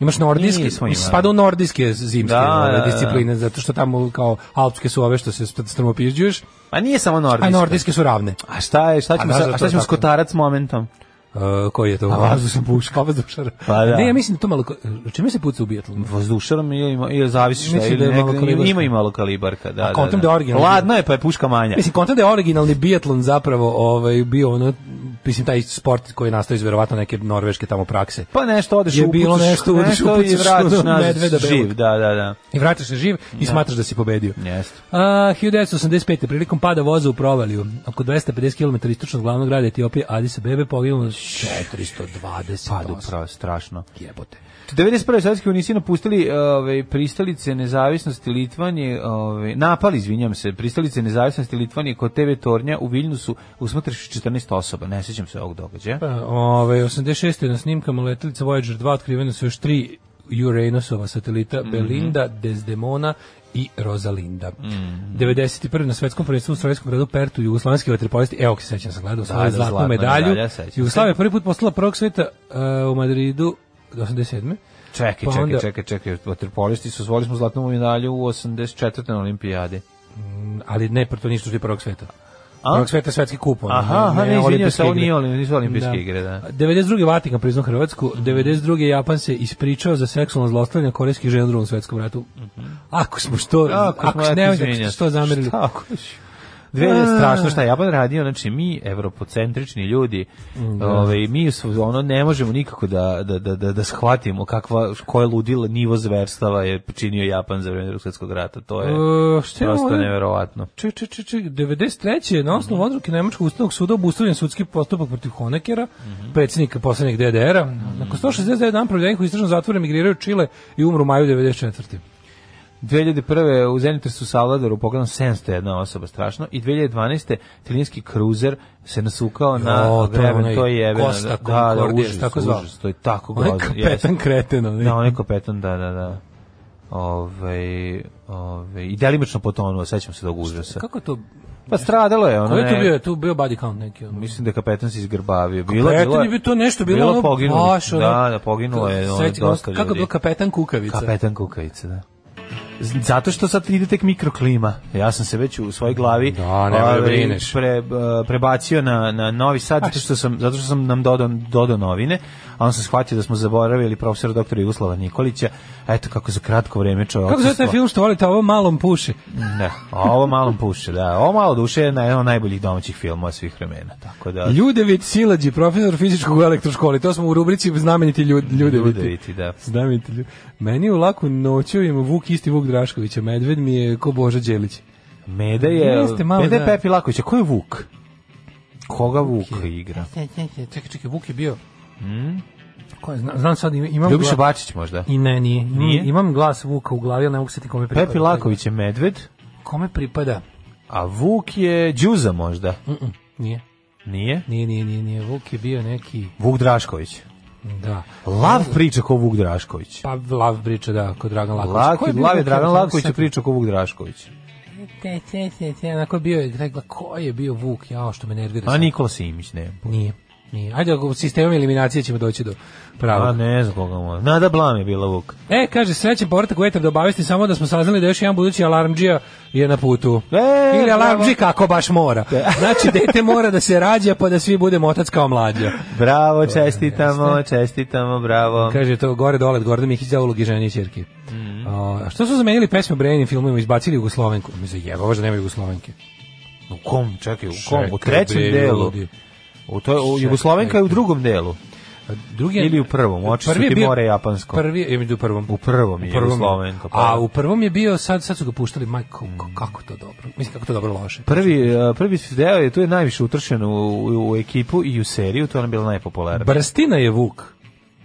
[SPEAKER 6] Imaš nordijske,
[SPEAKER 5] Nismo imali.
[SPEAKER 6] spada u nordijske zimske
[SPEAKER 5] Da,
[SPEAKER 6] ove,
[SPEAKER 5] da, da.
[SPEAKER 6] discipline, zato što tamo kao alpske su ove što se st- strmopirđuješ,
[SPEAKER 5] A nije samo
[SPEAKER 6] a
[SPEAKER 5] nordijska.
[SPEAKER 6] nordijske su ravne.
[SPEAKER 5] A šta je, šta
[SPEAKER 6] A
[SPEAKER 5] ćemo,
[SPEAKER 6] da,
[SPEAKER 5] sa-
[SPEAKER 6] zato
[SPEAKER 5] a šta
[SPEAKER 6] je
[SPEAKER 5] ćemo
[SPEAKER 6] tako.
[SPEAKER 5] skotarac s momentom?
[SPEAKER 6] E, koji je to?
[SPEAKER 5] A
[SPEAKER 6] vazdušan puška. vazdušar.
[SPEAKER 5] Pa da.
[SPEAKER 6] Ne, ja mislim da to malo... ko- Čime se puca u biatlonu?
[SPEAKER 5] Vazdušarom ili, ima- ili zavisi šta,
[SPEAKER 6] Mislim
[SPEAKER 5] ili
[SPEAKER 6] da je
[SPEAKER 5] negde-
[SPEAKER 6] malo kalibarka.
[SPEAKER 5] ima i malo kalibarka, da,
[SPEAKER 6] A
[SPEAKER 5] da,
[SPEAKER 6] kontam
[SPEAKER 5] da.
[SPEAKER 6] da je originalno.
[SPEAKER 5] Ladno je, pa je puška manja.
[SPEAKER 6] Mislim, kontam da je originalni biatlon zapravo ovaj, bio ono, mislim, taj sport koji je nastao iz verovatno neke norveške tamo prakse.
[SPEAKER 5] Pa nešto odeš,
[SPEAKER 6] Je bilo
[SPEAKER 5] upucaš-
[SPEAKER 6] nešto, odeš,
[SPEAKER 5] i
[SPEAKER 6] upucaš
[SPEAKER 5] vratiš
[SPEAKER 6] ono
[SPEAKER 5] nazad
[SPEAKER 6] medveda
[SPEAKER 5] živ,
[SPEAKER 6] belog.
[SPEAKER 5] da, da, da.
[SPEAKER 6] I vraćaš se živ i smatraš da si pobedio.
[SPEAKER 5] Jeste.
[SPEAKER 6] A, 1985. prilikom pada voza u provaliju, oko 250 km istočno od glavnog grada Etiopije, Addis Abebe poginulo 420
[SPEAKER 5] Padu, pravo, strašno.
[SPEAKER 6] Jebote.
[SPEAKER 5] 91. sovjetski unisi napustili ove, pristalice nezavisnosti Litvanje, ove, napali, izvinjam se, pristalice nezavisnosti Litvanje kod TV Tornja u Viljnusu usmatraši 14 osoba. Ne sjećam se ovog događaja.
[SPEAKER 6] Pa, Ove, 86. na snimkama letelica Voyager 2 otkrivene su još tri Uranusova satelita
[SPEAKER 5] Mhm.
[SPEAKER 6] Belinda, Desdemona i Rosalinda.
[SPEAKER 5] Mhm.
[SPEAKER 6] 91. na svetskom prvenstvu u Sovjetskom gradu Pertu jugoslovenski vaterpolisti, evo se sećam sam gledao, osvojili
[SPEAKER 5] da,
[SPEAKER 6] zlatnu
[SPEAKER 5] zlatna
[SPEAKER 6] medalju.
[SPEAKER 5] medalja, sećam se.
[SPEAKER 6] Jugoslavija je prvi put postala prvog sveta e, u Madridu 87.
[SPEAKER 5] Čekaj,
[SPEAKER 6] pa
[SPEAKER 5] čekaj,
[SPEAKER 6] onda-
[SPEAKER 5] čekaj, čekaj, vaterpolisti su zvoli smo zlatnu medalju u 84. na olimpijadi.
[SPEAKER 6] ali ne, pa to nisu šli prvog sveta.
[SPEAKER 5] A?
[SPEAKER 6] Prvog sveta je svetski kup. ono,
[SPEAKER 5] Aha, aha, ne, izvinjam
[SPEAKER 6] olimpijske
[SPEAKER 5] se, ovo
[SPEAKER 6] igre.
[SPEAKER 5] nije olim- nisu olimpijske igre, da.
[SPEAKER 6] 92. Vatikan priznao Hrvatsku, 92. Japan se ispričao za seksualno zlostavljanje korejskih žena u drugom svetskom ratu. Ako smo što, ako,
[SPEAKER 5] Mhm. smo, eto,
[SPEAKER 6] ne,
[SPEAKER 5] izvinjam
[SPEAKER 6] ako
[SPEAKER 5] se.
[SPEAKER 6] što zamerili.
[SPEAKER 5] Šta ako ću? Dve je strašno šta je Japan radio, znači mi evropocentrični ljudi,
[SPEAKER 6] Mm,
[SPEAKER 5] ovaj mi su, ono ne možemo nikako da da da da, da shvatimo kakva koje ludilo nivo zverstava je počinio Japan za vreme Drugog svetskog rata. To je
[SPEAKER 6] E, šta je ovo?
[SPEAKER 5] prosto neverovatno.
[SPEAKER 6] Ček, ček, ček, ček, 93. je na osnovu
[SPEAKER 5] Mhm.
[SPEAKER 6] odluke Nemačkog ustavnog suda obustavljen sudski postupak protiv Honekera,
[SPEAKER 5] Mhm.
[SPEAKER 6] predsjednika poslednjeg DDR-a. Nakon 169 dana provedenih u istražnom zatvoru emigriraju u Čile i umru u maju 94.
[SPEAKER 5] 2001. u Zenitresu Salvadoru pogledano 701 osoba strašno i 2012. italijanski kruzer se nasukao na
[SPEAKER 6] Jo, to je
[SPEAKER 5] Bremen,
[SPEAKER 6] onaj
[SPEAKER 5] to je jebeno.
[SPEAKER 6] Costa
[SPEAKER 5] Da, da, da,
[SPEAKER 6] Concordia,
[SPEAKER 5] užas,
[SPEAKER 6] tako zvao.
[SPEAKER 5] užas, to je tako
[SPEAKER 6] Onaj
[SPEAKER 5] grozno. jeste.
[SPEAKER 6] kapetan kreten, ono, onaj.
[SPEAKER 5] Da, onaj kapetan, da, da, da. Ove, ove, I delimično potonuo, sećam se tog užasa.
[SPEAKER 6] Kako to?
[SPEAKER 5] Pa stradalo je ono.
[SPEAKER 6] Ko je tu
[SPEAKER 5] ne,
[SPEAKER 6] bio? Tu bio body count neki. Ono.
[SPEAKER 5] Mislim da je kapetan se izgrbavio. Bilo,
[SPEAKER 6] Kapetan
[SPEAKER 5] bilo,
[SPEAKER 6] je bio to nešto, bilo ono
[SPEAKER 5] poginulo.
[SPEAKER 6] baš ono-
[SPEAKER 5] Da, da, poginulo je ono,
[SPEAKER 6] Sećam,
[SPEAKER 5] dosta
[SPEAKER 6] Kako je
[SPEAKER 5] ljudi.
[SPEAKER 6] bio kapetan kukavica?
[SPEAKER 5] Kapetan kukavica, da. Z- Zato što sad ide tek mikroklima. Ja sam se već u svojoj glavi
[SPEAKER 6] Da, nemoj da
[SPEAKER 5] ovaj,
[SPEAKER 6] brineš.
[SPEAKER 5] pre- eh, prebacio na, na Novi Sad zato što sam zato što sam nam dodao dodao novine, a on se shvatio da smo zaboravili profesora doktora Jugoslava Nikolića. Eto kako za kratko vreme čovjek.
[SPEAKER 6] Kako zove taj film što volite, ovo malom puše?
[SPEAKER 5] Da, a ovo malo puše, da. Ovo malo duše je jedan od najboljih domaćih filmova svih vremena. Tako da
[SPEAKER 6] Ljudevit Silađi, profesor fizičkog u elektroškoli. To smo u rubrici znameniti ljud, Ljudeviti.
[SPEAKER 5] Ljudeviti, da.
[SPEAKER 6] Znameniti ljud. Meni u laku noću ima Vuk isti Vuk Draškovića. Medved mi je ko Boža Đelić.
[SPEAKER 5] Meda je,
[SPEAKER 6] Jeste, malo
[SPEAKER 5] Meda je
[SPEAKER 6] da.
[SPEAKER 5] Pepi Lakovića. Ko je Vuk? Koga Vuk igra?
[SPEAKER 6] Čekaj, čekaj, Vuk je bio... Ko je, znam, znam sad, imam...
[SPEAKER 5] Hmm? Ljubiša
[SPEAKER 6] gla-
[SPEAKER 5] Bačić možda.
[SPEAKER 6] I ne, nije. Imam-
[SPEAKER 5] Nije?
[SPEAKER 6] Imam glas Vuka u glavi, ali ne mogu se ti kome pripada.
[SPEAKER 5] Pepi Laković je Medved,
[SPEAKER 6] Kome pripada?
[SPEAKER 5] a Vuk je Đuza možda.
[SPEAKER 6] Nije.
[SPEAKER 5] Nije?
[SPEAKER 6] Nije, nije, nije, nije. Vuk je bio neki...
[SPEAKER 5] Vuk Drašković.
[SPEAKER 6] Da.
[SPEAKER 5] Lav priča ko Vuk Drašković.
[SPEAKER 6] Pa Lav priča, da, kod Dragan Laković.
[SPEAKER 5] Lak,
[SPEAKER 6] Ko je bio
[SPEAKER 5] Lav je
[SPEAKER 6] Vuk?
[SPEAKER 5] Dragan
[SPEAKER 6] Ne mogu
[SPEAKER 5] Laković je
[SPEAKER 6] sad-
[SPEAKER 5] priča ko Vuk Drašković.
[SPEAKER 6] Te, te, te, te, onako bio je, rekla, ko je bio Vuk, jao, što me nervira.
[SPEAKER 5] A
[SPEAKER 6] sad.
[SPEAKER 5] Nikola Simić, ne.
[SPEAKER 6] Nije, nije. Ajde, ako sistemom eliminacije ćemo doći do
[SPEAKER 5] A
[SPEAKER 6] prava.
[SPEAKER 5] ne znam koga mora. Nada Blam je bila Vuk.
[SPEAKER 6] E, kaže, srećen povratak u etar da obavesti samo da smo saznali da još jedan budući alarmđija je na putu.
[SPEAKER 5] E,
[SPEAKER 6] Ili alarmđi
[SPEAKER 5] bravo. E.
[SPEAKER 6] kako baš mora. Znači, dete mora da se rađa pa da svi budemo otac kao mlađa.
[SPEAKER 5] Bravo, čestitamo, čestitamo, bravo.
[SPEAKER 6] Kaže to gore dole, Gordon Mihić za ulogi žene i ćerke.
[SPEAKER 5] Mhm.
[SPEAKER 6] A, a što su zamenili pesme u Brejanim filmovima, izbacili Jugoslovenku? Mi se jebava da nema Jugoslovenke.
[SPEAKER 5] U kom, čekaj, u kom? U
[SPEAKER 6] Čekaj,
[SPEAKER 5] trećem
[SPEAKER 6] bre,
[SPEAKER 5] delu.
[SPEAKER 6] ljudi.
[SPEAKER 5] U to, u Jugoslovenka je u drugom delu.
[SPEAKER 6] A Drugi je-
[SPEAKER 5] Ili u prvom, oči su
[SPEAKER 6] Prvi je
[SPEAKER 5] ti
[SPEAKER 6] bio-
[SPEAKER 5] more japansko.
[SPEAKER 6] Prvi je među prvom.
[SPEAKER 5] U prvom je Jugoslovenka. pa. Mm.
[SPEAKER 6] A u prvom je bio sad sad su ga puštali majko k- kako to dobro. Mislim kako to dobro loše.
[SPEAKER 5] Prvi, a, prvi deo je tu je najviše utršen u, u, u ekipu i u seriju, to je ona bila najpopularnija.
[SPEAKER 6] Brstina je Vuk.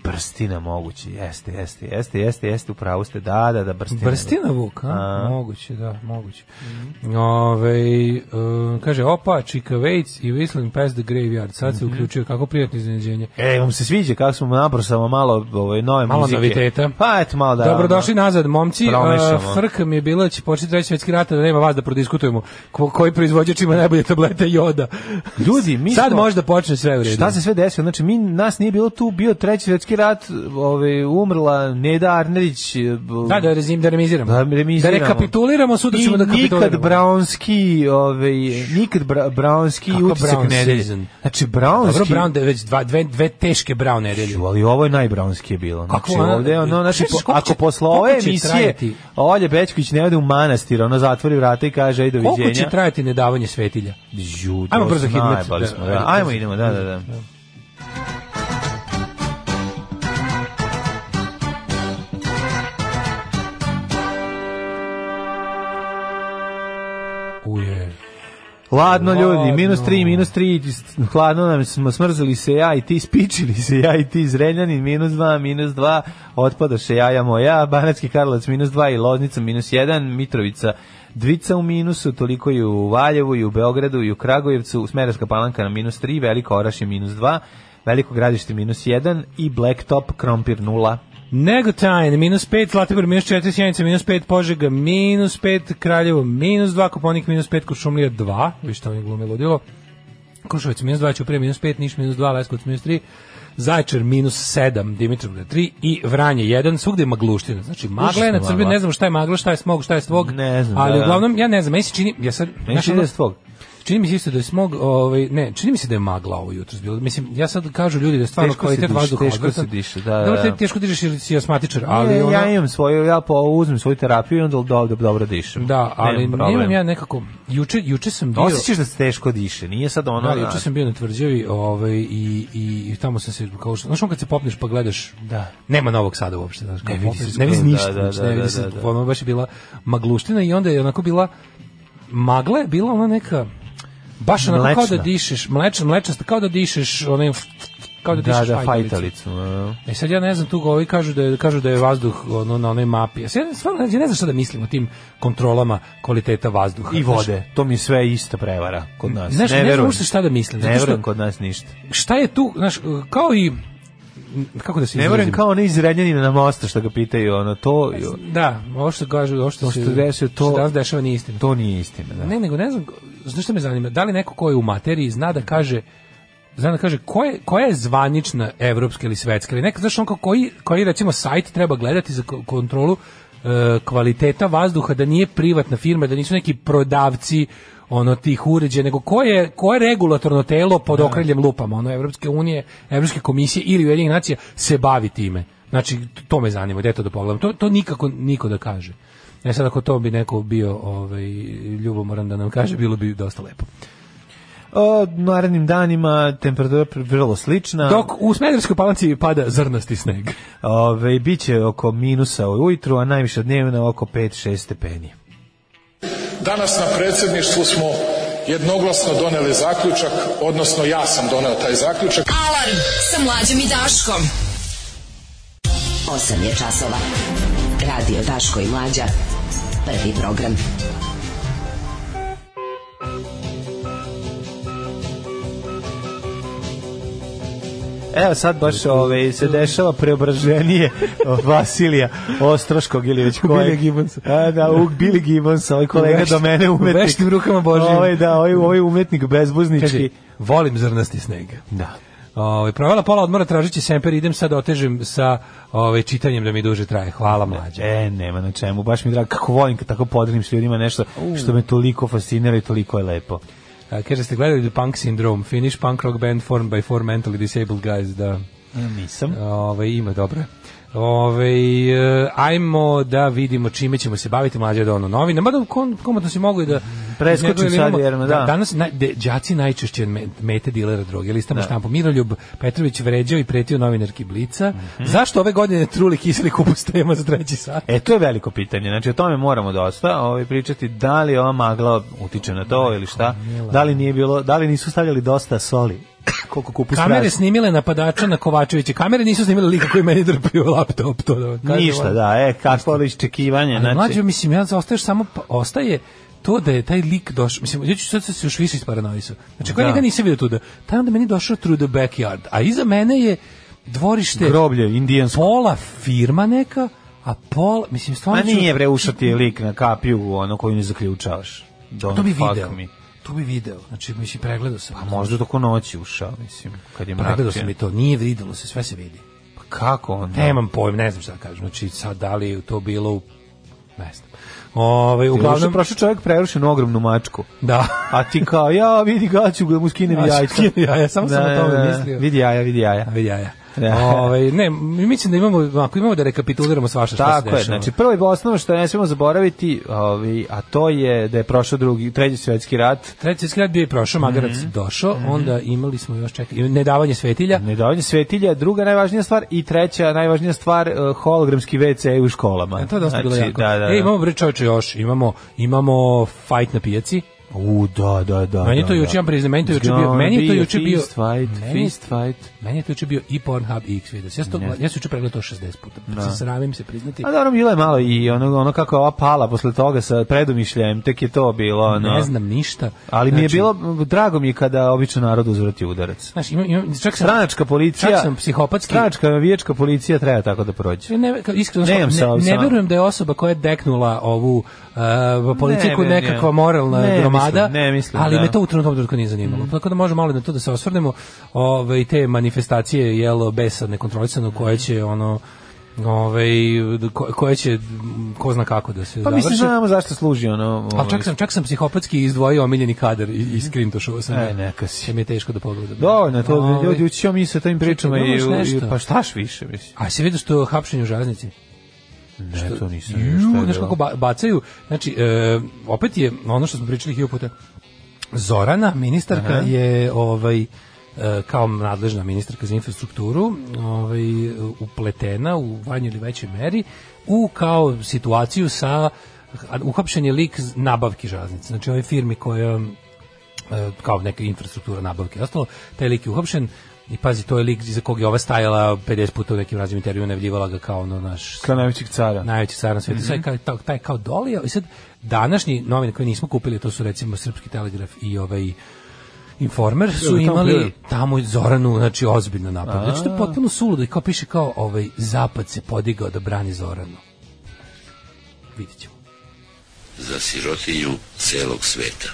[SPEAKER 5] Brstina mogući, jeste, jeste, jeste, jeste, jeste, upravo ste, da, da, da, Brstina.
[SPEAKER 6] Brstina Vuk, a? Moguće, da, moguće.
[SPEAKER 5] Mhm.
[SPEAKER 6] Ovej, e, kaže, opa, Chica Waits i Whistling Past the Graveyard. Sad
[SPEAKER 5] Mhm.
[SPEAKER 6] se uključio, kako prijatno iznenađenje.
[SPEAKER 5] E, vam se sviđa kako smo naprosamo malo ove, nove
[SPEAKER 6] Malo
[SPEAKER 5] muzike.
[SPEAKER 6] noviteta.
[SPEAKER 5] Pa, eto, malo da...
[SPEAKER 6] Dobrodošli nazad, momci.
[SPEAKER 5] Promešamo.
[SPEAKER 6] E, Frk mi je bilo da će početi treći svetski rat, a da nema vas da prodiskutujemo ko- koji proizvođač ima najbolje tablete joda.
[SPEAKER 5] Ljudi, mi
[SPEAKER 6] Sad
[SPEAKER 5] smo-
[SPEAKER 6] možda počne sve u redu.
[SPEAKER 5] Šta se sve desilo? Znači, mi, nas nije bilo tu, bio treći svjetski rat, ove, umrla Neda Arnerić, e, b-
[SPEAKER 6] Da, da, rezim, da remiziramo.
[SPEAKER 5] Da remiziramo.
[SPEAKER 6] Da rekapituliramo, sutra
[SPEAKER 5] I
[SPEAKER 6] ćemo da kapituliramo.
[SPEAKER 5] Nikad Brownski, ovaj nikad bra, Brownski
[SPEAKER 6] Kako
[SPEAKER 5] utisak
[SPEAKER 6] Brown
[SPEAKER 5] nedelje.
[SPEAKER 6] season?
[SPEAKER 5] Znači
[SPEAKER 6] Dobro,
[SPEAKER 5] Brownski.
[SPEAKER 6] Brown, da je već dva, dve, dve teške Brown nedelje.
[SPEAKER 5] Ju, ali ovo je najbrownski je bilo. Znači,
[SPEAKER 6] Kako ona-
[SPEAKER 5] ovde, ono, znači,
[SPEAKER 6] Kažeš,
[SPEAKER 5] po-
[SPEAKER 6] koliko će-
[SPEAKER 5] ako posle
[SPEAKER 6] koliko
[SPEAKER 5] ove
[SPEAKER 6] će
[SPEAKER 5] emisije
[SPEAKER 6] trajati?
[SPEAKER 5] Olje Bećković ne ode u manastir, ono zatvori vrata i kaže, ej, doviđenja.
[SPEAKER 6] Koliko će trajati nedavanje svetilja?
[SPEAKER 5] Ju,
[SPEAKER 6] Ajmo
[SPEAKER 5] to
[SPEAKER 6] brzo
[SPEAKER 5] smo
[SPEAKER 6] hitmet.
[SPEAKER 5] najbali smo,
[SPEAKER 6] Da,
[SPEAKER 5] da.
[SPEAKER 6] ajde.
[SPEAKER 5] Ajmo, idemo, da, da, da.
[SPEAKER 6] Uje.
[SPEAKER 5] Hladno ljudi,
[SPEAKER 6] Hladno.
[SPEAKER 5] minus 3, minus 3, hladno nam smo smrzli se ja i ti, spičili se ja i ti, Zrenjanin minus 2, minus 2, otpadoše jaja moja, Banatski Karlovac minus 2 i Loznica minus 1, Mitrovica Dvica u minusu, toliko i u Valjevu i u Beogradu i u Kragujevcu, Smerovska palanka na minus 3, Veliko Oraš je minus 2, Veliko gradište minus 1 i Blacktop Krompir 0.
[SPEAKER 6] Negotajn, minus 5, Zlatibor, minus 4, Sjenica, minus 5, Požega, minus 5, Kraljevo, minus 2, Koponik, minus 5, Košumlija, 2, vi što oni glume ludilo, Krušovac, minus 2, Ćuprije, minus 5, Niš, minus 2, Leskovac, minus 3, Zaječar, minus 7, Dimitrovgrad, 3 i Vranje, 1, svugde je magluština, znači magla je na
[SPEAKER 5] Užasno
[SPEAKER 6] crbi,
[SPEAKER 5] magla.
[SPEAKER 6] ne znam šta je magla, šta je smog, šta je svog,
[SPEAKER 5] Ne znam,
[SPEAKER 6] ali
[SPEAKER 5] da.
[SPEAKER 6] uglavnom, ja ne znam, meni se čini, ja sad,
[SPEAKER 5] Meni
[SPEAKER 6] znaš,
[SPEAKER 5] se
[SPEAKER 6] ono-
[SPEAKER 5] ide s tvog.
[SPEAKER 6] Čini mi se isto da je smog, ovaj, ne, čini mi se da je magla ovo jutro bilo. Mislim, ja sad kažu ljudi da je stvarno
[SPEAKER 5] Teško se
[SPEAKER 6] kvalitet
[SPEAKER 5] diše,
[SPEAKER 6] vazduha.
[SPEAKER 5] teško
[SPEAKER 6] odvratan.
[SPEAKER 5] se diše, da, da,
[SPEAKER 6] Dobro, te
[SPEAKER 5] da.
[SPEAKER 6] teško dižeš ili si asmatičar, ali
[SPEAKER 5] Ali
[SPEAKER 6] ono,
[SPEAKER 5] E, ja imam svoju, ja po, uzmem svoju terapiju i onda dobro, dobro dišem.
[SPEAKER 6] da, ali
[SPEAKER 5] Nemam problem.
[SPEAKER 6] nemam ja nekako, juče, juče sam bio...
[SPEAKER 5] Osjećaš da se teško diše, nije sad ono...
[SPEAKER 6] Da, juče sam bio na tvrđavi ovaj, i, i, i tamo sam se, kao što, znaš on kad se popneš pa gledaš,
[SPEAKER 5] Da.
[SPEAKER 6] nema novog sada uopšte, znaš, kao
[SPEAKER 5] Ne vidi
[SPEAKER 6] popneš,
[SPEAKER 5] se
[SPEAKER 6] ne vidi
[SPEAKER 5] skroz,
[SPEAKER 6] ništa,
[SPEAKER 5] da, da,
[SPEAKER 6] znači, ne
[SPEAKER 5] da,
[SPEAKER 6] vidi
[SPEAKER 5] da,
[SPEAKER 6] se,
[SPEAKER 5] da, da.
[SPEAKER 6] ono baš je bila magluština i onda je onako bila, magla je bila ona neka, baš onako kao
[SPEAKER 5] Mlečna.
[SPEAKER 6] da dišeš, mlečna, mlečasta, kao da dišeš, onaj, kao da
[SPEAKER 5] da,
[SPEAKER 6] dišeš
[SPEAKER 5] da,
[SPEAKER 6] fajtalicu.
[SPEAKER 5] fajtalicu. da.
[SPEAKER 6] E sad ja ne znam, tu govi kažu da je, kažu da je vazduh ono, na onoj mapi. Ja, sad, ja stvarno ja ne znam šta da mislim o tim kontrolama kvaliteta vazduha.
[SPEAKER 5] I vode, to mi je sve ista prevara kod nas.
[SPEAKER 6] Znaš, ne
[SPEAKER 5] ne
[SPEAKER 6] znam
[SPEAKER 5] verujem.
[SPEAKER 6] uopšte šta da mislim.
[SPEAKER 5] Ne
[SPEAKER 6] Zato
[SPEAKER 5] verujem
[SPEAKER 6] što,
[SPEAKER 5] kod nas ništa.
[SPEAKER 6] šta je tu, znaš, kao i... Kako da se
[SPEAKER 5] Ne
[SPEAKER 6] izrazim?
[SPEAKER 5] verujem kao oni iz Renjanina na mostu što ga pitaju, ono, to,
[SPEAKER 6] Da, ovo što kažu, ovo što,
[SPEAKER 5] Ovo što desi, to-
[SPEAKER 6] što danas dešava nije istina.
[SPEAKER 5] to nije istina. Da.
[SPEAKER 6] Ne, nego ne znam, znaš što me zanima, da li neko ko je u materiji zna da kaže zna da kaže koja koja je zvanična evropska ili svetska ili neka znaš on kao koji koji recimo sajt treba gledati za ko- kontrolu e, kvaliteta vazduha da nije privatna firma da nisu neki prodavci ono tih uređaja, nego koje koje regulatorno telo pod okriljem lupama, ono Evropske unije, Evropske komisije ili Ujedinjenih nacija se bavi time. Znači to me zanima, gde to da pogledam. To to nikako niko da kaže. E sad ako to bi neko bio ovaj ljubomoran da nam kaže, bilo bi dosta lepo.
[SPEAKER 5] O, narednim danima temperatura pr- vrlo slična.
[SPEAKER 6] Dok u Smederskoj palanci pada zrnasti sneg.
[SPEAKER 5] Ove, biće oko minusa ujutru, a najviše dnevno oko 5-6 stepeni.
[SPEAKER 1] Danas na predsjedništvu smo jednoglasno doneli zaključak, odnosno ja sam doneo taj zaključak.
[SPEAKER 4] Alarm sa mlađom i Daškom.
[SPEAKER 7] 8 je časova. Radio Daško i Mlađa. Prvi program.
[SPEAKER 5] Evo sad baš ove, se dešava preobraženije Vasilija Ostroškog ili već kojeg.
[SPEAKER 6] Billy Gibbonsa.
[SPEAKER 5] A, da, u Billy Gibbonsa, ovaj kolega
[SPEAKER 6] vešt-
[SPEAKER 5] do mene
[SPEAKER 6] u
[SPEAKER 5] umetnik.
[SPEAKER 6] veštim rukama Božijim.
[SPEAKER 5] Ovaj, da, ovaj, ovaj umetnik
[SPEAKER 6] Kaže,
[SPEAKER 5] bezbuznički.
[SPEAKER 6] volim zrnasti sneg.
[SPEAKER 5] Da.
[SPEAKER 6] Ovaj provela pola odmora tražeći semper, idem sad da otežem sa ovaj čitanjem da mi duže traje. Hvala mlađe.
[SPEAKER 5] E, nema na čemu, baš mi je drago, kako volim kad tako podrim s ljudima nešto što me toliko fascinira i toliko je lepo.
[SPEAKER 6] A, Kaže ste gledali The Punk Syndrome, Finnish punk rock band formed by four mentally disabled guys, da.
[SPEAKER 5] Nisam.
[SPEAKER 6] Ove, ima dobro. Ove, e, ajmo da vidimo čime ćemo se baviti mlađe da ono novine. Mada kom, komotno si mogu i da...
[SPEAKER 5] Preskočim
[SPEAKER 6] iz njegove
[SPEAKER 5] sad,
[SPEAKER 6] imamo-
[SPEAKER 5] jer me, da.
[SPEAKER 6] Danas naj, de, đaci najčešće me- mete dilera droge. Listamo da. štampu. Miroljub Petrović vređao i pretio novinarki Blica.
[SPEAKER 5] Mhm.
[SPEAKER 6] Zašto ove godine truli kiseli kupus tema za treći sat?
[SPEAKER 5] E, to je veliko pitanje, znači o tome moramo dosta ovaj, pričati, da li ova magla utiče na to ili šta, da li, nije bilo, da li nisu stavljali dosta soli, koliko kupus
[SPEAKER 6] Kamere
[SPEAKER 5] praži.
[SPEAKER 6] snimile napadača na Kovačevića. Kamere nisu snimile lika koji meni drpio laptop. To da vam kažem.
[SPEAKER 5] Ništa, da, e, kakvo li iščekivanje,
[SPEAKER 6] Ali znači,
[SPEAKER 5] znači,
[SPEAKER 6] mlađo, mislim, ja ostaješ samo, pa- ostaje to da je taj lik došao, mislim, ja ću sad se još više isparanoisao. Znači, ako ja
[SPEAKER 5] Da.
[SPEAKER 6] njega nisam vidio tuda, taj onda meni došao through the backyard, a iza mene je dvorište
[SPEAKER 5] groblje, indijansko.
[SPEAKER 6] pola firma neka, a pola, mislim,
[SPEAKER 5] Ma
[SPEAKER 6] stvarno ću-
[SPEAKER 5] nije bre ušao ti je lik na kapiju, ono koju ne zaključavaš. Don't
[SPEAKER 6] to bi
[SPEAKER 5] fuck
[SPEAKER 6] video.
[SPEAKER 5] me.
[SPEAKER 6] To bi video. Znači, mislim, pregledao sam.
[SPEAKER 5] Pa možda dok u noći ušao, mislim, kad je
[SPEAKER 6] Pregledao
[SPEAKER 5] mrak.
[SPEAKER 6] Pa sam i to, nije videlo se, sve se vidi.
[SPEAKER 5] Pa kako onda?
[SPEAKER 6] Nemam pojma, ne znam šta da kažem. Znači, sad da li je to bilo u... Ne znam. Ove,
[SPEAKER 5] Uglavnom
[SPEAKER 6] uglavnom...
[SPEAKER 5] prošao čovjek prerušenu ogromnu mačku.
[SPEAKER 6] Da.
[SPEAKER 5] A ti kao, ja vidi gaću da mu skinem
[SPEAKER 6] A,
[SPEAKER 5] jajca.
[SPEAKER 6] skinem jaja, samo sam o tome
[SPEAKER 5] da, da.
[SPEAKER 6] mislio.
[SPEAKER 5] Vidi jaja, vidi jaja.
[SPEAKER 6] Vidi jaja.
[SPEAKER 5] Da.
[SPEAKER 6] Ove, Ovaj, ne, mi mislim da imamo, ako imamo da rekapituliramo svašta što se
[SPEAKER 5] Tako je,
[SPEAKER 6] dešava.
[SPEAKER 5] znači prvo i osnovno što ne smemo zaboraviti, ovaj, a to je da je prošao drugi, treći svjetski rat,
[SPEAKER 6] Znači, Treći svjetski rat bio je prošao, Magarac
[SPEAKER 5] Mhm.
[SPEAKER 6] došao, onda imali smo još čekaj, nedavanje svetilja.
[SPEAKER 5] nedavanje svetilja, druga najvažnija stvar i treća najvažnija stvar, eh, hologramski WC u školama. Znači,
[SPEAKER 6] E, to je dosta bilo jako.
[SPEAKER 5] Da, da, da.
[SPEAKER 6] E, imamo bre čoveče još, imamo, imamo fight na pijaci.
[SPEAKER 5] U, da, da, da.
[SPEAKER 6] Meni je
[SPEAKER 5] da,
[SPEAKER 6] to
[SPEAKER 5] da.
[SPEAKER 6] juče, ja priznam, meni je to
[SPEAKER 5] It's
[SPEAKER 6] juče bio-
[SPEAKER 5] gonna
[SPEAKER 6] meni je to
[SPEAKER 5] be a
[SPEAKER 6] juče bio-
[SPEAKER 5] Fist fight,
[SPEAKER 6] Meni-
[SPEAKER 5] fist fight.
[SPEAKER 6] Meni je to juče bio i Pornhub i Xvideos. Ja sam to, ja sam juče pregledao to 60 puta. Da. Sramim se priznati.
[SPEAKER 5] A dobro, bilo je malo i ono, ono kako je ova pala posle toga sa predomišljajem, tek je to bilo. Ono.
[SPEAKER 6] Ne znam ništa.
[SPEAKER 5] Ali mi je
[SPEAKER 6] Znači,
[SPEAKER 5] bilo, drago mi je kada obično narod uzvrati udarac.
[SPEAKER 6] Znaš, imam, imam, čak sam,
[SPEAKER 5] Stranačka policija,
[SPEAKER 6] čak sam psihopatski.
[SPEAKER 5] stranačka viječka policija treba tako da prođe.
[SPEAKER 6] Ne, kao, iskreno,
[SPEAKER 5] Nemam sa-
[SPEAKER 6] ne, ne,
[SPEAKER 5] sa-
[SPEAKER 6] verujem da je osoba koja je deknula ovu uh, politiku
[SPEAKER 5] Ne, ne, ne.
[SPEAKER 6] nekakva moralna
[SPEAKER 5] Ne,
[SPEAKER 6] gromada,
[SPEAKER 5] mislim, ne, mislim,
[SPEAKER 6] ali
[SPEAKER 5] da. Mm.
[SPEAKER 6] me to u trenutnom trenutku nije zanimalo. Tako da možemo malo na to da se osvrnemo. Ove, te manifestacije jelo besa nekontrolisano koje će ono ove, ko, koje će m, ko zna kako da se
[SPEAKER 5] Pa
[SPEAKER 6] završe.
[SPEAKER 5] mislim, znamo zašto služi ono...
[SPEAKER 6] Ali čak sam, čak sam psihopatski izdvojio omiljeni kadar i, i skrintošao sam.
[SPEAKER 5] E, neka si.
[SPEAKER 6] Jer mi je teško da pogledam.
[SPEAKER 5] Dovoljno, to
[SPEAKER 6] Ove,
[SPEAKER 5] ljudi učio mi se tim pričama i,
[SPEAKER 6] Čekaj, imaš
[SPEAKER 5] i-
[SPEAKER 6] nešto?
[SPEAKER 5] pa štaš više, mislim.
[SPEAKER 6] A si vidio što je hapšenje u železnici?
[SPEAKER 5] Ne, to nisam.
[SPEAKER 6] Ju, Mm, znaš kako ba- bacaju, znači, e, opet je ono što smo pričali hiljadu puta, Zorana, ministarka, je ovaj, e, kao nadležna ministarka za infrastrukturu ovaj, upletena u vanjoj ili većoj meri u kao situaciju sa uhapšen je lik z- nabavki žaznice, znači ove firmi koja e, kao neka infrastruktura nabavke i ostalo, taj lik je uhapšen i pazi, to je lik za kog je ova stajala 50 puta u nekim raznim intervjuima, najavljivala ga kao ono naš
[SPEAKER 5] Kao najvećeg cara.
[SPEAKER 6] najveći car na
[SPEAKER 5] Mhm.
[SPEAKER 6] svetu. Sad kao, taj, taj kao dolio i sad današnji novine koje nismo kupili, to su recimo Srpski telegraf i ovaj Informer su
[SPEAKER 5] tamo
[SPEAKER 6] imali
[SPEAKER 5] pljuje.
[SPEAKER 6] tamo Zoranu, znači ozbiljno napad. Znači to je potpuno suludo i kao piše kao ovaj zapad se podigao da brani Zoranu. Vidjet ćemo.
[SPEAKER 8] za sirotinju celog sveta.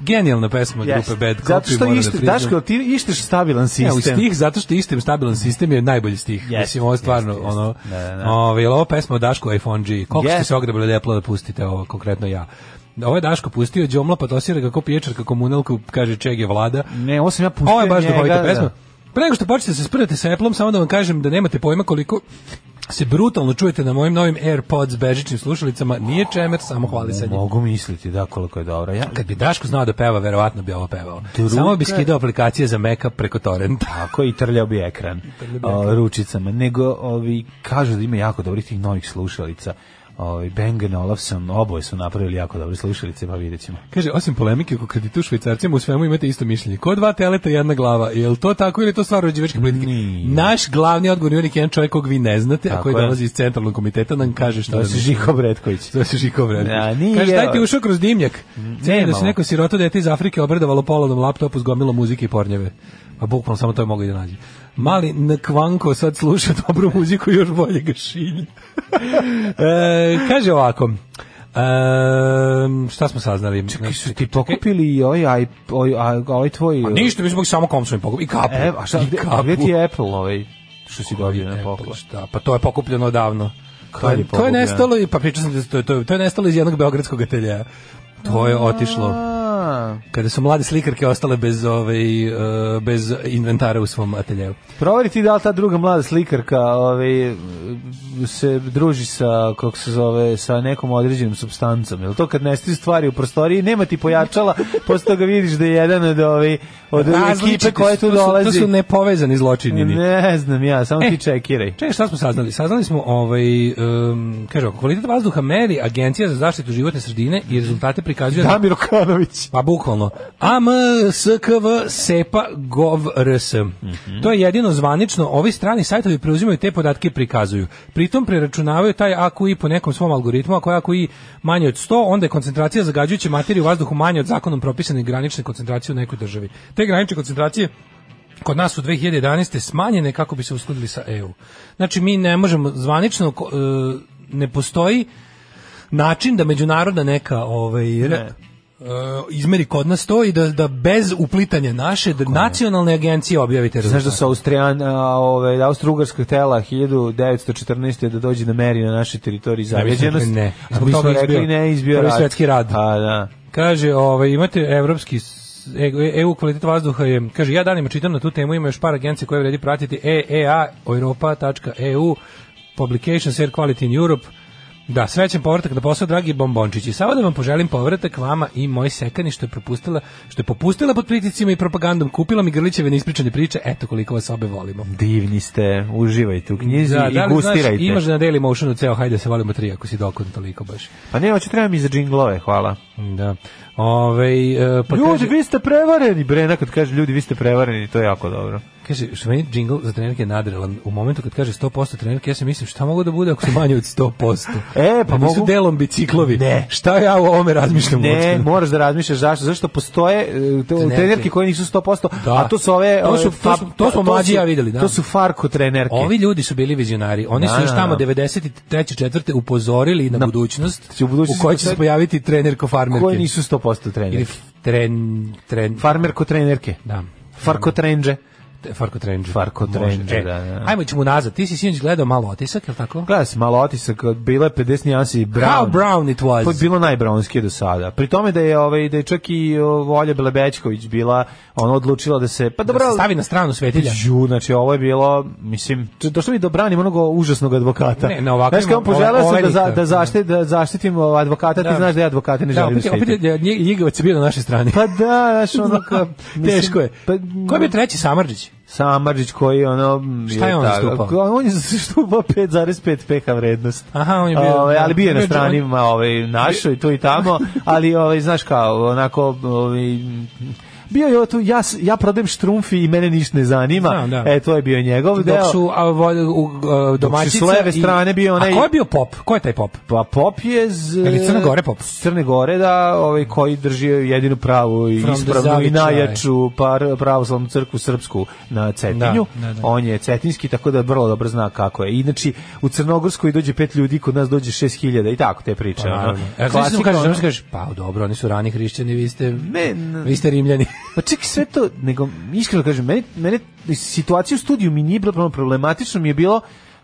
[SPEAKER 6] Genijalna pesma
[SPEAKER 5] Jeste.
[SPEAKER 6] grupe Bad Copy.
[SPEAKER 5] Zato što
[SPEAKER 6] moram da
[SPEAKER 5] ište,
[SPEAKER 6] priznam.
[SPEAKER 5] Daško, jel ti išteš stabilan
[SPEAKER 6] Ne, ali
[SPEAKER 5] sistem.
[SPEAKER 6] stih, zato što istim stabilan sistem je najbolji stih.
[SPEAKER 5] Jeste,
[SPEAKER 6] Mislim, ovo je stvarno,
[SPEAKER 5] jeste, jeste.
[SPEAKER 6] ono,
[SPEAKER 5] Da, da, da.
[SPEAKER 6] ovaj, jel ovo pesma o Dašku iPhone G. Koliko ste
[SPEAKER 5] Jeste.
[SPEAKER 6] se ogrebali depla da pustite ovo, konkretno ja. Ovo je Daško pustio, Đomla pa dosira kako piječarka komunalku, kaže Čeg je vlada.
[SPEAKER 5] Ne, ovo sam ja pustio
[SPEAKER 6] Ovo je baš
[SPEAKER 5] njega,
[SPEAKER 6] duhovita
[SPEAKER 5] da.
[SPEAKER 6] pesma. Pre nego što počnete da se sprdate sa Apple-om, samo da vam kažem da nemate pojma koliko se brutalno čujete na mojim novim AirPods bežičnim slušalicama. Nije čemer, samo hvalisanje.
[SPEAKER 5] Mogu misliti da koliko je dobro. Ja,
[SPEAKER 6] Kad bi Daško znao da peva, verovatno bi ovo pevao.
[SPEAKER 5] Druga-
[SPEAKER 6] Samo bi skidao aplikacije za Maca preko torrenta.
[SPEAKER 5] Tako i trljao bi ekran o, ručicama, nego ovi kažu da ima jako dobrih tih novih slušalica. Ovi Bang Olufsen oboje su napravili jako dobre slušalice, pa vidjet ćemo.
[SPEAKER 6] Kaže, osim polemike oko kredita u švajcarcima, u svemu imate isto mišljenje. Ko dva teleta, jedna glava. Je li to tako ili je to stvar rođivačke politike?
[SPEAKER 5] Nije.
[SPEAKER 6] Naš glavni odgovor je uvijek jedan čovjek kog vi ne znate, a
[SPEAKER 5] Tako
[SPEAKER 6] koji
[SPEAKER 5] je.
[SPEAKER 6] dolazi iz centralnog komiteta, nam kaže šta
[SPEAKER 5] To
[SPEAKER 6] da
[SPEAKER 5] se
[SPEAKER 6] misli.
[SPEAKER 5] Žiko Bretković.
[SPEAKER 6] Zove se Žiko Vrebnik.
[SPEAKER 5] Da, nije.
[SPEAKER 6] Kaže, daj ti ušao kroz dimnjak. Cijenim da se
[SPEAKER 5] nemamo.
[SPEAKER 6] neko siroto dete iz Afrike obradovalo polovnom laptopu s gomilom muzike i pornjeve. A bukvalno samo to je mogu i da nađe. Mali Nkvanko sad sluša dobru muziku i još bolje ga šilje. e, kaže ovako, e, šta smo saznali?
[SPEAKER 5] Čekaj, su ti pokupili i ovaj, aj, ovaj, aj, ovaj tvoj...
[SPEAKER 6] Ništa, mi smo mogli samo komsom i pokupili. I kapu.
[SPEAKER 5] E, a šta,
[SPEAKER 6] I
[SPEAKER 5] gde,
[SPEAKER 6] kapu.
[SPEAKER 5] gde ti je Apple ovaj što si
[SPEAKER 6] Koji
[SPEAKER 5] dobio na
[SPEAKER 6] Apple,
[SPEAKER 5] poklon?
[SPEAKER 6] Šta? Pa to je pokupljeno davno.
[SPEAKER 5] Kad
[SPEAKER 6] To
[SPEAKER 5] je
[SPEAKER 6] je, to je
[SPEAKER 5] pokupljeno?
[SPEAKER 6] nestalo, i- pa pričao sam ti da to, je- to, je- to je nestalo iz jednog beogradskog ateljeja. To je otišlo.
[SPEAKER 5] A,
[SPEAKER 6] Kada su mlade slikarke ostale bez, ovaj, e, bez inventara u svom ateljevu.
[SPEAKER 5] Proveri ti da li ta druga mlada slikarka ovaj, se druži sa, kako se zove, sa nekom određenom substancom. Jel to kad nestaju stvari u prostoriji, nema ti pojačala, posle toga vidiš da je jedan od, ovaj, od ekipe koje tu
[SPEAKER 6] to su-
[SPEAKER 5] dolazi.
[SPEAKER 6] To su nepovezani zločinjeni.
[SPEAKER 5] ne znam ja, samo
[SPEAKER 6] E.
[SPEAKER 5] ti čekiraj.
[SPEAKER 6] Čekaj, šta smo saznali? Saznali smo, ovaj, um, kaže, ovako, kvalitet vazduha meri Agencija za zaštitu životne sredine i rezultate prikazuje... na-
[SPEAKER 5] Damir Okanović.
[SPEAKER 6] Pa bukvalno. AMSKV SEPA GOV RS. To je jedino zvanično. Ovi strani sajtovi preuzimaju te podatke i prikazuju. Pritom preračunavaju taj AQI po nekom svom algoritmu. Ako je AQI manje od 100, onda je koncentracija zagađujuće materije u vazduhu manje od zakonom propisane granične koncentracije u nekoj državi. Te granične koncentracije kod nas u 2011. smanjene kako bi se uskladili sa EU. Znači, mi ne možemo zvanično, ko- e, ne postoji način da međunarodna neka ovaj re- e, izmeri kod nas to i da, da bez uplitanja naše da nacionalne agencije objavite
[SPEAKER 5] Znaš
[SPEAKER 6] rezultate.
[SPEAKER 5] da su Austrijan, a, ove, Austro-Ugarska htela 1914. da dođe da meri na našoj teritoriji
[SPEAKER 6] smo rekli
[SPEAKER 5] zavljeđenost.
[SPEAKER 6] ne.
[SPEAKER 5] A
[SPEAKER 6] Zbog
[SPEAKER 5] mi
[SPEAKER 6] toga
[SPEAKER 5] smo
[SPEAKER 6] je
[SPEAKER 5] rekli
[SPEAKER 6] izbio
[SPEAKER 5] ne, izbio
[SPEAKER 6] prvi
[SPEAKER 5] rat.
[SPEAKER 6] svetski rad.
[SPEAKER 5] A, da.
[SPEAKER 6] Kaže, ovaj, imate evropski s- e- EU kvalitet vazduha je, kaže, ja danima čitam na tu temu, ima još par agencija koje vredi pratiti, EEA, europa.eu, Publications Air Quality in Europe, Da, srećan povratak na posao, dragi bombončići. Samo da vam poželim povratak vama i moj sekani što je propustila, što je popustila pod priticima i propagandom, kupila mi grlićeve neispričane priče, eto koliko vas obe volimo.
[SPEAKER 5] Divni ste, uživajte u knjizi
[SPEAKER 6] Da,
[SPEAKER 5] i
[SPEAKER 6] da li znaš,
[SPEAKER 5] gustirajte.
[SPEAKER 6] imaš na Daily Motionu ceo, hajde se volimo tri, ako si dokon toliko baš.
[SPEAKER 5] Pa ne, hoće treba mi za džinglove, hvala.
[SPEAKER 6] Da. Ove, e, pa
[SPEAKER 5] ljudi,
[SPEAKER 6] kaže-
[SPEAKER 5] vi ste prevareni, bre, nekad kaže ljudi, vi ste prevareni, to je jako dobro.
[SPEAKER 6] Kaže, što meni džingl za trenerke je nadrelan. U momentu kad kaže 100% trenerke, ja se mislim šta mogu da bude ako su manje od 100%.
[SPEAKER 5] E, pa
[SPEAKER 6] da nisu
[SPEAKER 5] mogu-
[SPEAKER 6] delom biciklovi.
[SPEAKER 5] Ne.
[SPEAKER 6] Šta ja o ovome razmišljam
[SPEAKER 5] Ne,
[SPEAKER 6] uopšte?
[SPEAKER 5] moraš da razmišljaš zašto, zašto postoje e, te-
[SPEAKER 6] Trenerke.
[SPEAKER 5] trenerke koje nisu 100%,
[SPEAKER 6] Da.
[SPEAKER 5] a to su ove...
[SPEAKER 6] To
[SPEAKER 5] ove,
[SPEAKER 6] su- to su-
[SPEAKER 5] fa-
[SPEAKER 6] to smo
[SPEAKER 5] su-
[SPEAKER 6] mlađi ja videli, da.
[SPEAKER 5] To su farko trenerke.
[SPEAKER 6] Ovi ljudi su bili vizionari. Oni
[SPEAKER 5] Da,
[SPEAKER 6] su još
[SPEAKER 5] da,
[SPEAKER 6] tamo
[SPEAKER 5] da.
[SPEAKER 6] 93. četvrte upozorili na, budućnost,
[SPEAKER 5] će u budućnosti
[SPEAKER 6] kojoj će se
[SPEAKER 5] postoje-
[SPEAKER 6] pojaviti trenerko farmerke.
[SPEAKER 5] koje nisu 100%
[SPEAKER 6] Ili
[SPEAKER 5] trenerke.
[SPEAKER 6] f- tren, tren,
[SPEAKER 5] Farmerko trenerke.
[SPEAKER 6] da.
[SPEAKER 5] Farko trenđe.
[SPEAKER 6] Te- Farko Trenđe.
[SPEAKER 5] Farko
[SPEAKER 6] Može.
[SPEAKER 5] Trenđe,
[SPEAKER 6] E,
[SPEAKER 5] da, da.
[SPEAKER 6] Ajmo ćemo nazad. Ti si sinoć gledao malo otisak, je li tako?
[SPEAKER 5] Gledaj se malo otisak, bila je 50 nijansi
[SPEAKER 6] How
[SPEAKER 5] brown.
[SPEAKER 6] brown it was.
[SPEAKER 5] To je bilo najbraunskije do sada. Pri tome da je ovaj da je čak i o, Olja Belebećković bila ona odlučila da se pa dobro
[SPEAKER 6] Da se stavi na stranu svetilja.
[SPEAKER 5] Ju, znači ovo je bilo, mislim, č- došlo mi do branim onog užasnog advokata.
[SPEAKER 6] Ne, na ovakvim-
[SPEAKER 5] Znaš kao poželeo sam da, za,
[SPEAKER 6] olenika.
[SPEAKER 5] da, zašti, da zaštitim ovaj, advokata, ti znaš da ja advokate ne
[SPEAKER 6] da,
[SPEAKER 5] želim da
[SPEAKER 6] opet, opet
[SPEAKER 5] štitim.
[SPEAKER 6] je, je, Ljigovac je bio na našoj strani.
[SPEAKER 5] Pa da, znaš, ono kao... mislim,
[SPEAKER 6] Teško je.
[SPEAKER 5] Pa,
[SPEAKER 6] Ko je bio treći Samarđić?
[SPEAKER 5] Samardžić koji ono... m,
[SPEAKER 6] Šta je on
[SPEAKER 5] tako-
[SPEAKER 6] zastupao?
[SPEAKER 5] On je zastupao 5,5 pH vrednost.
[SPEAKER 6] Aha, on je bio...
[SPEAKER 5] Ove, Ovaj, ali bio je na
[SPEAKER 6] bio
[SPEAKER 5] strani
[SPEAKER 6] John-
[SPEAKER 5] ovaj, našoj, tu i tamo, ali ovaj, znaš kao, onako, ovaj, bio je ovo tu, ja, s- ja prodajem štrumfi i mene ništa ne zanima.
[SPEAKER 6] Znam, da.
[SPEAKER 5] E, to je bio njegov deo.
[SPEAKER 6] Dok su a, vo- u, a, domaćica...
[SPEAKER 5] s leve
[SPEAKER 6] i-
[SPEAKER 5] strane bio onaj-
[SPEAKER 6] A ko je bio pop? Ko je taj pop?
[SPEAKER 5] Pa pop je z...
[SPEAKER 6] Je li Crne Gore pop?
[SPEAKER 5] S Crne Gore, da, ovaj, koji drži jedinu pravu i
[SPEAKER 6] From the
[SPEAKER 5] ispravnu i
[SPEAKER 6] Zavičaj.
[SPEAKER 5] najjaču par, pravoslavnu crkvu srpsku na Cetinju.
[SPEAKER 6] Da, da, da.
[SPEAKER 5] On je cetinski, tako da vrlo dobro zna kako je. Inači, u Crnogorskoj dođe pet ljudi, kod nas dođe šest hiljada i tako te priče.
[SPEAKER 6] Pa,
[SPEAKER 5] ono.
[SPEAKER 6] naravno. Ja
[SPEAKER 5] Klasika,
[SPEAKER 6] znači kažeš,
[SPEAKER 5] ono.
[SPEAKER 6] znači kažeš, pa dobro, oni su rani hrišćani, vi ste,
[SPEAKER 5] Ne, ne.
[SPEAKER 6] vi ste rimljani.
[SPEAKER 5] Pa čekaj, sve to, nego, iskreno kažem, mene, mene situacija u studiju mi nije bila problem- problematično, mi je bilo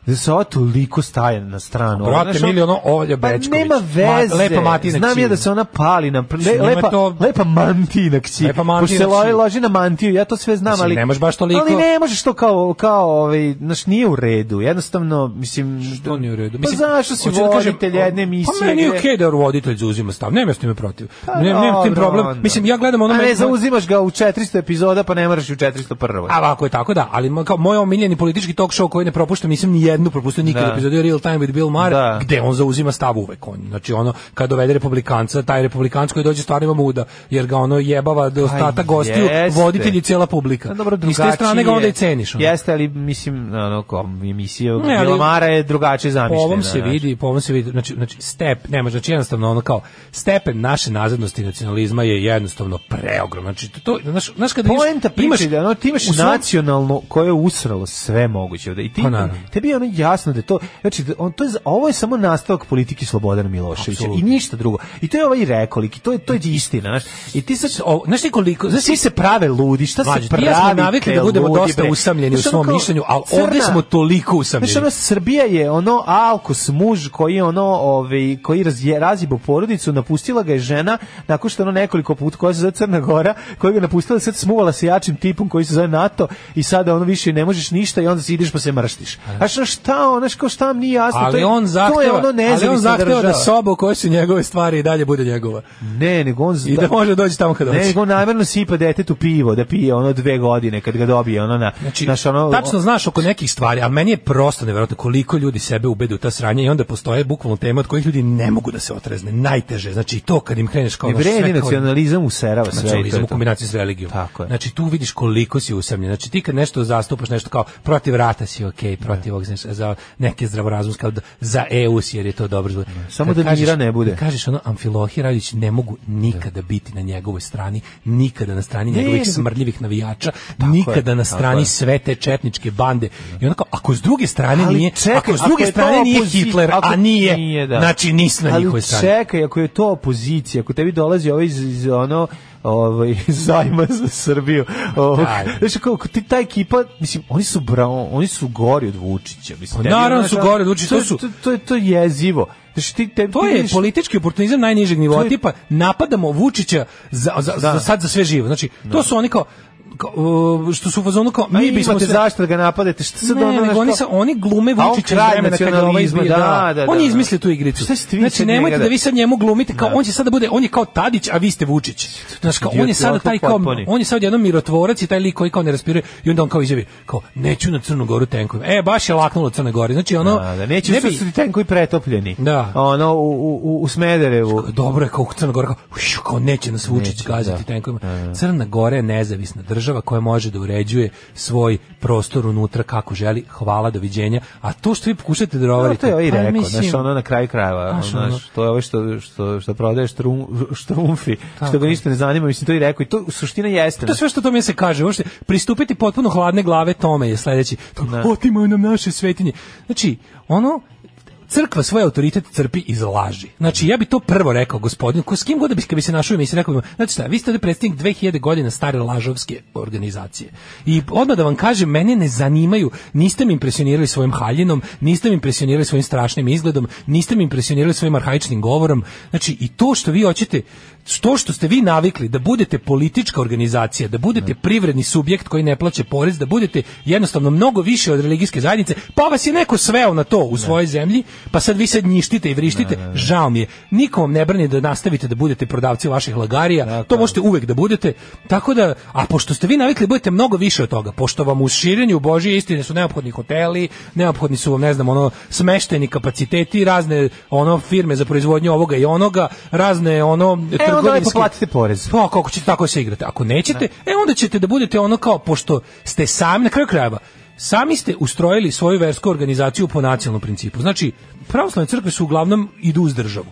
[SPEAKER 5] da se ova toliko staje na stranu.
[SPEAKER 6] Brate,
[SPEAKER 5] Znaš, ono-
[SPEAKER 6] mili, ono, Olja Bećković.
[SPEAKER 5] Pa nema veze.
[SPEAKER 6] Ma- lepa Matina
[SPEAKER 5] Znam
[SPEAKER 6] kćija.
[SPEAKER 5] ja da se ona pali na... pr- Le,
[SPEAKER 6] Njima je
[SPEAKER 5] lepa,
[SPEAKER 6] to-
[SPEAKER 5] lepa mantina kći.
[SPEAKER 6] Lepa mantina
[SPEAKER 5] Pošto se
[SPEAKER 6] kći.
[SPEAKER 5] loži, loži na mantiju, ja to sve znam,
[SPEAKER 6] Mislim,
[SPEAKER 5] ali...
[SPEAKER 6] ne možeš baš toliko.
[SPEAKER 5] Ali ne možeš to kao, kao ovaj, znaš, nije u redu. Jednostavno, mislim...
[SPEAKER 6] To nije u redu.
[SPEAKER 5] Mislim, pa zašto si
[SPEAKER 6] hoću da kažem,
[SPEAKER 5] voditelj jedne emisije?
[SPEAKER 6] Pa meni je
[SPEAKER 5] gde-
[SPEAKER 6] okej da roditelj zauzima stav, nemam ja s time protiv. Ne, nemam tim
[SPEAKER 5] Pa Dobro,
[SPEAKER 6] problem.
[SPEAKER 5] onda.
[SPEAKER 6] Mislim, ja gledam ono...
[SPEAKER 5] A ne,
[SPEAKER 6] meni-
[SPEAKER 5] zauzimaš ga u 400 epizoda, pa ne moraš i u 401.
[SPEAKER 6] A ovako je tako, da, ali mo- kao moj omiljeni politički talk show koji ne propuštam, nisam ni jednu propustio nikad
[SPEAKER 5] Da.
[SPEAKER 6] epizodu je Real Time with Bill Maher,
[SPEAKER 5] Da.
[SPEAKER 6] gde on zauzima stav uvek on. Znači ono, kad dovede republikanca, taj republikanac koji dođe stvarno ima muda, jer ga ono jebava do ostatak gostiju,
[SPEAKER 5] Pa jeste.
[SPEAKER 6] voditelj i cijela publika.
[SPEAKER 5] A dobro,
[SPEAKER 6] I s te strane ga
[SPEAKER 5] drugačije
[SPEAKER 6] onda i
[SPEAKER 5] Pa je.
[SPEAKER 6] ceniš. Ono.
[SPEAKER 5] Jeste, ali mislim, ono, ko, emisija
[SPEAKER 6] Ne, ali-
[SPEAKER 5] Bilomara je drugačije
[SPEAKER 6] Po
[SPEAKER 5] zamišljena.
[SPEAKER 6] ovom se
[SPEAKER 5] znaš.
[SPEAKER 6] vidi, po ovom se vidi, znači, znači step, nema, znači jednostavno ono kao, stepen naše nazadnosti i nacionalizma je jednostavno preogrom. Znači, to, to znaš, znaš kada
[SPEAKER 5] Poenta priče je da ono, ti imaš
[SPEAKER 6] u svom-
[SPEAKER 5] nacionalno koje je usralo sve moguće ovde. I ti,
[SPEAKER 6] Pa naravno.
[SPEAKER 5] tebi je ono jasno da je to, znači, da on, to je, za- ovo je samo nastavak politike Slobodana Miloševića i
[SPEAKER 6] Apsolutno.
[SPEAKER 5] ništa drugo. I to je ovaj rekolik, i to je, to je istina. Znaš. I ti sad,
[SPEAKER 6] O, znaš ti koliko, znaš
[SPEAKER 5] svi se prave ludi, šta
[SPEAKER 6] Mlađe,
[SPEAKER 5] se
[SPEAKER 6] ti i
[SPEAKER 5] pravi?
[SPEAKER 6] ja smo navikli da budemo dosta usamljeni u svom mišljenju, ali ovde smo toliko usamljeni.
[SPEAKER 5] ono Znaš, ono, Srbija je ono alkos muž koji je ono, ovaj, koji razje, razjebo porodicu, napustila ga je žena nakon što je ono nekoliko put koja se zove Crna Gora, koja ga je napustila, sad smuvala se jačim tipom koji se zove NATO i sada ono više ne možeš ništa i onda si ideš pa se mrštiš. Znaš, ono, šta, ono, znaš, kao šta vam nije jasno, to
[SPEAKER 6] ali
[SPEAKER 5] je,
[SPEAKER 6] on
[SPEAKER 5] to je
[SPEAKER 6] zahteva,
[SPEAKER 5] ono
[SPEAKER 6] ali on
[SPEAKER 5] nezavisna
[SPEAKER 6] zahteva da
[SPEAKER 5] država.
[SPEAKER 6] soba u kojoj su njegove stvari i dalje bude njegova.
[SPEAKER 5] Ne, nego on...
[SPEAKER 6] I da može doći tamo kad
[SPEAKER 5] Ne,
[SPEAKER 6] hoće.
[SPEAKER 5] nego namjerno sipa detetu pivo, da pije ono dve godine kad ga dobije ono na...
[SPEAKER 6] Znači,
[SPEAKER 5] znaš, ono,
[SPEAKER 6] tačno znaš oko nekih stvari, ali meni je prosto nevjerojatno koliko ljudi sebe ubede u ta sranja i onda postoje bukvalno teme od kojih ljudi ne mogu da se otrezne. Najteže, znači i to kad im kreneš kao...
[SPEAKER 5] Ne
[SPEAKER 6] znaš, sve Znači,
[SPEAKER 5] vredi ono
[SPEAKER 6] kao-
[SPEAKER 5] nacionalizam userava sve. i to je
[SPEAKER 6] nacionalizam u
[SPEAKER 5] to.
[SPEAKER 6] kombinaciji s religijom.
[SPEAKER 5] Tako je.
[SPEAKER 6] Znači tu vidiš koliko si usamljen. Znači ti kad nešto zastupaš nešto kao protiv rata si ok, protiv ovog, znaš, za neke zdravorazumske, ali za EU si jer je to dobro. zvuči.
[SPEAKER 5] Samo
[SPEAKER 6] Kad
[SPEAKER 5] da mira ne bude.
[SPEAKER 6] kad Kažeš ono Amfilohi Radić ne mogu nikada biti na njegovoj strani, nikada na strani njegovih
[SPEAKER 5] nego-
[SPEAKER 6] smrdljivih navijača, nikada
[SPEAKER 5] je,
[SPEAKER 6] na
[SPEAKER 5] tako
[SPEAKER 6] strani
[SPEAKER 5] je.
[SPEAKER 6] sve te četničke bande. I onda kao ako s druge strane
[SPEAKER 5] Ali
[SPEAKER 6] nije,
[SPEAKER 5] čekaj,
[SPEAKER 6] ako s
[SPEAKER 5] ako
[SPEAKER 6] druge
[SPEAKER 5] je to
[SPEAKER 6] strane nije
[SPEAKER 5] opozicija-
[SPEAKER 6] Hitler, a
[SPEAKER 5] ako-
[SPEAKER 6] nije,
[SPEAKER 5] nije, da.
[SPEAKER 6] znači nisi na njihovoj
[SPEAKER 5] Ali
[SPEAKER 6] strani.
[SPEAKER 5] čekaj, ako je to opozicija, ako tebi dolazi ovaj iz, iz ono ovaj zajma za Srbiju. Ovog,
[SPEAKER 6] Daj.
[SPEAKER 5] znači kao ti ta ekipa, mislim, oni su bravo, oni su gori od Vučića, mislim.
[SPEAKER 6] Pa
[SPEAKER 5] tebi,
[SPEAKER 6] naravno
[SPEAKER 5] znaš,
[SPEAKER 6] su
[SPEAKER 5] ono,
[SPEAKER 6] gori od Vučića, to
[SPEAKER 5] je-
[SPEAKER 6] su-
[SPEAKER 5] to, to je to je jezivo. Znači ti tebi
[SPEAKER 6] To
[SPEAKER 5] ti
[SPEAKER 6] je
[SPEAKER 5] vidiš-
[SPEAKER 6] politički oportunizam najnižeg nivoa,
[SPEAKER 5] To je-
[SPEAKER 6] tipa napadamo Vučića za, za, za sad za sve živo. Znači, to su oni kao, kao, uh, što su u fazonu kao,
[SPEAKER 5] Ma
[SPEAKER 6] mi bismo
[SPEAKER 5] imate
[SPEAKER 6] sve...
[SPEAKER 5] zašto da ga napadete? Šta sad
[SPEAKER 6] Ne,
[SPEAKER 5] ono
[SPEAKER 6] nego
[SPEAKER 5] znaš,
[SPEAKER 6] oni,
[SPEAKER 5] kao-
[SPEAKER 6] sa, oni glume
[SPEAKER 5] A on
[SPEAKER 6] Vučića iz
[SPEAKER 5] kralj
[SPEAKER 6] vremena kad ga ovaj
[SPEAKER 5] nacionalizma,
[SPEAKER 6] izbira.
[SPEAKER 5] da, da,
[SPEAKER 6] on je
[SPEAKER 5] da.
[SPEAKER 6] izmislio tu igricu.
[SPEAKER 5] Šta ste vi
[SPEAKER 6] Znači,
[SPEAKER 5] sad
[SPEAKER 6] nemojte
[SPEAKER 5] njega
[SPEAKER 6] da
[SPEAKER 5] da-
[SPEAKER 6] vi sad njemu glumite kao,
[SPEAKER 5] Da.
[SPEAKER 6] on će sada bude, on je kao Tadić, a vi ste Vučić. Znaš, kao, on je
[SPEAKER 5] Idioti,
[SPEAKER 6] sada taj kao,
[SPEAKER 5] potpuni.
[SPEAKER 6] on je sad jedan mirotvorac i taj lik koji kao ne raspiruje i onda on kao izjavi, kao, neću na Crnu Goru tenkovima. E, baš je laknulo Crne Gori. Znači, ono,
[SPEAKER 5] Da, da, neće
[SPEAKER 6] ne
[SPEAKER 5] su
[SPEAKER 6] bi-
[SPEAKER 5] su ti tenkovi pretopljeni.
[SPEAKER 6] Da.
[SPEAKER 5] Ono, u, u, u- u Smederevu.
[SPEAKER 6] dobro je kao Crna Gora, kao, uš, kao neće nas Vučić
[SPEAKER 5] Neće,
[SPEAKER 6] gaziti
[SPEAKER 5] da.
[SPEAKER 6] tenkovima. Crna Gora je nezavisna država koja može da uređuje svoj prostor unutra kako želi. Hvala, doviđenja. A to što vi pokušate da
[SPEAKER 5] Pa,
[SPEAKER 6] rovarite...
[SPEAKER 5] to je ovaj
[SPEAKER 6] pa,
[SPEAKER 5] rekao,
[SPEAKER 6] mislim,
[SPEAKER 5] znaš, ono na kraju krajeva,
[SPEAKER 6] Znaš,
[SPEAKER 5] znaš,
[SPEAKER 6] ono-
[SPEAKER 5] to je ovo što, što, što prodaje štrum, štrumfi, što ga ništa ne zanima, mislim, to i rekao, i to suština jeste.
[SPEAKER 6] To je sve što tome se kaže, uopšte pristupiti potpuno hladne glave tome je sledeći. To, Otimaju nam naše svetinje. Znači, ono crkva svoj autoritet crpi iz laži. Znači, ja bi to prvo rekao gospodinu, ko s kim god da bi, kad bi se našao i se rekao, bi mu, znači šta, vi ste ovde predstavnik 2000 godina stare lažovske organizacije. I odmah da vam kažem, mene ne zanimaju, niste mi impresionirali svojim haljinom, niste mi impresionirali svojim strašnim izgledom, niste mi impresionirali svojim arhaičnim govorom. Znači, i to što vi hoćete, to što ste vi navikli da budete politička organizacija, da budete privredni subjekt koji ne plaća porez, da budete jednostavno mnogo više od religijske zajednice, pa vas je neko sveo na to u svojoj zemlji, pa sad vi sad njištite i vrištite, žao mi je. Niko vam ne brani da nastavite da budete prodavci vaših lagarija, to možete uvek da budete, tako da, a pošto ste vi navikli, budete mnogo više od toga, pošto vam u širenju Božije istine su neophodni hoteli, neophodni su vam, ne znam, ono, smešteni kapaciteti, razne, ono, firme za proizvodnju ovoga i onoga, razne, ono,
[SPEAKER 5] E, onda
[SPEAKER 6] trgovinski-
[SPEAKER 5] lepo platite porez.
[SPEAKER 6] Pa kako ćete tako se igrati? Ako nećete, e onda ćete da budete ono kao pošto ste sami na kraju krajeva sami ste ustrojili svoju versku organizaciju po nacionalnom principu. Znači, pravoslavne crkve su uglavnom idu uz državu.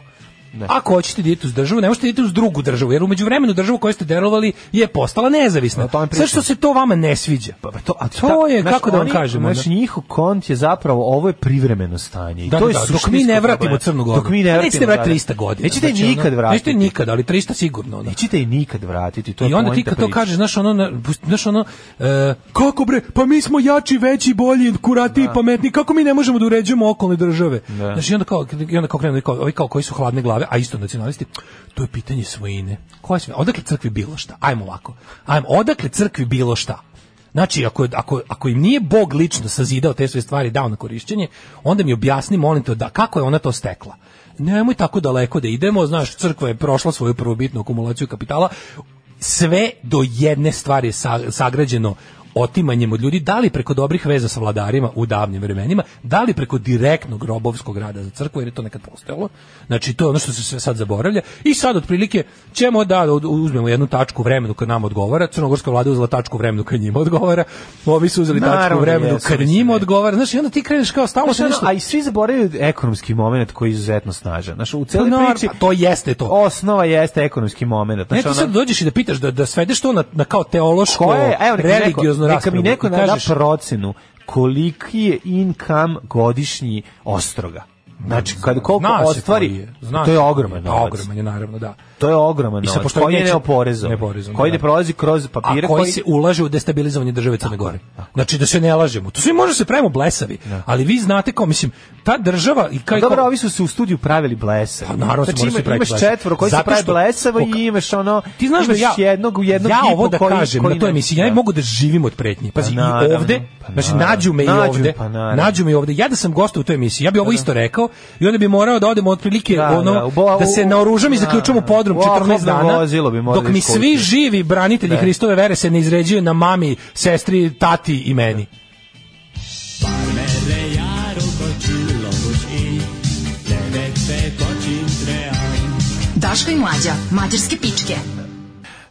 [SPEAKER 6] Ako hoćete da idete uz državu, ne možete da idete uz drugu državu, jer umeđu vremenu država koju ste derovali je postala nezavisna.
[SPEAKER 5] O tome
[SPEAKER 6] Sve
[SPEAKER 5] pričam.
[SPEAKER 6] što se to vama ne sviđa. Pa,
[SPEAKER 5] To, a
[SPEAKER 6] to je, kako da vam kažem, ono-
[SPEAKER 5] Znači, njihov kont je zapravo, ovo je privremeno stanje. I
[SPEAKER 6] Da,
[SPEAKER 5] to je
[SPEAKER 6] da, dok
[SPEAKER 5] suštinsko
[SPEAKER 6] mi ne vratimo
[SPEAKER 5] problem.
[SPEAKER 6] Crnu Goru. Pa
[SPEAKER 5] Dok mi ne vratimo.
[SPEAKER 6] Nećete vratiti
[SPEAKER 5] da, da.
[SPEAKER 6] 300 godina.
[SPEAKER 5] Nećete je
[SPEAKER 6] znači, ono,
[SPEAKER 5] nikad vratiti.
[SPEAKER 6] Nećete je nikad, ali 300 sigurno. ono.
[SPEAKER 5] Nećete je nikad vratiti. To je
[SPEAKER 6] I onda ti
[SPEAKER 5] poenta
[SPEAKER 6] kad to
[SPEAKER 5] priče.
[SPEAKER 6] kažeš, znaš ono, na- znaš ono, e, kako bre, pa mi smo jači, veći, bolji, kurati, pametni, kako mi ne možemo da uređujemo okolne države?
[SPEAKER 5] Da.
[SPEAKER 6] Znaš, i onda kao, i onda kao krenu, ovi kao, ovi kao koji su hladne glave, a isto nacionalisti, to je pitanje svojine. Koja je svojina? Odakle crkvi bilo šta? Ajmo ovako. Ajmo, odakle crkvi bilo šta? Znači, ako, ako, ako im nije Bog lično sazidao te sve stvari i dao na korišćenje, onda mi objasni, molim te, da, kako je ona to stekla? Nemoj tako daleko da idemo, znaš, crkva je prošla svoju prvobitnu akumulaciju kapitala, sve do jedne stvari je sa- sagrađeno otimanjem od ljudi, da li preko dobrih veza sa vladarima u davnim vremenima, da li preko direktnog robovskog rada za crkvu, jer je to nekad postojalo. Znači, to je ono što se sve sad zaboravlja. I sad, otprilike, ćemo da od- uzmemo jednu tačku vremenu kad nam odgovara, crnogorska vlada je uzela tačku vremenu kad njima odgovara, ovi su uzeli tačku
[SPEAKER 5] Naravno,
[SPEAKER 6] vremenu
[SPEAKER 5] jesu,
[SPEAKER 6] kad
[SPEAKER 5] mislim,
[SPEAKER 6] njima
[SPEAKER 5] ne.
[SPEAKER 6] odgovara. Znači, onda ti kreneš kao stalno se
[SPEAKER 5] Znaš,
[SPEAKER 6] nešto...
[SPEAKER 5] ono, a i svi zaboravljaju ekonomski moment koji je izuzetno snažan. Znaš, u
[SPEAKER 6] Pa,
[SPEAKER 5] celoj
[SPEAKER 6] nar-
[SPEAKER 5] priči
[SPEAKER 6] pa to jeste to.
[SPEAKER 5] osnova jeste ekonomski moment.
[SPEAKER 6] Ne,
[SPEAKER 5] Znaš,
[SPEAKER 6] ti
[SPEAKER 5] ono-
[SPEAKER 6] sad dođeš i da pitaš, da, da svedeš to na, na kao teološko,
[SPEAKER 5] Ko je, evo, neka mi neko-
[SPEAKER 6] religiozno
[SPEAKER 5] neka mi
[SPEAKER 6] raspravu
[SPEAKER 5] neko
[SPEAKER 6] i
[SPEAKER 5] da
[SPEAKER 6] kažeš-
[SPEAKER 5] procenu koliki je income godišnji ostroga. Znači, kad koliko
[SPEAKER 6] Zna se koji
[SPEAKER 5] ostvari,
[SPEAKER 6] je, zna
[SPEAKER 5] to je
[SPEAKER 6] se.
[SPEAKER 5] ogroman novac.
[SPEAKER 6] Ogroman je, naravno, da.
[SPEAKER 5] To je ogroman
[SPEAKER 6] I sad,
[SPEAKER 5] novac
[SPEAKER 6] pošto
[SPEAKER 5] koji je
[SPEAKER 6] neće-
[SPEAKER 5] neoporezovan.
[SPEAKER 6] neoporezovan,
[SPEAKER 5] Koji
[SPEAKER 6] da.
[SPEAKER 5] ne prolazi kroz
[SPEAKER 6] A
[SPEAKER 5] papire.
[SPEAKER 6] koji se ulaže u destabilizovanje države Crne Gore. Znači da se ne lažemo. To svi može se pravimo blesavi, ali vi znate kao mislim ta država i
[SPEAKER 5] A
[SPEAKER 6] kao
[SPEAKER 5] Dobro, ovi su se u studiju pravili blese.
[SPEAKER 6] Pa naravno se
[SPEAKER 5] znači,
[SPEAKER 6] moraju
[SPEAKER 5] ima,
[SPEAKER 6] se praviti
[SPEAKER 5] imaš
[SPEAKER 6] blesavi.
[SPEAKER 5] četvoro koji se
[SPEAKER 6] Zato
[SPEAKER 5] pravi
[SPEAKER 6] što-
[SPEAKER 5] blesavi
[SPEAKER 6] Oka-
[SPEAKER 5] i imaš ono...
[SPEAKER 6] ti znaš da
[SPEAKER 5] imaš
[SPEAKER 6] ja
[SPEAKER 5] jednog, jednog
[SPEAKER 6] ja
[SPEAKER 5] i
[SPEAKER 6] ovo
[SPEAKER 5] po
[SPEAKER 6] da
[SPEAKER 5] koji,
[SPEAKER 6] kažem
[SPEAKER 5] koji
[SPEAKER 6] na toj
[SPEAKER 5] ne-
[SPEAKER 6] emisiji ja ne
[SPEAKER 5] Da.
[SPEAKER 6] mogu da živim od pretnji pazi
[SPEAKER 5] Pa
[SPEAKER 6] i
[SPEAKER 5] naravno,
[SPEAKER 6] ovde
[SPEAKER 5] pa
[SPEAKER 6] znači
[SPEAKER 5] naravno.
[SPEAKER 6] nađu me i
[SPEAKER 5] Nađu,
[SPEAKER 6] ovde
[SPEAKER 5] pa naravno. Pa
[SPEAKER 6] nađu me i ovde ja da sam gost u toj emisiji ja bi ovo isto rekao i onda bi morao da odem otprilike
[SPEAKER 5] Da,
[SPEAKER 6] ono
[SPEAKER 5] da, u bo-
[SPEAKER 6] da se
[SPEAKER 5] u-
[SPEAKER 6] naoružam i
[SPEAKER 5] da,
[SPEAKER 6] zaključam u podrum
[SPEAKER 5] u oklopno
[SPEAKER 6] 14 dana
[SPEAKER 5] vozilo bi morali
[SPEAKER 6] dok mi svi
[SPEAKER 5] iskočiti.
[SPEAKER 6] živi branitelji Hristove vere se ne izređuju na mami sestri tati i meni
[SPEAKER 4] Daško i Mlađa, mađarske pičke.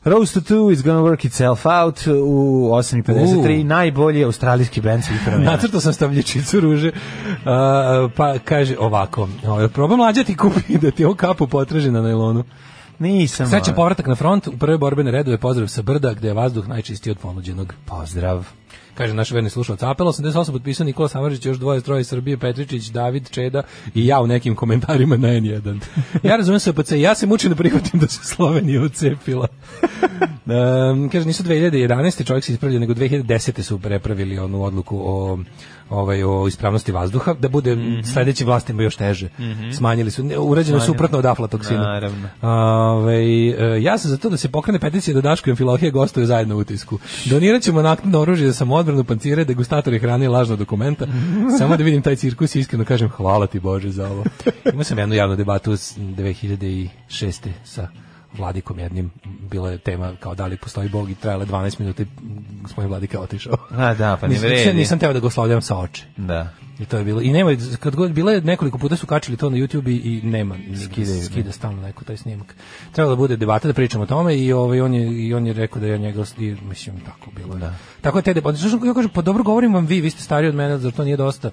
[SPEAKER 5] Rose to Two is gonna work itself out u 8.53,
[SPEAKER 6] U.
[SPEAKER 5] najbolji australijski band svih vremena.
[SPEAKER 6] Nacrtao sam stavljačicu ruže, a, pa kaže ovako, ovaj, proba mlađa ti kupi da ti ovu kapu potraži na najlonu.
[SPEAKER 5] Nisam.
[SPEAKER 6] Srećan
[SPEAKER 5] ovaj.
[SPEAKER 6] povratak na front, u prve borbene redove pozdrav sa brda gde je vazduh najčistiji od ponuđenog.
[SPEAKER 5] Pozdrav.
[SPEAKER 6] Kaže naš verni slušalac Apel 88 potpisao Nikola Samaržić, još dvoje troje iz Srbije, Petričić, David, Čeda i ja u nekim komentarima na N1. Ja razumem se OPC, ja se mučim da prihvatim da se Slovenija ucepila. Em, kaže, nisu 2011. čovjek se ispravlja, nego 2010. su prepravili onu odluku o ovaj o ispravnosti vazduha da bude
[SPEAKER 5] Mhm.
[SPEAKER 6] sledećim vlastima još teže. Smanjili su ne, urađeno suprotno od aflatoksina.
[SPEAKER 5] Naravno.
[SPEAKER 6] Ovaj, e, ja sam za to da se pokrene peticija da Daško i Amfilohije gostuju zajedno u utisku. Donirat ćemo naknadno oružje za samoodbranu, pancire, degustatore hrane i lažna dokumenta. Samo da vidim taj cirkus i iskreno kažem hvala ti Bože za ovo. Imao sam jednu javnu debatu s 2006. sa vladikom jednim. Bila je tema kao da li postoji Bog i trajala je 12 minuta i gospodin vladika je otišao.
[SPEAKER 5] A da, pa ne
[SPEAKER 6] Nisam-
[SPEAKER 5] vredi.
[SPEAKER 6] Nisam teo da ga oslavljam sa oči.
[SPEAKER 5] Da.
[SPEAKER 6] I to je bilo. I nema kad god bilo je nekoliko puta su kačili to na YouTube i, i nema skida skida stalno neko taj snimak. Trebalo da bude debata da pričamo o tome i ovaj on je i on je rekao da ja njega i, mislim tako bilo. Da. Tako je te debate. Slušam, ja kažem pa dobro govorim vam vi, vi ste stariji od mene, zar to nije dosta?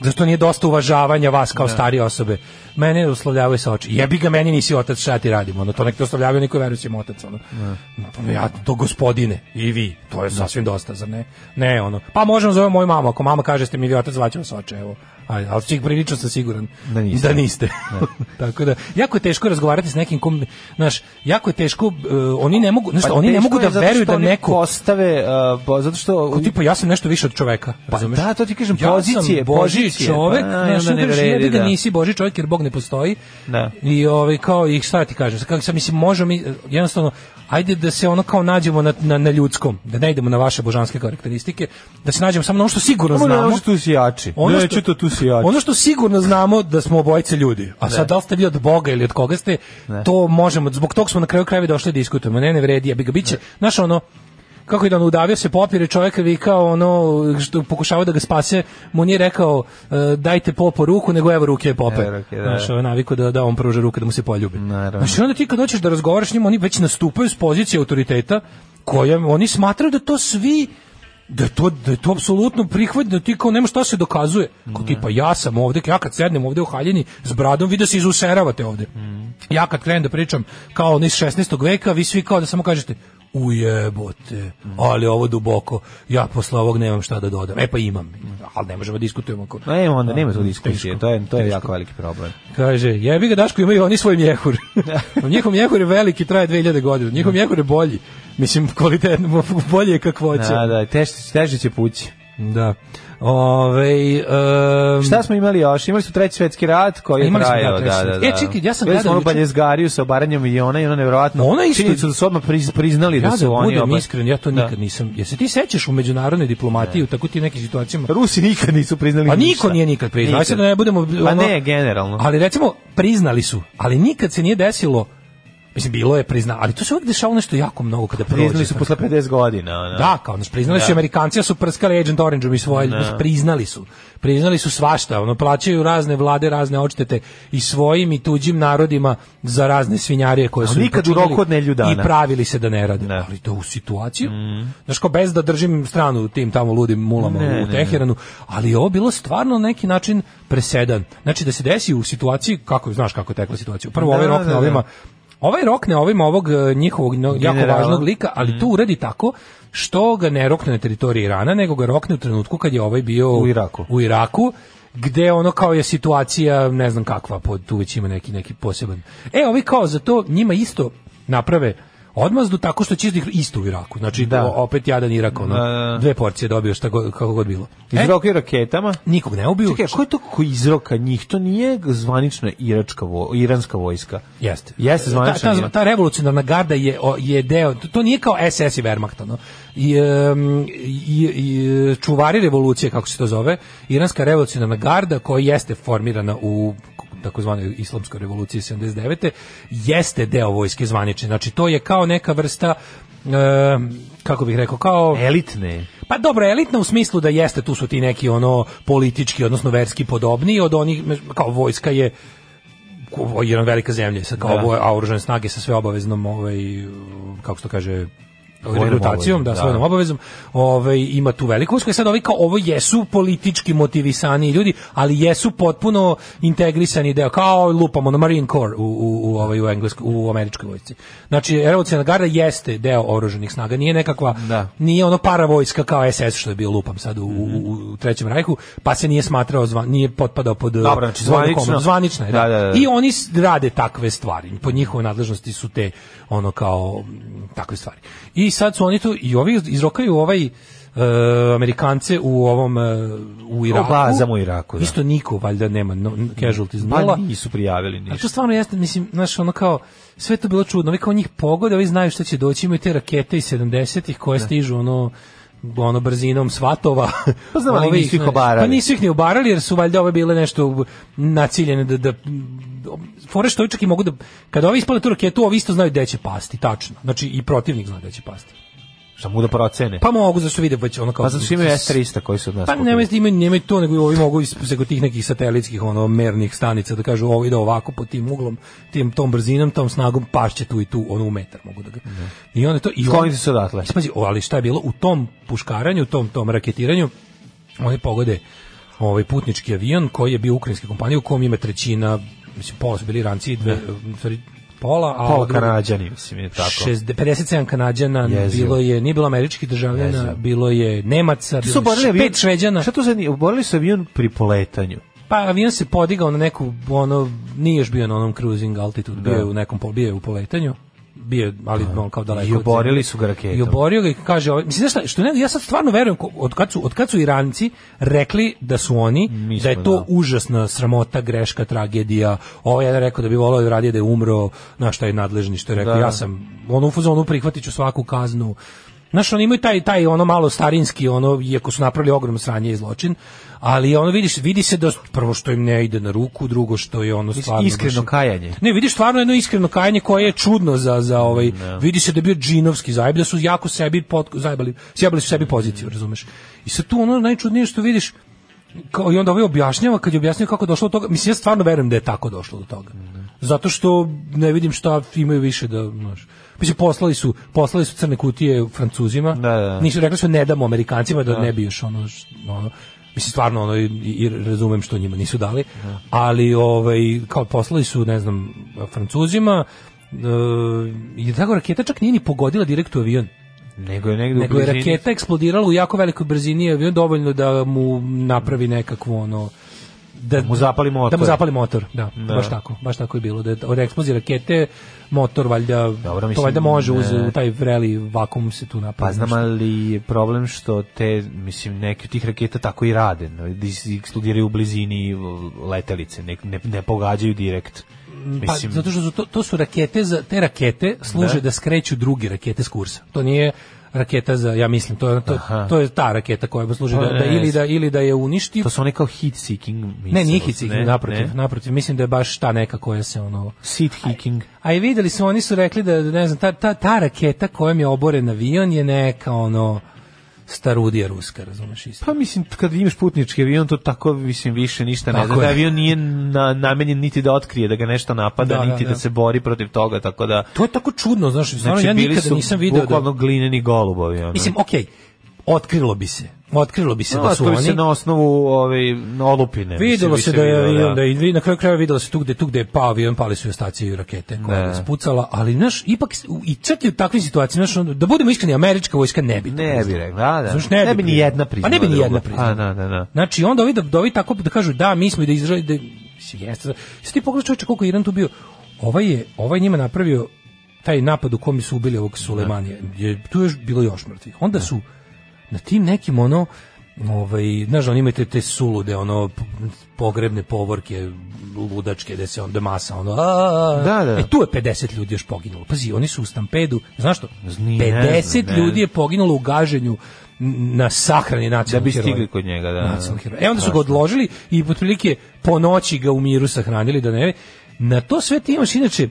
[SPEAKER 6] Zar to nije dosta uvažavanja vas kao starije osobe? Mene oslovljavaju sa oči. Jebi ga, meni nisi otac, šta ja ti radimo? Ono, to nek te oslovljavaju, niko veruje si im otac. Ono. Ja, to gospodine, i vi, to je sasvim dosta, zar ne? Ne, ono, pa možemo zovem moju mamu, ako mama kaže ste mi vi otac, zvaću vas oče, evo. Ajde, ali čih prilično sam siguran
[SPEAKER 5] Da niste.
[SPEAKER 6] Tako da, jako je teško razgovarati s nekim kom, znaš, jako je teško, e, oni ne mogu, znaš, šta, oni ne
[SPEAKER 5] Pa teško
[SPEAKER 6] mogu
[SPEAKER 5] je
[SPEAKER 6] da
[SPEAKER 5] zato
[SPEAKER 6] veruju
[SPEAKER 5] što
[SPEAKER 6] da
[SPEAKER 5] oni
[SPEAKER 6] neko...
[SPEAKER 5] Postave, uh, bo- zato što...
[SPEAKER 6] Ko tipa pa ja sam nešto više od čoveka.
[SPEAKER 5] Pa
[SPEAKER 6] razumeš?
[SPEAKER 5] da, to ti kažem,
[SPEAKER 6] ja
[SPEAKER 5] pozicije,
[SPEAKER 6] sam Boži
[SPEAKER 5] pozicije,
[SPEAKER 6] čovek,
[SPEAKER 5] pa,
[SPEAKER 6] pa,
[SPEAKER 5] da,
[SPEAKER 6] ne,
[SPEAKER 5] onda
[SPEAKER 6] ne
[SPEAKER 5] ne vredi,
[SPEAKER 6] vredi, da.
[SPEAKER 5] da.
[SPEAKER 6] nisi Boži čovek jer Bog ne postoji.
[SPEAKER 5] Da.
[SPEAKER 6] I ovaj kao i šta ti kažem, kako sam mislim možemo mi eh, jednostavno ajde da se ono kao nađemo na, na, na ljudskom, da ne idemo na vaše božanske karakteristike, da se nađemo samo na ono što sigurno
[SPEAKER 5] Ono
[SPEAKER 6] znamo.
[SPEAKER 5] što tu si jači.
[SPEAKER 6] Ono što-
[SPEAKER 5] Neću to tu si jači.
[SPEAKER 6] Ono što sigurno znamo da smo obojice ljudi. A sad da li ste vi od Boga ili od koga ste, to možemo. Zbog tog smo na kraju krajeva došli da diskutujemo. Ne, ne vredi, ja bi ga biće. Znaš ono, kako je da ono, udavio se popire čovjek vikao ono što pokušava da ga spase, mu nije rekao e, dajte popo ruku, nego evo ruke je pope.
[SPEAKER 5] Evo E, ruke, da.
[SPEAKER 6] Znaš, ovo je naviku da, da on pruža ruke da mu se poljubi.
[SPEAKER 5] Naravno.
[SPEAKER 6] Znači onda ti kad hoćeš da razgovaraš s njim, oni već nastupaju s pozicije autoriteta koja oni smatraju da to svi da je to da je to apsolutno prihvat da ti kao nema šta se dokazuje. Kao tipa ja sam ovde, ja kad sednem ovde u haljini s bradom, vi da se izuseravate ovde. Ja kad krenem da pričam kao ono iz 16. veka, vi svi kao da samo kažete ujebote, ali ovo duboko, ja posle ovog nemam šta da dodam. E pa imam, ali ne možemo da diskutujemo. Ako...
[SPEAKER 5] Ne, onda nema tu
[SPEAKER 6] Da,
[SPEAKER 5] diskusije,
[SPEAKER 6] teško.
[SPEAKER 5] to je, to je
[SPEAKER 6] Teško.
[SPEAKER 5] jako veliki problem.
[SPEAKER 6] Kaže, jebi ga Daško imaju oni svoj mjehur. Njihov mjehur je veliki, traje 2000 godina. Njihov mjehur je bolji. Mislim, kvalitetno, bolje je kakvoće.
[SPEAKER 5] Da, da, teže, teže će pući.
[SPEAKER 6] Da. Ove, um,
[SPEAKER 5] Šta smo imali još? Imali smo treći svetski rat koji je
[SPEAKER 6] Imali smo, da,
[SPEAKER 5] trajao, da,
[SPEAKER 6] treći
[SPEAKER 5] da, da.
[SPEAKER 6] svetski- E, čekaj, ja sam
[SPEAKER 5] Bili smo
[SPEAKER 6] gledao
[SPEAKER 5] onu
[SPEAKER 6] juče-
[SPEAKER 5] baljezgariju sa obaranjem aviona i ono nevjerovatno.
[SPEAKER 6] Ona isto-
[SPEAKER 5] Činjenicu da su odmah priz- priznali
[SPEAKER 6] ja
[SPEAKER 5] da su
[SPEAKER 6] da
[SPEAKER 5] oni
[SPEAKER 6] budem
[SPEAKER 5] oba-
[SPEAKER 6] iskren, ja to
[SPEAKER 5] Da.
[SPEAKER 6] nikad nisam. Jel se ti sećaš u međunarodnoj diplomatiji u tako ti nekim situacijama?
[SPEAKER 5] Rusi nikad nisu priznali
[SPEAKER 6] Pa
[SPEAKER 5] ništa.
[SPEAKER 6] niko nije nikad priznao. Ajde sad da ne budemo...
[SPEAKER 5] Pa
[SPEAKER 6] ono-
[SPEAKER 5] ne, generalno.
[SPEAKER 6] Ali recimo, priznali su, ali nikad se nije desilo, mislim, bilo je priznao, ali to se uvijek dešava nešto jako mnogo kada prođe.
[SPEAKER 5] priznali su posle 50 godina. ono.
[SPEAKER 6] Da, kao nas priznali su Amerikanci ja su prskali Agent Orange-om i svoje, priznali su. Priznali su svašta, ono plaćaju razne vlade, razne odštete i svojim i tuđim narodima za razne svinjarije koje
[SPEAKER 5] Ali
[SPEAKER 6] su im
[SPEAKER 5] nikad u
[SPEAKER 6] počinili
[SPEAKER 5] roku od nedjelju dana.
[SPEAKER 6] I pravili se da ne rade.
[SPEAKER 5] Da. Mhm.
[SPEAKER 6] Ali to u situaciju. Znaš kao bez da držim stranu tim tamo ludim mulama
[SPEAKER 5] Ne, ne,
[SPEAKER 6] u Teheranu, ali je ovo bilo stvarno na neki način presedan. Znači da se desi u situaciji kako znaš kako je tekla situacija. Prvo
[SPEAKER 5] Da,
[SPEAKER 6] ovaj
[SPEAKER 5] da,
[SPEAKER 6] rokne
[SPEAKER 5] da, da.
[SPEAKER 6] ovima Ovaj rokne ovima ovog eh, njihovog no, jako
[SPEAKER 5] Generala.
[SPEAKER 6] važnog lika,
[SPEAKER 5] Mhm.
[SPEAKER 6] ali to uradi tako što ga ne rokne na teritoriji Irana, nego ga rokne u trenutku kad je ovaj bio
[SPEAKER 5] U Iraku.
[SPEAKER 6] U Iraku gde ono kao je situacija ne znam kakva, pod, tu već ima neki, neki poseban. E, ovi kao za to njima isto naprave odmazdu tako što će isto- isto u Iraku. Znači,
[SPEAKER 5] Da.
[SPEAKER 6] o- opet jadan Irak, ono,
[SPEAKER 5] Da, da, da.
[SPEAKER 6] dve porcije dobio, šta god, kako god bilo. E,
[SPEAKER 5] Izrokaju raketama.
[SPEAKER 6] nikog ne ubiju.
[SPEAKER 5] Čekaj, a ko je to ko izroka njih? To nije zvanična iračka vo, iranska vojska.
[SPEAKER 6] Jeste.
[SPEAKER 5] Jeste zvanična.
[SPEAKER 6] Ta, ta, ta revolucionarna garda je, o- je deo, to, to nije kao SS i Wehrmacht, ono. I, em, i, i, čuvari revolucije, kako se to zove, iranska revolucionarna garda koja jeste formirana u takozvanoj islamskoj revoluciji 79. jeste deo vojske zvanične. Znači, to je kao neka vrsta em, kako bih rekao, kao...
[SPEAKER 5] elitne.
[SPEAKER 6] Pa dobro, elitna u smislu da jeste, tu su ti neki ono politički, odnosno verski podobniji od onih, kao vojska je ko- jedna velika zemlja, sad kao
[SPEAKER 5] Da.
[SPEAKER 6] ovo a oružane snage sa sve obaveznom, ovaj, kako se to kaže,
[SPEAKER 5] Vojnom
[SPEAKER 6] rekrutacijom, da,
[SPEAKER 5] obavezom,
[SPEAKER 6] svojom
[SPEAKER 5] da.
[SPEAKER 6] obavezom, ovaj, ima tu veliku vojsku. I sad ovi kao, ovo jesu politički motivisani ljudi, ali jesu potpuno integrisani deo, kao lupamo na Marine Corps u, u, u, ovaj, u, engleskoj, u američkoj vojsci. Znači, revolucionarna garda jeste deo oruženih snaga, nije nekakva,
[SPEAKER 5] Da.
[SPEAKER 6] nije ono paravojska kao SS što je bio lupam sad u, u, u- u trećem rajhu, pa se nije smatrao, zva- nije potpadao pod eh,
[SPEAKER 5] Dobro, znači
[SPEAKER 6] vojnu
[SPEAKER 5] zvanično.
[SPEAKER 6] komandu. zvanična je, da.
[SPEAKER 5] Da, da, da.
[SPEAKER 6] I oni s- rade takve stvari. Po njihovoj nadležnosti su te ono kao mm, takve stvari. I sad su oni tu i ovi izrokaju ovaj e, Amerikance u ovom e, u Iraku.
[SPEAKER 5] bazama u Iraku, da.
[SPEAKER 6] Isto niko valjda nema no, n- casualties
[SPEAKER 5] Pa
[SPEAKER 6] nula.
[SPEAKER 5] nisu prijavili
[SPEAKER 6] A
[SPEAKER 5] ništa.
[SPEAKER 6] to stvarno jeste, mislim, znaš, ono kao, sve to bilo čudno, ovi kao njih pogode, ovi znaju šta će doći, imaju te rakete iz 70-ih koje stižu, ono, ono brzinom svatova.
[SPEAKER 5] Pa znam, ali
[SPEAKER 6] Ovi
[SPEAKER 5] nisu ih
[SPEAKER 6] znaš,
[SPEAKER 5] obarali.
[SPEAKER 6] Pa nisu ih ni obarali, jer su valjda ove bile nešto naciljene da... da fore što ovi čak i mogu da... Kada ovi ispale tu raketu, ovi isto znaju gde će pasti, tačno. Znači, i protivnik zna gde će pasti.
[SPEAKER 5] Šta mu da procene?
[SPEAKER 6] Pa mogu da su vide, već ono kao...
[SPEAKER 5] Pa zato što imaju S-300 koji su od nas
[SPEAKER 6] Pa
[SPEAKER 5] kupili.
[SPEAKER 6] nema imaju, nemaju to, nego ovi mogu iz preko tih nekih satelitskih ono mernih stanica da kažu ovo ide ovako po tim uglom, tim tom brzinom, tom snagom pašće tu i tu ono u metar mogu da ga. I onda to i on-
[SPEAKER 5] Sklonite se odatle.
[SPEAKER 6] Pazi, o, ali šta je bilo u tom puškaranju, u tom tom raketiranju, oni pogode ovaj putnički avion koji je bio ukrajinske kompanije u kom ima trećina, mislim pola su bili Iranci, dve, u stvari, pola, a
[SPEAKER 5] Pola
[SPEAKER 6] druga-
[SPEAKER 5] Kanadjani, mislim, je tako.
[SPEAKER 6] Pa Šest- 57 kanadjana
[SPEAKER 5] Jezivo.
[SPEAKER 6] bilo je nije bilo američkih državljana
[SPEAKER 5] Jezivo.
[SPEAKER 6] bilo je nemaca
[SPEAKER 5] Šta
[SPEAKER 6] bilo
[SPEAKER 5] su oborili
[SPEAKER 6] je
[SPEAKER 5] avion?
[SPEAKER 6] pet šveđana
[SPEAKER 5] Šta to za nije? Oborili su avion pri poletanju.
[SPEAKER 6] pa avion se podigao na neku ono nije još bio na onom cruising altitude bio je u nekom pol, bio je u poletanju bio je, ali on kao daleko
[SPEAKER 5] I
[SPEAKER 6] od
[SPEAKER 5] oborili
[SPEAKER 6] zemlje.
[SPEAKER 5] su ga raketom.
[SPEAKER 6] i oborio ga i kaže ovaj, mislim znaš šta, što ne, ja sad stvarno verujem ko- od kad su od kad su Iranci rekli da su oni
[SPEAKER 5] Mi
[SPEAKER 6] da je
[SPEAKER 5] smo,
[SPEAKER 6] to
[SPEAKER 5] da.
[SPEAKER 6] užasna sramota greška radija. Ovaj je rekao da bi voleo da radije da je umro, na šta je nadležni što je rekao.
[SPEAKER 5] Da.
[SPEAKER 6] Ja sam ono u fazonu prihvatit ću svaku kaznu. Znaš, oni imaju taj, taj ono malo starinski, ono, iako su napravili ogromno sranje i zločin, ali ono vidiš, vidi se da prvo što im ne ide na ruku, drugo što je ono stvarno
[SPEAKER 5] iskreno
[SPEAKER 6] baš-
[SPEAKER 5] kajanje.
[SPEAKER 6] Ne, vidiš stvarno jedno iskreno kajanje koje je čudno za za ovaj vidi se da je bio džinovski zajeb, da su jako sebi pot, zajebali, sjebali su sebi poziciju, razumeš. I sad tu ono najčudnije što vidiš kao i onda ovaj objašnjava kad je objašnjava kako je došlo do toga, mislim ja stvarno verujem da je tako došlo do toga. Zato što ne vidim šta imaju više da, znaš. Mislim poslali su, poslali su crne kutije Francuzima.
[SPEAKER 5] Da, da, da.
[SPEAKER 6] Nisu rekli su ne damo Amerikancima da ne bi još ono, š- ono mislim stvarno ono i, i razumem što njima nisu dali, ali ovaj kao poslali su ne znam Francuzima e, i tako raketa čak nije ni pogodila direkt u avion.
[SPEAKER 5] Nego je negde
[SPEAKER 6] Nego
[SPEAKER 5] u
[SPEAKER 6] je
[SPEAKER 5] blizini.
[SPEAKER 6] raketa eksplodirala u jako velikoj brzini, i avion dovoljno da mu napravi nekakvo ono da
[SPEAKER 5] mu zapali
[SPEAKER 6] Da
[SPEAKER 5] motor.
[SPEAKER 6] mu zapali motor, da, Baš tako, baš tako je bilo. Da je od eksplozije rakete motor valjda
[SPEAKER 5] Dobro,
[SPEAKER 6] to
[SPEAKER 5] mislim,
[SPEAKER 6] valjda može uz
[SPEAKER 5] ne.
[SPEAKER 6] u taj vreli vakum se tu
[SPEAKER 5] Pa
[SPEAKER 6] napravi.
[SPEAKER 5] znam ali je problem što te, mislim, neke od tih raketa tako i rade, no, da is- eksplodiraju u blizini l- letelice, ne, ne, ne pogađaju direkt.
[SPEAKER 6] Pa,
[SPEAKER 5] Mislim,
[SPEAKER 6] zato što su to, to su rakete za te rakete služe
[SPEAKER 5] Da.
[SPEAKER 6] da, skreću druge rakete s kursa. To nije raketa za ja mislim to je to, to je ta raketa koja služi da,
[SPEAKER 5] Pa,
[SPEAKER 6] da
[SPEAKER 5] ne,
[SPEAKER 6] ili da ili da je uništi.
[SPEAKER 5] to su one kao heat seeking missiles,
[SPEAKER 6] Ne, nije hicik,
[SPEAKER 5] ne,
[SPEAKER 6] naprotiv,
[SPEAKER 5] ne.
[SPEAKER 6] naprotiv, mislim da je baš ta neka koja se ono
[SPEAKER 5] Seat hicking.
[SPEAKER 6] A i videli su, oni su rekli da, ne znam, ta, ta, ta raketa kojom je oboren avion je neka, ono, starudija ruska, razumeš isto.
[SPEAKER 5] Pa mislim, kad imaš putnički avion, to tako, mislim, više ništa ne
[SPEAKER 6] Tako
[SPEAKER 5] zna. Da
[SPEAKER 6] je.
[SPEAKER 5] avion nije na, namenjen niti da otkrije, da ga nešto napada,
[SPEAKER 6] Da, da,
[SPEAKER 5] niti da,
[SPEAKER 6] da.
[SPEAKER 5] se bori protiv toga, tako da...
[SPEAKER 6] To je tako čudno, znaš, stvarno,
[SPEAKER 5] Znači,
[SPEAKER 6] ja
[SPEAKER 5] bili
[SPEAKER 6] nikada
[SPEAKER 5] su
[SPEAKER 6] nisam video da...
[SPEAKER 5] bukvalno glineni golubovi. Ono.
[SPEAKER 6] Mislim, okej, otkrilo bi se, otkrilo bi se
[SPEAKER 5] No,
[SPEAKER 6] da su
[SPEAKER 5] to bi
[SPEAKER 6] oni...
[SPEAKER 5] se na osnovu ove, olupine. mislim,
[SPEAKER 6] Videlo
[SPEAKER 5] bi
[SPEAKER 6] se da je
[SPEAKER 5] videlo,
[SPEAKER 6] avion, da je, na kraju krajeva videlo se tu gde, tu gde je pao avion, pali su i ostaci i rakete koja
[SPEAKER 5] Da.
[SPEAKER 6] je spucala, ali, znaš, ipak, s- u- i čak i u takvim situacijama, znaš, ono, da budemo iskreni, američka vojska ne bi. to
[SPEAKER 5] Ne bi
[SPEAKER 6] priznala.
[SPEAKER 5] rekla, da, da.
[SPEAKER 6] Znaš, ne,
[SPEAKER 5] bi ni
[SPEAKER 6] priznala.
[SPEAKER 5] jedna priznala.
[SPEAKER 6] Pa ne bi ni
[SPEAKER 5] drugo.
[SPEAKER 6] jedna priznala.
[SPEAKER 5] A, da, da, da.
[SPEAKER 6] Znači, onda ovi da, da ovi tako da kažu, da, mi smo i da izraži, da, mislim, jeste. Jeste ti pogledaj čovječe koliko je Iran tu bio. Ovaj je, ovaj njima napravio taj napad u kom su ubili ovog Sulejmanija. Je, tu je još bilo još mrtvih. Onda su na tim nekim ono, ovaj, znaš, oni imaju te, te sulude, ono, p- pogrebne povorke, ludačke, gde se onda masa, ono, a, a, a.
[SPEAKER 5] Da, da.
[SPEAKER 6] E, tu je 50 ljudi još poginulo. Pazi, oni su u stampedu, znaš što?
[SPEAKER 5] Ni ne znam,
[SPEAKER 6] 50
[SPEAKER 5] ne
[SPEAKER 6] ljudi je poginulo u gaženju n- na sahrani
[SPEAKER 5] Da
[SPEAKER 6] nacionalnog
[SPEAKER 5] bi
[SPEAKER 6] heroja.
[SPEAKER 5] stigli kod njega, da.
[SPEAKER 6] Nacionalni heroj. E onda su ga odložili i otprilike po noći ga u miru sahranili da ne. Na to sve ti imaš inače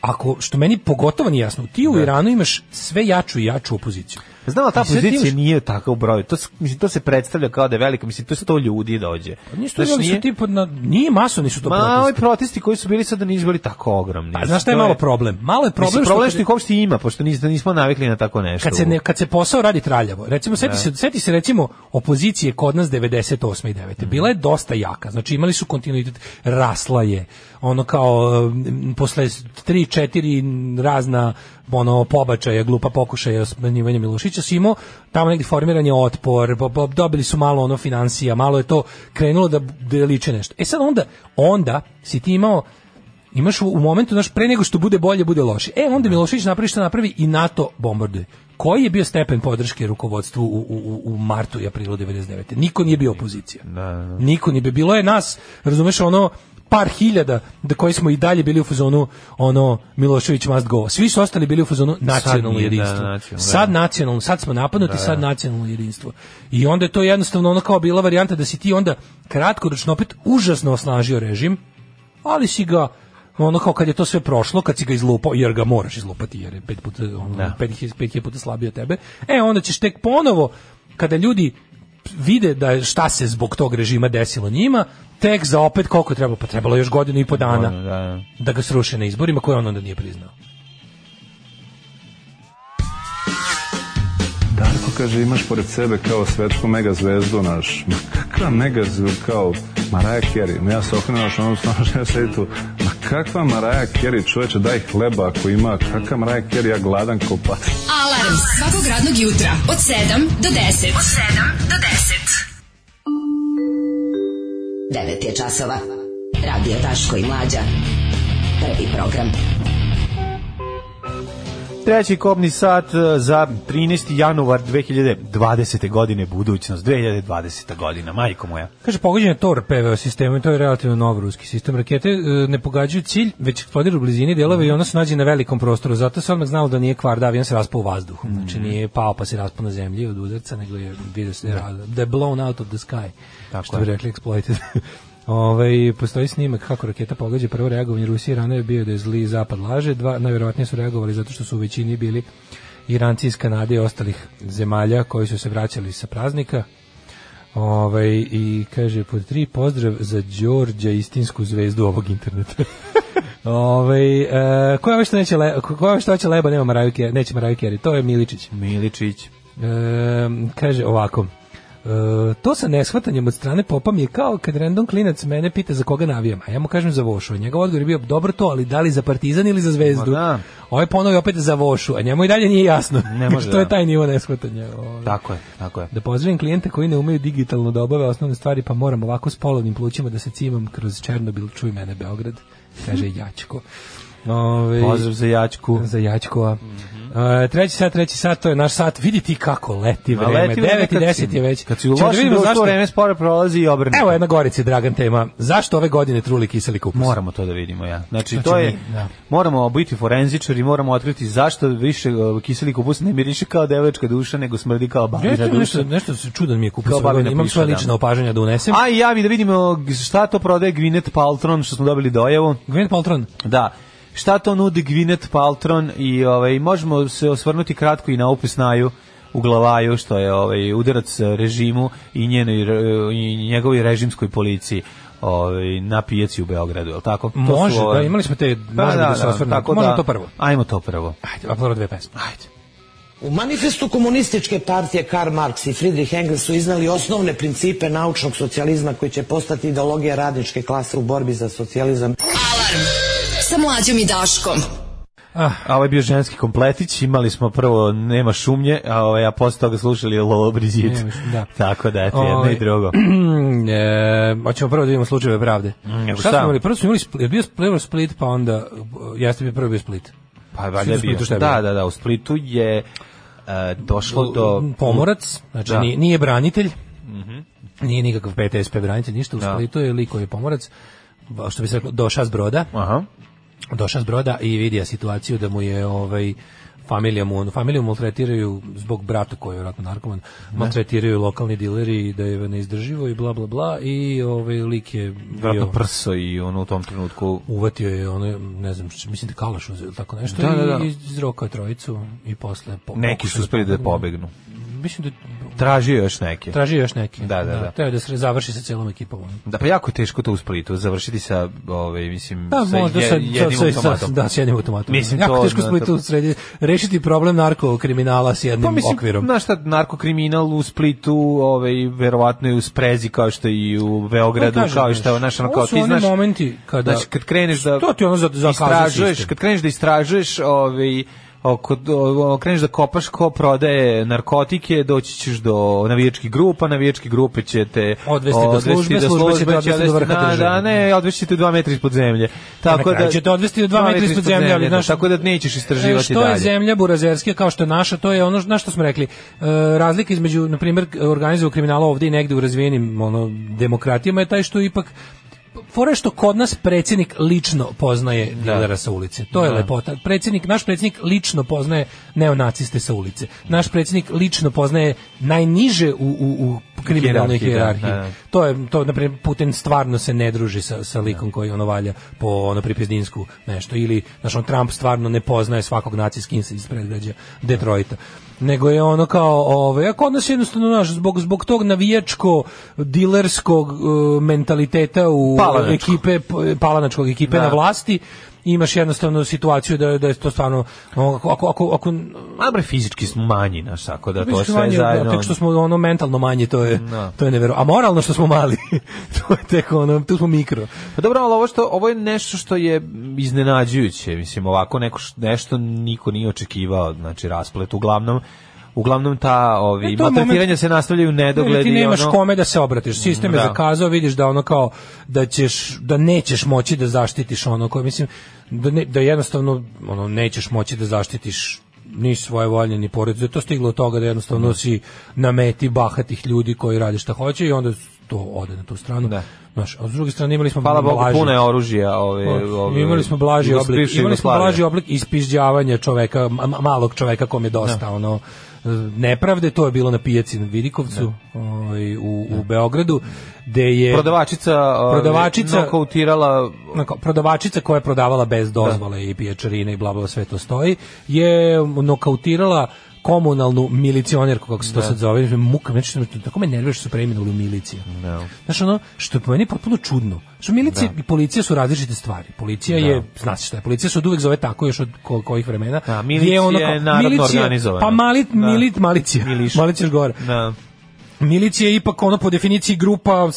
[SPEAKER 6] ako što meni pogotovo nije jasno, ti u Iranu imaš sve jaču i jaču opoziciju.
[SPEAKER 5] Znam, ali ta
[SPEAKER 6] I sad ti
[SPEAKER 5] pozicija
[SPEAKER 6] imaš-
[SPEAKER 5] nije takav broj. To, s- mislim, to se predstavlja kao da je velika. Mislim, to je sto ljudi dođe.
[SPEAKER 6] Pa Nisu
[SPEAKER 5] Znaš,
[SPEAKER 6] to bili
[SPEAKER 5] nije-
[SPEAKER 6] su tipa na, nije masovni su to
[SPEAKER 5] Ma, ovi
[SPEAKER 6] protesti.
[SPEAKER 5] protesti koji su bili sada nisu bili tako ogromni.
[SPEAKER 6] Pa, znaš šta je
[SPEAKER 5] To
[SPEAKER 6] malo problem? Malo je problem,
[SPEAKER 5] Mislim, problem
[SPEAKER 6] kad-
[SPEAKER 5] što ih uopšte ima, pošto nis- nismo navikli na tako nešto.
[SPEAKER 6] kad se ne, kad se posao radi traljavo. Recimo seti se seti se recimo opozicije kod nas 98 i 9. Bila je dosta jaka. Znači imali su kontinuitet, rasla je. Ono kao em, posle 3 4 razna ono pobačaja, glupa pokušaja smanjivanja Milošića si imao tamo negdje formiran je otpor, pa- pa dobili su malo ono financija, malo je to krenulo da, da liče nešto. E sad onda, onda si ti imao imaš u, u momentu, znaš, pre nego što bude bolje, bude loše. E, onda Milošević napravi što napravi i NATO bombarduje. Koji je bio stepen podrške rukovodstvu u, u, u- u martu i aprilu 99. Niko nije bio opozicija. Niko nije bio. Bilo je nas, razumeš, ono, par hiljada da koji smo i dalje bili u fazonu ono Milošević must go. Svi su ostali bili u fazonu nacionalno
[SPEAKER 5] nije, da,
[SPEAKER 6] jedinstvo.
[SPEAKER 5] nacionalno, da.
[SPEAKER 6] Sad nacionalno, sad smo napadnuti, sad nacionalno jedinstvo. I onda je to jednostavno ono kao bila varijanta da si ti onda kratkoročno opet užasno osnažio režim, ali si ga ono kao kad je to sve prošlo, kad si ga izlupao, jer ga moraš izlupati, jer je pet puta, ono, pet, hil- pet hiljada puta slabiji od tebe, e onda ćeš tek ponovo, kada ljudi vide da je- šta se zbog tog režima desilo njima, tek za opet koliko je trebalo, pa trebalo je još godinu i po dana
[SPEAKER 5] Ono, da.
[SPEAKER 6] da ga sruše na izborima koje on onda nije priznao.
[SPEAKER 9] Darko kaže imaš pored sebe kao svetsku megazvezdu naš. Ma kakva megazvezdu kao Maraja Kerry. Ma ja se okrenem ono naš onom snažem ja sedi tu. Ma kakva Maraja Kerry čoveče daj hleba ako ima. Kakva Maraja Kerry ja gladan kao pas.
[SPEAKER 4] Alarm svakog radnog jutra od 7 do 10. Od 7 do 10.
[SPEAKER 7] 9 je časova. Radio Daško i Mlađa. Prvi program.
[SPEAKER 5] Treći kopni sat e, za 13. januar 2020. godine, budućnost, 2020. godina, majko moja.
[SPEAKER 6] Kaže, pogođen je TOR PVO sistemom i to je relativno nov ruski sistem. Rakete e, ne pogađaju cilj, već eksplodiru u blizini delove i ona se nađe na velikom prostoru. Zato se odmah znalo da nije kvar, da avion se raspao u vazduhu. Znači
[SPEAKER 5] Mhm.
[SPEAKER 6] nije pao pa se raspao na zemlji od udarca, nego je vidio se da, je ra- da je blown out of the sky.
[SPEAKER 5] Tako
[SPEAKER 6] što
[SPEAKER 5] je.
[SPEAKER 6] bi rekli exploited. Ovaj postoji snimak kako raketa pogađa prvo reagovanje Rusije i Irana je bio da je zli zapad laže, dva najverovatnije su reagovali zato što su u većini bili Iranci iz Kanade i ostalih zemalja koji su se vraćali sa praznika. Ovaj i kaže pod tri pozdrav za Đorđa istinsku zvezdu ovog interneta. Ovaj e, ko je ovaj što neće le, ko je ovaj što hoće leba nema Maraju Carey, neće Maraju Carey, to je Miličić.
[SPEAKER 5] Miličić.
[SPEAKER 6] E, kaže ovako. E, to sa neshvatanjem od strane popa mi je kao kad random klinac mene pita za koga navijam, a ja mu kažem za Vošu. A njegov odgovor je bio dobro to, ali da li za Partizan ili za Zvezdu?
[SPEAKER 5] Ma da.
[SPEAKER 6] Ovaj ponovi opet za Vošu, a njemu i dalje nije jasno.
[SPEAKER 5] Ne može,
[SPEAKER 6] to je
[SPEAKER 5] da.
[SPEAKER 6] taj nivo neshvatanja. Ovaj.
[SPEAKER 5] Tako je, tako je.
[SPEAKER 6] Da pozdravim klijente koji ne umeju digitalno da obave osnovne stvari, pa moram ovako s polovnim plućima da se cimam kroz Černobil, čuj mene Beograd, kaže Jačko. Ove,
[SPEAKER 5] Pozdrav Mhm. za Jačku.
[SPEAKER 6] za Jačkova. E, treći sat, treći sat, to je naš sat. Vidite kako leti
[SPEAKER 5] Ma,
[SPEAKER 6] vreme.
[SPEAKER 5] leti vreme
[SPEAKER 6] 9 i
[SPEAKER 5] kad
[SPEAKER 6] 10
[SPEAKER 5] si-
[SPEAKER 6] je već.
[SPEAKER 5] Kad si u
[SPEAKER 6] Ćemo da
[SPEAKER 5] lošem
[SPEAKER 6] vidimo
[SPEAKER 5] društvu,
[SPEAKER 6] zašto-
[SPEAKER 5] vreme spore prolazi i obrnuto.
[SPEAKER 6] Evo jedna Gorici, Dragan tema. Zašto ove godine truli kiseli kupus?
[SPEAKER 5] Moramo to da vidimo, ja. Znači,
[SPEAKER 6] Znači,
[SPEAKER 5] to je,
[SPEAKER 6] mi, da.
[SPEAKER 5] moramo biti forenzičari, moramo otkriti zašto više e, kiseli kupus ne miriše kao devočka duša, nego smrdi kao babina
[SPEAKER 6] Nešto,
[SPEAKER 5] duša.
[SPEAKER 6] nešto, nešto se čudan mi je kupus.
[SPEAKER 5] Kao
[SPEAKER 6] ove godine.
[SPEAKER 5] babina
[SPEAKER 6] Imam
[SPEAKER 5] piša,
[SPEAKER 6] svoje
[SPEAKER 5] da.
[SPEAKER 6] lične opažanja da unesem.
[SPEAKER 5] A i ja mi da vidimo g- šta to prodaje Gwyneth Paltron, što smo dobili dojavu.
[SPEAKER 6] Gwyneth Paltron,
[SPEAKER 5] Da. Šta to nudi Gwyneth Paltron i ovaj, možemo se osvrnuti kratko i na opus naju u glavaju što je ovaj udarac e, režimu i njenoj re- i njegovoj režimskoj policiji ovaj na pijaci u Beogradu, je l' tako? To su
[SPEAKER 6] može,
[SPEAKER 5] ove-
[SPEAKER 6] da, imali smo te,
[SPEAKER 5] Pa
[SPEAKER 6] možemo da, se osvrnemo.
[SPEAKER 5] tako
[SPEAKER 6] Možemo to prvo.
[SPEAKER 5] Ajmo to prvo.
[SPEAKER 6] Ajde, aplora dve pesme.
[SPEAKER 5] Ajde.
[SPEAKER 10] U manifestu komunističke partije Karl Marx i Friedrich Engels su iznali osnovne principe naučnog socijalizma koji će postati ideologija radničke klase u borbi za socijalizam.
[SPEAKER 7] Alarm sa mlađom i Daškom.
[SPEAKER 5] A ovaj je bio ženski kompletić, imali smo prvo Nema šumnje, a, ovaj, a posle toga slušali Lolo Brigitte.
[SPEAKER 6] Nema šumnje, da.
[SPEAKER 5] Tako da, eto, jedno
[SPEAKER 6] Ovaj,
[SPEAKER 5] i drugo.
[SPEAKER 6] e, hoćemo prvo da vidimo slučajeve pravde.
[SPEAKER 5] Mm, nego
[SPEAKER 6] Šta
[SPEAKER 5] šta?
[SPEAKER 6] smo imali? Prvo smo imali, Split- je bio prvo Split, pa onda, jeste bi prvo bio Split.
[SPEAKER 5] Pa
[SPEAKER 6] Svi
[SPEAKER 5] valjda
[SPEAKER 6] su u
[SPEAKER 5] je bio.
[SPEAKER 6] Splitu, šta je
[SPEAKER 5] Da,
[SPEAKER 6] bilo?
[SPEAKER 5] da, da, u Splitu je e, došlo do
[SPEAKER 6] pomorac, znači
[SPEAKER 5] Da. Mhm.
[SPEAKER 6] nije, nije branitelj, nije nikakav PTSP branitelj, ništa, u
[SPEAKER 5] Da.
[SPEAKER 6] Splitu je lik koji je pomorac, ba- što bi se reklo, došao s broda,
[SPEAKER 5] Aha.
[SPEAKER 6] došao s broda i vidio situaciju da mu je ovaj, familija mu, ono, familiju maltretiraju zbog brata koji je vjerojatno narkoman, maltretiraju lokalni dileri i da je neizdrživo i bla bla bla i ovaj lik je bio
[SPEAKER 5] Vratno prso i ono u tom trenutku
[SPEAKER 6] uvatio je ono, ne znam, š- mislim da je kalaš uzeo ili tako nešto
[SPEAKER 5] Da, da, da.
[SPEAKER 6] i izrokao je trojicu i posle po,
[SPEAKER 5] neki su
[SPEAKER 6] pokušao
[SPEAKER 5] uspeli da
[SPEAKER 6] pomogne.
[SPEAKER 5] pobegnu.
[SPEAKER 6] Mislim da
[SPEAKER 5] Tražio je još neke.
[SPEAKER 6] Traži još neki.
[SPEAKER 5] Da, da, da.
[SPEAKER 6] Teo je da se završi sa celom ekipom.
[SPEAKER 5] Da, pa jako je teško to u Splitu, završiti sa, ovaj, mislim,
[SPEAKER 6] Da,
[SPEAKER 5] sa
[SPEAKER 6] možda
[SPEAKER 5] je-
[SPEAKER 6] sa,
[SPEAKER 5] jednim
[SPEAKER 6] sa, sa, sa,
[SPEAKER 5] automatom.
[SPEAKER 6] da, s jednim automatom.
[SPEAKER 5] Mislim,
[SPEAKER 6] jako
[SPEAKER 5] to-
[SPEAKER 6] teško
[SPEAKER 5] na-
[SPEAKER 6] Splitu
[SPEAKER 5] to-
[SPEAKER 6] sredi, rešiti problem narkokriminala s jednim
[SPEAKER 5] Pa mislim,
[SPEAKER 6] okvirom.
[SPEAKER 5] znaš šta, narkokriminal u Splitu, ovaj, verovatno je u Sprezi kao što i u Beogradu,
[SPEAKER 6] Pa kažem,
[SPEAKER 5] kao što
[SPEAKER 6] znaš,
[SPEAKER 5] je, znaš, ono
[SPEAKER 6] ovo
[SPEAKER 5] kao
[SPEAKER 6] su
[SPEAKER 5] ti
[SPEAKER 6] oni
[SPEAKER 5] znaš...
[SPEAKER 6] momenti kada-
[SPEAKER 5] Znači, kad kreneš da...
[SPEAKER 6] To Pa ti ono za- za kazni
[SPEAKER 5] istražuješ,
[SPEAKER 6] sistem.
[SPEAKER 5] Kad kreneš da istražuješ, ovaj, oko, o, kreneš da kopaš ko prodaje narkotike, doći ćeš do navijačkih grupa, navijačke grupe će te
[SPEAKER 6] Odvesti do službe, službe će te odvesti do vrha
[SPEAKER 5] da,
[SPEAKER 6] države.
[SPEAKER 5] da, ne, odvesti te dva metra ispod zemlje. Tako
[SPEAKER 6] kraju
[SPEAKER 5] da,
[SPEAKER 6] će te odvesti do dva metra ispod zemlje, ali, znaš,
[SPEAKER 5] tako da nećeš istraživati
[SPEAKER 6] E, što
[SPEAKER 5] dalje.
[SPEAKER 6] je zemlja burazerske kao što je naša, to je ono na što smo rekli. E, razlika između, na primjer, organizovanog kriminala ovdje i negdje u razvijenim ono, demokratijama je taj što ipak Fore što kod nas predsjednik lično poznaje dilera sa ulice. To je lepota. Predsjednik, naš predsjednik lično poznaje neonaciste sa ulice. Naš predsjednik lično poznaje najniže u, u, u kriminalnoj
[SPEAKER 5] Hijerarhiji, da,
[SPEAKER 6] hijerarhiji.
[SPEAKER 5] da, da.
[SPEAKER 6] To je to na primjer Putin stvarno se ne druži sa sa likom koji ono valja po ono pripizdinsku nešto ili znači on Trump stvarno ne poznaje svakog nacijski iz predgrađa Detroita nego je ono kao ovaj ako nas jednostavno naš zbog zbog tog navijačko dilerskog eh, mentaliteta u
[SPEAKER 5] Palanačkog.
[SPEAKER 6] ekipe p- palanačkog ekipe
[SPEAKER 5] Da.
[SPEAKER 6] na vlasti imaš jednostavno situaciju da da je to stvarno ono, ako ako ako
[SPEAKER 5] Ma bre, fizički smo manji, naš, tako da Pa to
[SPEAKER 6] Mislim,
[SPEAKER 5] sve
[SPEAKER 6] manje,
[SPEAKER 5] zajedno.
[SPEAKER 6] Tek što smo ono mentalno manje, to je,
[SPEAKER 5] Da.
[SPEAKER 6] to je nevjero. A moralno što smo mali, to je tek ono, tu smo mikro.
[SPEAKER 5] Pa dobro, ali ovo, što, ovo je nešto što je iznenađujuće, mislim, ovako neko, š- nešto niko nije očekivao, znači rasplet, uglavnom, uglavnom ta ovi,
[SPEAKER 6] E, to je
[SPEAKER 5] maltretiranja
[SPEAKER 6] moment-
[SPEAKER 5] se nastavljaju u nedogled.
[SPEAKER 6] Ne, ti
[SPEAKER 5] i
[SPEAKER 6] nemaš
[SPEAKER 5] ono,
[SPEAKER 6] kome da se obratiš. Sistem je
[SPEAKER 5] Da.
[SPEAKER 6] zakazao, vidiš da ono kao da ćeš da nećeš moći da zaštitiš ono koje mislim da ne, da jednostavno ono nećeš moći da zaštitiš ni svoje volje ni porodice. To stiglo od toga da jednostavno si na meti bahatih ljudi koji rade šta hoće i onda to ode na tu stranu.
[SPEAKER 5] Da.
[SPEAKER 6] Znaš, a s druge strane imali smo
[SPEAKER 5] Hvala Bogu,
[SPEAKER 6] blaži-
[SPEAKER 5] puno je oružja. Ove, ove,
[SPEAKER 6] imali smo blaži
[SPEAKER 5] iz
[SPEAKER 6] oblik,
[SPEAKER 5] bivše
[SPEAKER 6] imali smo
[SPEAKER 5] Jugoslavije.
[SPEAKER 6] blaži oblik ispižđavanja čoveka, ma- ma- malog čoveka kom je dosta ono e, nepravde, to je bilo na pijaci na Vidikovcu, ovaj, u, u Beogradu, gde je
[SPEAKER 5] Prodavačica, ove,
[SPEAKER 6] Prodavačica-
[SPEAKER 5] nokautirala
[SPEAKER 6] na Ono kao prodavačica koja je prodavala bez dozvole i pijačarine i bla bla sve to stoji je nokautirala komunalnu milicionerku kako se to sad zove muka znači što me- tako me nervira što su preimenovali u miliciju znaš ono što je po meni potpuno čudno što milicija i policija su različite stvari policija je znaš šta je policija se od uvek zove tako još od ko- kojih vremena gdje
[SPEAKER 5] Da, milicija
[SPEAKER 6] ono
[SPEAKER 5] je
[SPEAKER 6] kao-
[SPEAKER 5] narodno
[SPEAKER 6] milicija-
[SPEAKER 5] organizovana.
[SPEAKER 6] pa malit,
[SPEAKER 5] Da.
[SPEAKER 6] milit, malicija
[SPEAKER 5] Miliš.
[SPEAKER 6] malicija još gore
[SPEAKER 5] Da.
[SPEAKER 6] Milicija je ipak ono po definiciji grupa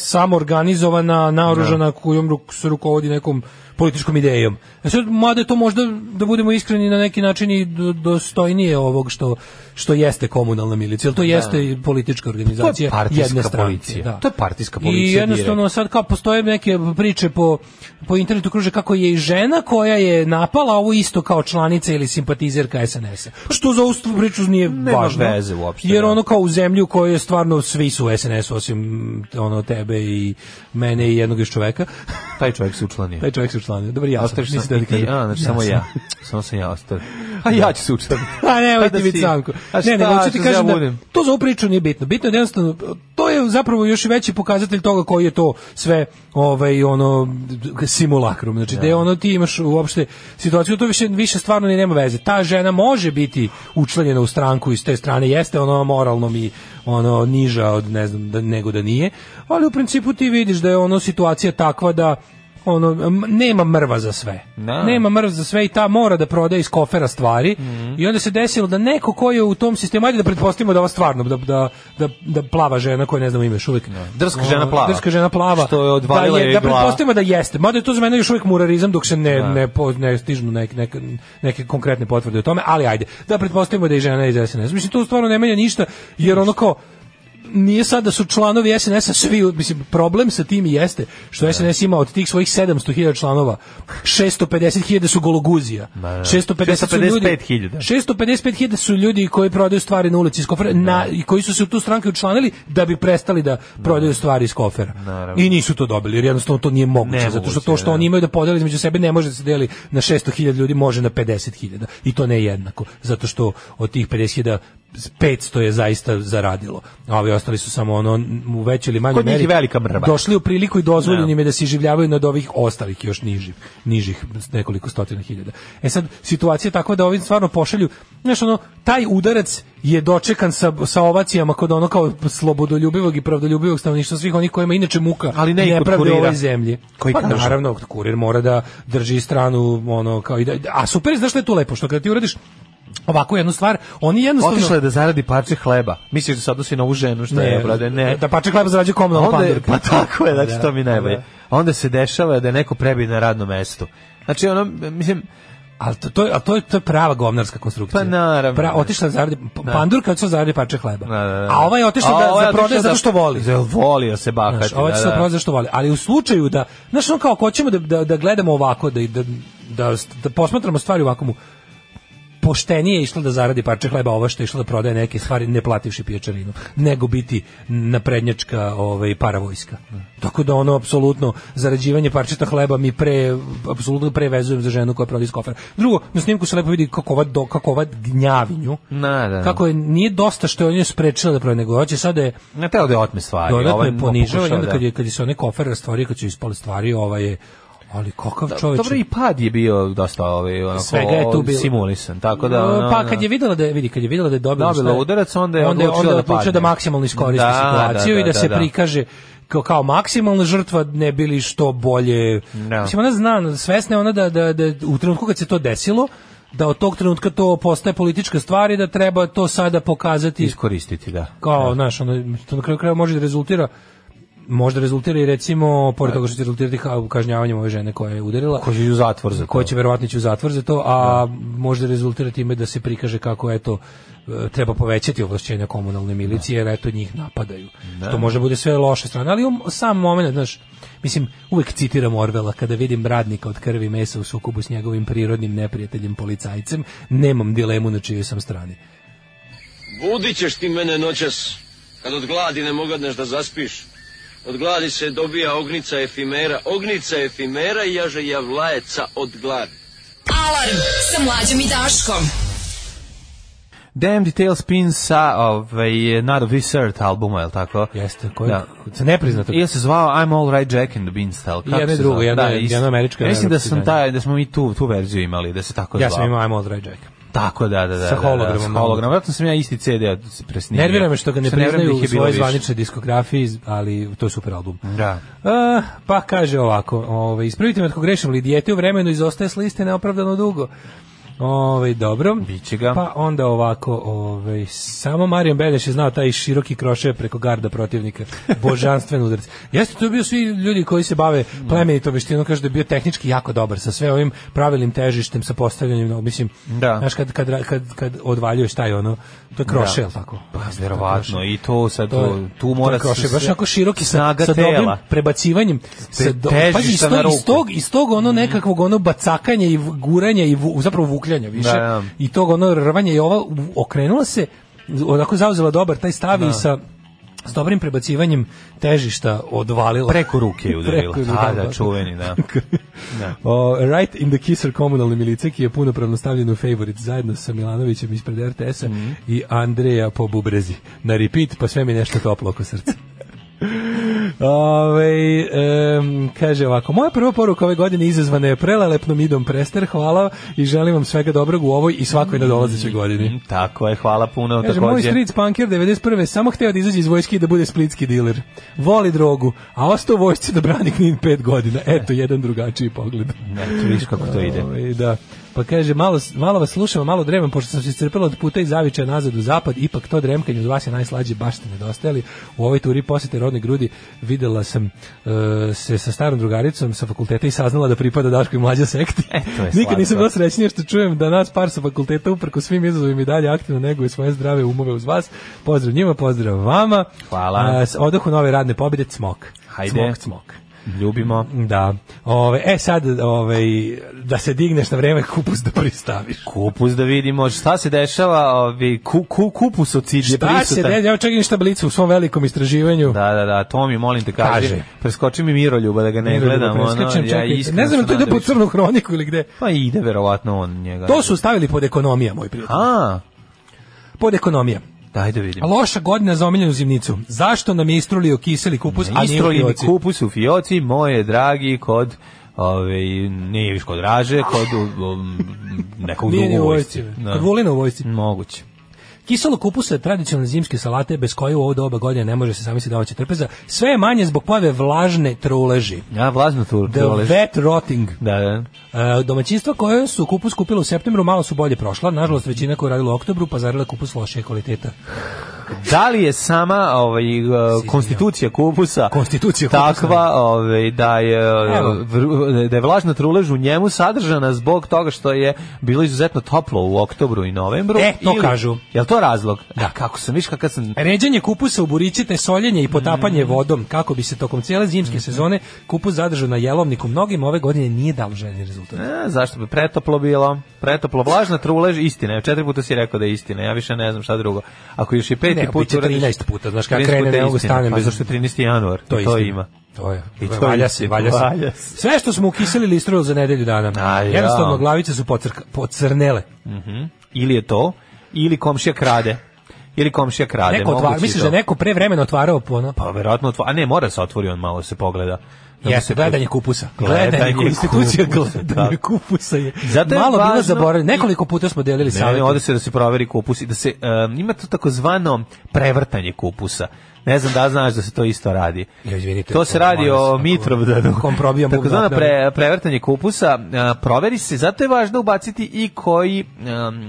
[SPEAKER 6] samoorganizovana, naoružana kojom ruk- se rukovodi nekom političkom idejom. E sad, mada je to možda, da budemo iskreni, na neki način i do- dostojnije ovog što, što jeste komunalna milicija, jer to jeste i politička organizacija
[SPEAKER 5] partijska
[SPEAKER 6] jedne stranke.
[SPEAKER 5] policija.
[SPEAKER 6] da.
[SPEAKER 5] To je partijska policija
[SPEAKER 6] I jednostavno sad kao postoje neke priče po, po internetu kruže kako je i žena koja je napala ovo isto kao članica ili simpatizerka SNS-a. Pa Što za ustu priču nije
[SPEAKER 5] Nema
[SPEAKER 6] važno.
[SPEAKER 5] veze uopšte,
[SPEAKER 6] Jer
[SPEAKER 5] da.
[SPEAKER 6] ono kao u zemlji u kojoj je stvarno svi su u SNS osim ono tebe i mene i jednog još čoveka.
[SPEAKER 5] taj čovjek se učlanio.
[SPEAKER 6] Taj čovjek se učlanio. Dobar ja. sam,
[SPEAKER 5] Ostaviš sam,
[SPEAKER 6] nisi da ti
[SPEAKER 5] i ti,
[SPEAKER 6] kažem.
[SPEAKER 5] a, znači samo
[SPEAKER 6] sam.
[SPEAKER 5] ja. Samo sam ja ostao. A ja ću se učlaniti.
[SPEAKER 6] A ne,
[SPEAKER 5] Pa da
[SPEAKER 6] ti biti
[SPEAKER 5] si-
[SPEAKER 6] samko.
[SPEAKER 5] A šta,
[SPEAKER 6] Ne, nego hoću
[SPEAKER 5] ću
[SPEAKER 6] ti
[SPEAKER 5] da ja
[SPEAKER 6] kažem da
[SPEAKER 5] budem?
[SPEAKER 6] to za ovu priču nije bitno. Bitno je da jednostavno to je zapravo još i veći pokazatelj toga koji je to sve ovaj ono simulakrum. Znači da je ono ti imaš uopšte situaciju to više više stvarno ni nema veze. Ta žena može biti učlanjena u stranku i s te strane jeste ono moralno mi ono niža od ne znam da, nego da nije, ali u principu ti vidiš da je ono situacija takva da ono m- nema mrva za sve.
[SPEAKER 5] Da. Mhm.
[SPEAKER 6] Nema ima mrz za sve i ta mora da proda iz kofera stvari i onda se desilo da neko ko je u tom sistemu, ajde da pretpostavimo da ova stvarno, da, da, da, da plava žena koja ne znamo ime još uvijek.
[SPEAKER 5] Drska žena plava.
[SPEAKER 6] Drska žena plava.
[SPEAKER 5] Što je odvalila
[SPEAKER 6] da
[SPEAKER 5] joj
[SPEAKER 6] Da
[SPEAKER 5] glava.
[SPEAKER 6] pretpostavimo da jeste. Mada je to za mene još uvijek murarizam dok se ne, ne, po- ne stižnu nek, nek- neke konkretne potvrde o tome, ali ajde. Da pretpostavimo da je žena iz SNS. Mislim, to stvarno ne menja ništa, jer ono kao, nije sad da su članovi SNS-a svi, mislim, problem sa tim jeste što SNS ima od tih svojih 700.000 članova, 650.000 su gologuzija,
[SPEAKER 5] da.
[SPEAKER 6] 650 su ljudi,
[SPEAKER 5] 655.000.
[SPEAKER 6] 655.000 su ljudi koji prodaju stvari na ulici iz kofera na, i koji su se u tu stranku učlanili da bi prestali da prodaju stvari iz kofera.
[SPEAKER 5] Naravno.
[SPEAKER 6] I nisu to dobili, jer jednostavno to nije moguće, zato što
[SPEAKER 5] Nemoguće,
[SPEAKER 6] to što
[SPEAKER 5] da.
[SPEAKER 6] oni imaju da podeli između sebe ne može da se deli na 600.000 ljudi, može na 50.000 i to ne jednako, zato što od tih 50.000 500 je zaista zaradilo, a ovi ostali su samo ono u većoj ili manjoj
[SPEAKER 5] Kod njih
[SPEAKER 6] meri
[SPEAKER 5] je velika mrva.
[SPEAKER 6] Došli u priliku i dozvoljeno
[SPEAKER 5] Da.
[SPEAKER 6] im je da se življavaju nad ovih ostalih još nižih, nižih nekoliko stotina hiljada. E sad, situacija je takva da ovim stvarno pošalju, znaš ono, taj udarac je dočekan sa, sa ovacijama kod ono kao slobodoljubivog i pravdoljubivog stanovništva svih onih kojima je inače muka
[SPEAKER 5] Ali ne i kod
[SPEAKER 6] nepravde u
[SPEAKER 5] kurira.
[SPEAKER 6] ovoj zemlji.
[SPEAKER 5] Koji
[SPEAKER 6] pa
[SPEAKER 5] kaže.
[SPEAKER 6] naravno, kurir mora da drži stranu, ono, kao i da, a super, je, znaš što je tu lepo, što kada ti uradiš ovako jednu stvar, oni jednostavno...
[SPEAKER 5] Otišla je da zaradi parče hleba. Misliš da se odnosi na ovu ženu, šta je, brade? Ne.
[SPEAKER 6] Da pače hleba zarađuje
[SPEAKER 5] A
[SPEAKER 6] komunalnu
[SPEAKER 5] onda je,
[SPEAKER 6] pandurku.
[SPEAKER 5] pa tako je, znači to mi je najbolje.
[SPEAKER 6] da.
[SPEAKER 5] A Onda se dešava da je neko prebi na radno mesto. Znači ono, mislim,
[SPEAKER 6] Ali to, to, je- a to, je, to je prava govnarska konstrukcija.
[SPEAKER 5] Pa naravno.
[SPEAKER 6] Pra, otišla da zaradi, p- pandurka je otišla da zaradi parče hleba.
[SPEAKER 5] Da, Pa, da, da.
[SPEAKER 6] A ova je otišla
[SPEAKER 5] A
[SPEAKER 6] da,
[SPEAKER 5] ovaj
[SPEAKER 6] da
[SPEAKER 5] je
[SPEAKER 6] prodaje
[SPEAKER 5] otišao
[SPEAKER 6] zato
[SPEAKER 5] da-
[SPEAKER 6] što voli.
[SPEAKER 5] Za volio se bahati.
[SPEAKER 6] Znaš, ovaj će se prodaje zato što voli. Ali u slučaju da, znaš, ono kao, ako hoćemo da, da, da gledamo ovako, da, da, da, da posmatramo stvari ovako mu, poštenije je išla da zaradi parče hleba ova što je išla da prodaje neke stvari ne plativši pijačarinu, nego biti naprednjačka ovaj, paravojska. Tako da ono, apsolutno, zarađivanje parčeta hleba mi pre, apsolutno pre vezujem za ženu koja prodaje iz kofera. Drugo, na snimku se lepo vidi kako ova, do, kako ova gnjavinju,
[SPEAKER 5] Na, da.
[SPEAKER 6] kako je, nije dosta što je on nju sprečila da prodaje, nego hoće sad da je
[SPEAKER 5] Ne teo da je otme stvari.
[SPEAKER 6] dodatno
[SPEAKER 5] ovaj
[SPEAKER 6] je ponižao i
[SPEAKER 5] pokušao
[SPEAKER 6] onda
[SPEAKER 5] da-
[SPEAKER 6] kad je, kad je se onaj kofer rastvorio, kad su ispale stvari, ova je, ali kakav čovječ.
[SPEAKER 5] Dobro i pad je bio dosta ovaj onako
[SPEAKER 6] Svega je tu bilo.
[SPEAKER 5] simulisan. Tako da ono,
[SPEAKER 6] pa kad je videla da je vidi kad je videla da je dobila,
[SPEAKER 5] Dobila
[SPEAKER 6] šta je-
[SPEAKER 5] udarac, onda je odlučila
[SPEAKER 6] onda
[SPEAKER 5] da
[SPEAKER 6] odlučila da
[SPEAKER 5] padne.
[SPEAKER 6] maksimalno iskoristi
[SPEAKER 5] Da,
[SPEAKER 6] situaciju
[SPEAKER 5] da,
[SPEAKER 6] i da,
[SPEAKER 5] da,
[SPEAKER 6] se
[SPEAKER 5] da, da.
[SPEAKER 6] prikaže kao, kao maksimalna žrtva ne bili što bolje.
[SPEAKER 5] Da.
[SPEAKER 6] Mislim ona zna, svesna je ona da, da, da u trenutku kad se to desilo da od tog trenutka to postaje politička stvar i da treba to sada pokazati
[SPEAKER 5] iskoristiti, da.
[SPEAKER 6] kao, znaš, ono, to na kraju krajeva može da rezultira možda rezultira i recimo pored toga što će rezultirati ha- kažnjavanjem ove žene koja je udarila
[SPEAKER 5] Ko će ići u zatvor za to.
[SPEAKER 6] koja će verovatno ići u zatvor za to, a možda rezultira time da se prikaže kako eto e, treba povećati ovlašćenja komunalne milicije, jer eto njih napadaju. To možda bude sve loše strane, ali um, sam moment, znaš, mislim, uvek citiram Orvela, kada vidim radnika od krvi i mesa u sukobu s njegovim prirodnim neprijateljem policajcem, nemam dilemu na čijoj sam strani.
[SPEAKER 11] Budit ćeš ti mene noćas, kad od gladi ne mogadneš da zaspiš. Od gladi se dobija ognica efimera, ognica efimera i jaže javlajeca od gladi.
[SPEAKER 4] Alarm sa mlađom i Daškom.
[SPEAKER 5] Damn Details Pin sa ovaj, Not of This Earth albuma, je li tako?
[SPEAKER 6] Jeste, koji,
[SPEAKER 5] Da.
[SPEAKER 6] se nepriznato.
[SPEAKER 5] Ili se zvao I'm All Right Jack and the Beanstalk. kako
[SPEAKER 6] Jedno i
[SPEAKER 5] se
[SPEAKER 6] drugo,
[SPEAKER 5] zove?
[SPEAKER 6] jedno je-
[SPEAKER 5] isto.
[SPEAKER 6] jedno američko,
[SPEAKER 5] Ja Mislim
[SPEAKER 6] jedno
[SPEAKER 5] da sam
[SPEAKER 6] europsko,
[SPEAKER 5] taj da smo mi tu tu verziju imali, da se tako
[SPEAKER 6] Ja
[SPEAKER 5] zvao.
[SPEAKER 6] sam imao I'm All Right Jack.
[SPEAKER 5] Tako da, da, da.
[SPEAKER 6] Sa hologramom.
[SPEAKER 5] Da, da, sa hologramom. Vratno sam ja isti CD od se presnimio.
[SPEAKER 6] Nervira me što ga ne
[SPEAKER 5] Sa nervira
[SPEAKER 6] priznaju
[SPEAKER 5] da ih
[SPEAKER 6] u
[SPEAKER 5] je bilo
[SPEAKER 6] svojoj
[SPEAKER 5] više. Mhm.
[SPEAKER 6] zvaničnoj diskografiji, ali to je super album.
[SPEAKER 5] Da.
[SPEAKER 6] A, pa kaže ovako, ovaj ispravite me ako grešim, li dijete u vremenu izostaje s liste neopravdano dugo. Ovaj dobro.
[SPEAKER 5] Biće ga.
[SPEAKER 6] Pa onda ovako, ovaj samo Marijan Beneš je znao taj široki krošev preko garda protivnika. Božanstven udarac. Jeste to je bio svi ljudi koji se bave plemenitom veštinom, kaže da je bio tehnički jako dobar sa sve ovim pravilnim težištem, sa postavljanjem, no, mislim,
[SPEAKER 5] Da.
[SPEAKER 6] znaš kad kad ra- kad kad odvaljuješ taj ono, to je krošel tako.
[SPEAKER 5] Pa,
[SPEAKER 6] Jeste, to je
[SPEAKER 5] verovatno.
[SPEAKER 6] krošel.
[SPEAKER 5] I to sad,
[SPEAKER 6] To
[SPEAKER 5] to,
[SPEAKER 6] je-
[SPEAKER 5] tu mora...
[SPEAKER 6] to je kroše,
[SPEAKER 5] se-
[SPEAKER 6] baš onako široki sa,
[SPEAKER 5] snaga
[SPEAKER 6] sa dobrim
[SPEAKER 5] tela.
[SPEAKER 6] prebacivanjem sa do,
[SPEAKER 5] težišta
[SPEAKER 6] pa iz
[SPEAKER 5] na
[SPEAKER 6] tog,
[SPEAKER 5] ruku. Mhm.
[SPEAKER 6] iz tog iz tog ono nekakvog ono bacakanja i v- guranja i vu- zapravo vukljanja više
[SPEAKER 5] Da, da.
[SPEAKER 6] i tog ono rvanja i ova u- okrenula se onako zauzela dobar taj stav i sa s dobrim prebacivanjem težišta odvalila
[SPEAKER 5] Preko ruke je udarila.
[SPEAKER 6] Preko-
[SPEAKER 5] Da, da, čuveni, da.
[SPEAKER 6] o, right in the kisser komunalne milice ki je punopravno stavljen u favorit zajedno sa Milanovićem ispred RTS-a i Andreja po bubrezi. Na repeat, pa sve mi nešto toplo oko srca. Ove, kaže ovako moja prva poruka ove godine izazvana je prelelepnom idom prester, hvala i želim vam svega dobrog u ovoj i svakoj nadolazećoj godini
[SPEAKER 5] Tako je, hvala puno.
[SPEAKER 6] Kaže, moj
[SPEAKER 5] Mm. takođe.
[SPEAKER 6] street punker 91. samo hteo da izađe iz vojske i da bude splitski diler. Voli drogu, a ostao u vojsci da brani knin pet godina. Eto, jedan drugačiji pogled.
[SPEAKER 5] Eto, vidiš kako to ide.
[SPEAKER 6] Ovaj, da. Pa kaže, malo, malo vas slušam, a malo dremam, pošto sam se iscrpila od puta i zavičaja nazad u zapad, ipak to dremkanje od vas je najslađe, baš ste nedostajali. U ovoj turi posete rodne grudi videla sam e, se sa starom drugaricom sa fakulteta i saznala da pripada Daško i mlađa sekti.
[SPEAKER 5] E, to je
[SPEAKER 6] Nikad nisam
[SPEAKER 5] slatko.
[SPEAKER 6] bila srećnija što čujem da nas par sa fakulteta uprko svim izazovima i dalje aktivno neguje svoje zdrave umove uz vas. Pozdrav njima, pozdrav vama.
[SPEAKER 5] Hvala.
[SPEAKER 6] E, s- odohu nove radne pobjede, cmok.
[SPEAKER 5] Hajde.
[SPEAKER 6] Cmok, cmok.
[SPEAKER 5] Ljubimo.
[SPEAKER 6] Da. Ove, e sad, ove, da se digneš na vreme kupus da pristaviš.
[SPEAKER 5] Kupus da vidimo šta se dešava, ovi, ku, ku, kupus od cilje
[SPEAKER 6] Šta se
[SPEAKER 5] prisutan.
[SPEAKER 6] desi? Evo čekaj ništa blicu u svom velikom istraživanju.
[SPEAKER 5] Da, da, da, to mi molim te kaži.
[SPEAKER 6] Kaži.
[SPEAKER 5] Preskoči mi Miroljuba da ga ne gledam. Ono,
[SPEAKER 6] Preskačem,
[SPEAKER 5] ja
[SPEAKER 6] čekaj.
[SPEAKER 5] iskreno
[SPEAKER 6] ne znam,
[SPEAKER 5] se
[SPEAKER 6] to ide
[SPEAKER 5] nadam
[SPEAKER 6] po
[SPEAKER 5] više.
[SPEAKER 6] crnu hroniku ili gde.
[SPEAKER 5] Pa ide verovatno on njega.
[SPEAKER 6] To su stavili pod ekonomija, moj prijatelj.
[SPEAKER 5] A,
[SPEAKER 6] Pod ekonomija.
[SPEAKER 5] daj da vidim.
[SPEAKER 6] Loša godina za omiljenu zimnicu. Zašto nam je istruli okiseli kupus, a nije u
[SPEAKER 5] Istrojeni
[SPEAKER 6] fioci?
[SPEAKER 5] kupus u fioci, moje dragi, kod ove, nije viš kod Raže, kod um, nekog
[SPEAKER 6] Nije ni
[SPEAKER 5] drugog
[SPEAKER 6] u
[SPEAKER 5] vojsci.
[SPEAKER 6] vojsci.
[SPEAKER 5] Da.
[SPEAKER 6] Kod Vulina u vojsci.
[SPEAKER 5] Moguće.
[SPEAKER 6] Kiselo kupusa je tradicionalne zimske salate bez koje u ovo doba godine ne može se zamisliti domaća trpeza. Sve je manje zbog pojave vlažne truleži.
[SPEAKER 5] Ja, vlazno tu.
[SPEAKER 6] The wet rotting.
[SPEAKER 5] Da, da.
[SPEAKER 6] E, domaćinstva koje su kupus kupila u septembru malo su bolje prošla, nažalost većina koja je radila u oktobru pazarila kupus lošije kvaliteta.
[SPEAKER 5] Da li je sama ovaj, uh, konstitucija kupusa
[SPEAKER 6] Konstitucija kupusa,
[SPEAKER 5] takva ovaj, da, je,
[SPEAKER 6] Evo.
[SPEAKER 5] uh, vr- da je vlažna trulež u njemu sadržana zbog toga što je bilo izuzetno toplo u oktobru i novembru?
[SPEAKER 6] E, to kažu. E.
[SPEAKER 5] Je to razlog? Da. Kako sam, viš kakav sam...
[SPEAKER 6] Ređanje kupusa u burići te soljenje i potapanje
[SPEAKER 5] Mm.
[SPEAKER 6] vodom kako bi se tokom cijele
[SPEAKER 5] Mhm.
[SPEAKER 6] zimske sezone kupus zadržao na jelovniku mnogim ove godine nije dao željeni rezultat.
[SPEAKER 5] E, zašto bi pretoplo bilo? Pretoplo, vlažna trulež, istina je. Četiri puta si rekao da je istina, ja više ne znam šta drugo. Ako još i peti
[SPEAKER 6] Ne,
[SPEAKER 5] put...
[SPEAKER 6] biće 13 puta, znaš, kad ja krenem, ne mogu stanem
[SPEAKER 5] Pa
[SPEAKER 6] bez-
[SPEAKER 5] zašto je 13. januar? To,
[SPEAKER 6] istina.
[SPEAKER 5] ima.
[SPEAKER 6] To je.
[SPEAKER 5] I to
[SPEAKER 6] valja
[SPEAKER 5] je
[SPEAKER 6] se,
[SPEAKER 5] istina,
[SPEAKER 6] valja se.
[SPEAKER 5] valja se.
[SPEAKER 6] Sve što smo ukiselili istrojili za nedelju dana.
[SPEAKER 5] A, ja.
[SPEAKER 6] Jednostavno glavice su pocrka, pocrnele.
[SPEAKER 5] Mhm. Ili je to, ili komšija krade. Ili komšija krade.
[SPEAKER 6] Neko
[SPEAKER 5] moguće
[SPEAKER 6] otvara,
[SPEAKER 5] i
[SPEAKER 6] misliš
[SPEAKER 5] to.
[SPEAKER 6] da je neko pre vremena otvarao po ono?
[SPEAKER 5] Pa verovatno otvara, a ne, mora se otvori on malo se pogleda. Da mu
[SPEAKER 6] Jeste,
[SPEAKER 5] se
[SPEAKER 6] gledanje kupusa.
[SPEAKER 5] Gledanje
[SPEAKER 6] Gledanje,
[SPEAKER 5] kupusa,
[SPEAKER 6] institucija gledanje
[SPEAKER 5] tako.
[SPEAKER 6] kupusa je.
[SPEAKER 5] Zato je
[SPEAKER 6] malo bilo
[SPEAKER 5] važno-
[SPEAKER 6] zaboravljeno. Nekoliko puta smo delili
[SPEAKER 5] Ne, ne,
[SPEAKER 6] savjete.
[SPEAKER 5] ode se da se proveri kupus i da se um, ima to takozvano prevrtanje kupusa. Ne znam da li znaš da se to isto radi.
[SPEAKER 6] Ja, izvinite,
[SPEAKER 5] to se radi
[SPEAKER 6] molim vas,
[SPEAKER 5] o
[SPEAKER 6] ako-
[SPEAKER 5] Mitrovdanu.
[SPEAKER 6] kom probijam bubnjak,
[SPEAKER 5] Takozvano
[SPEAKER 6] da.
[SPEAKER 5] pre, prevrtanje kupusa a, proveri se, zato je važno ubaciti i koji um,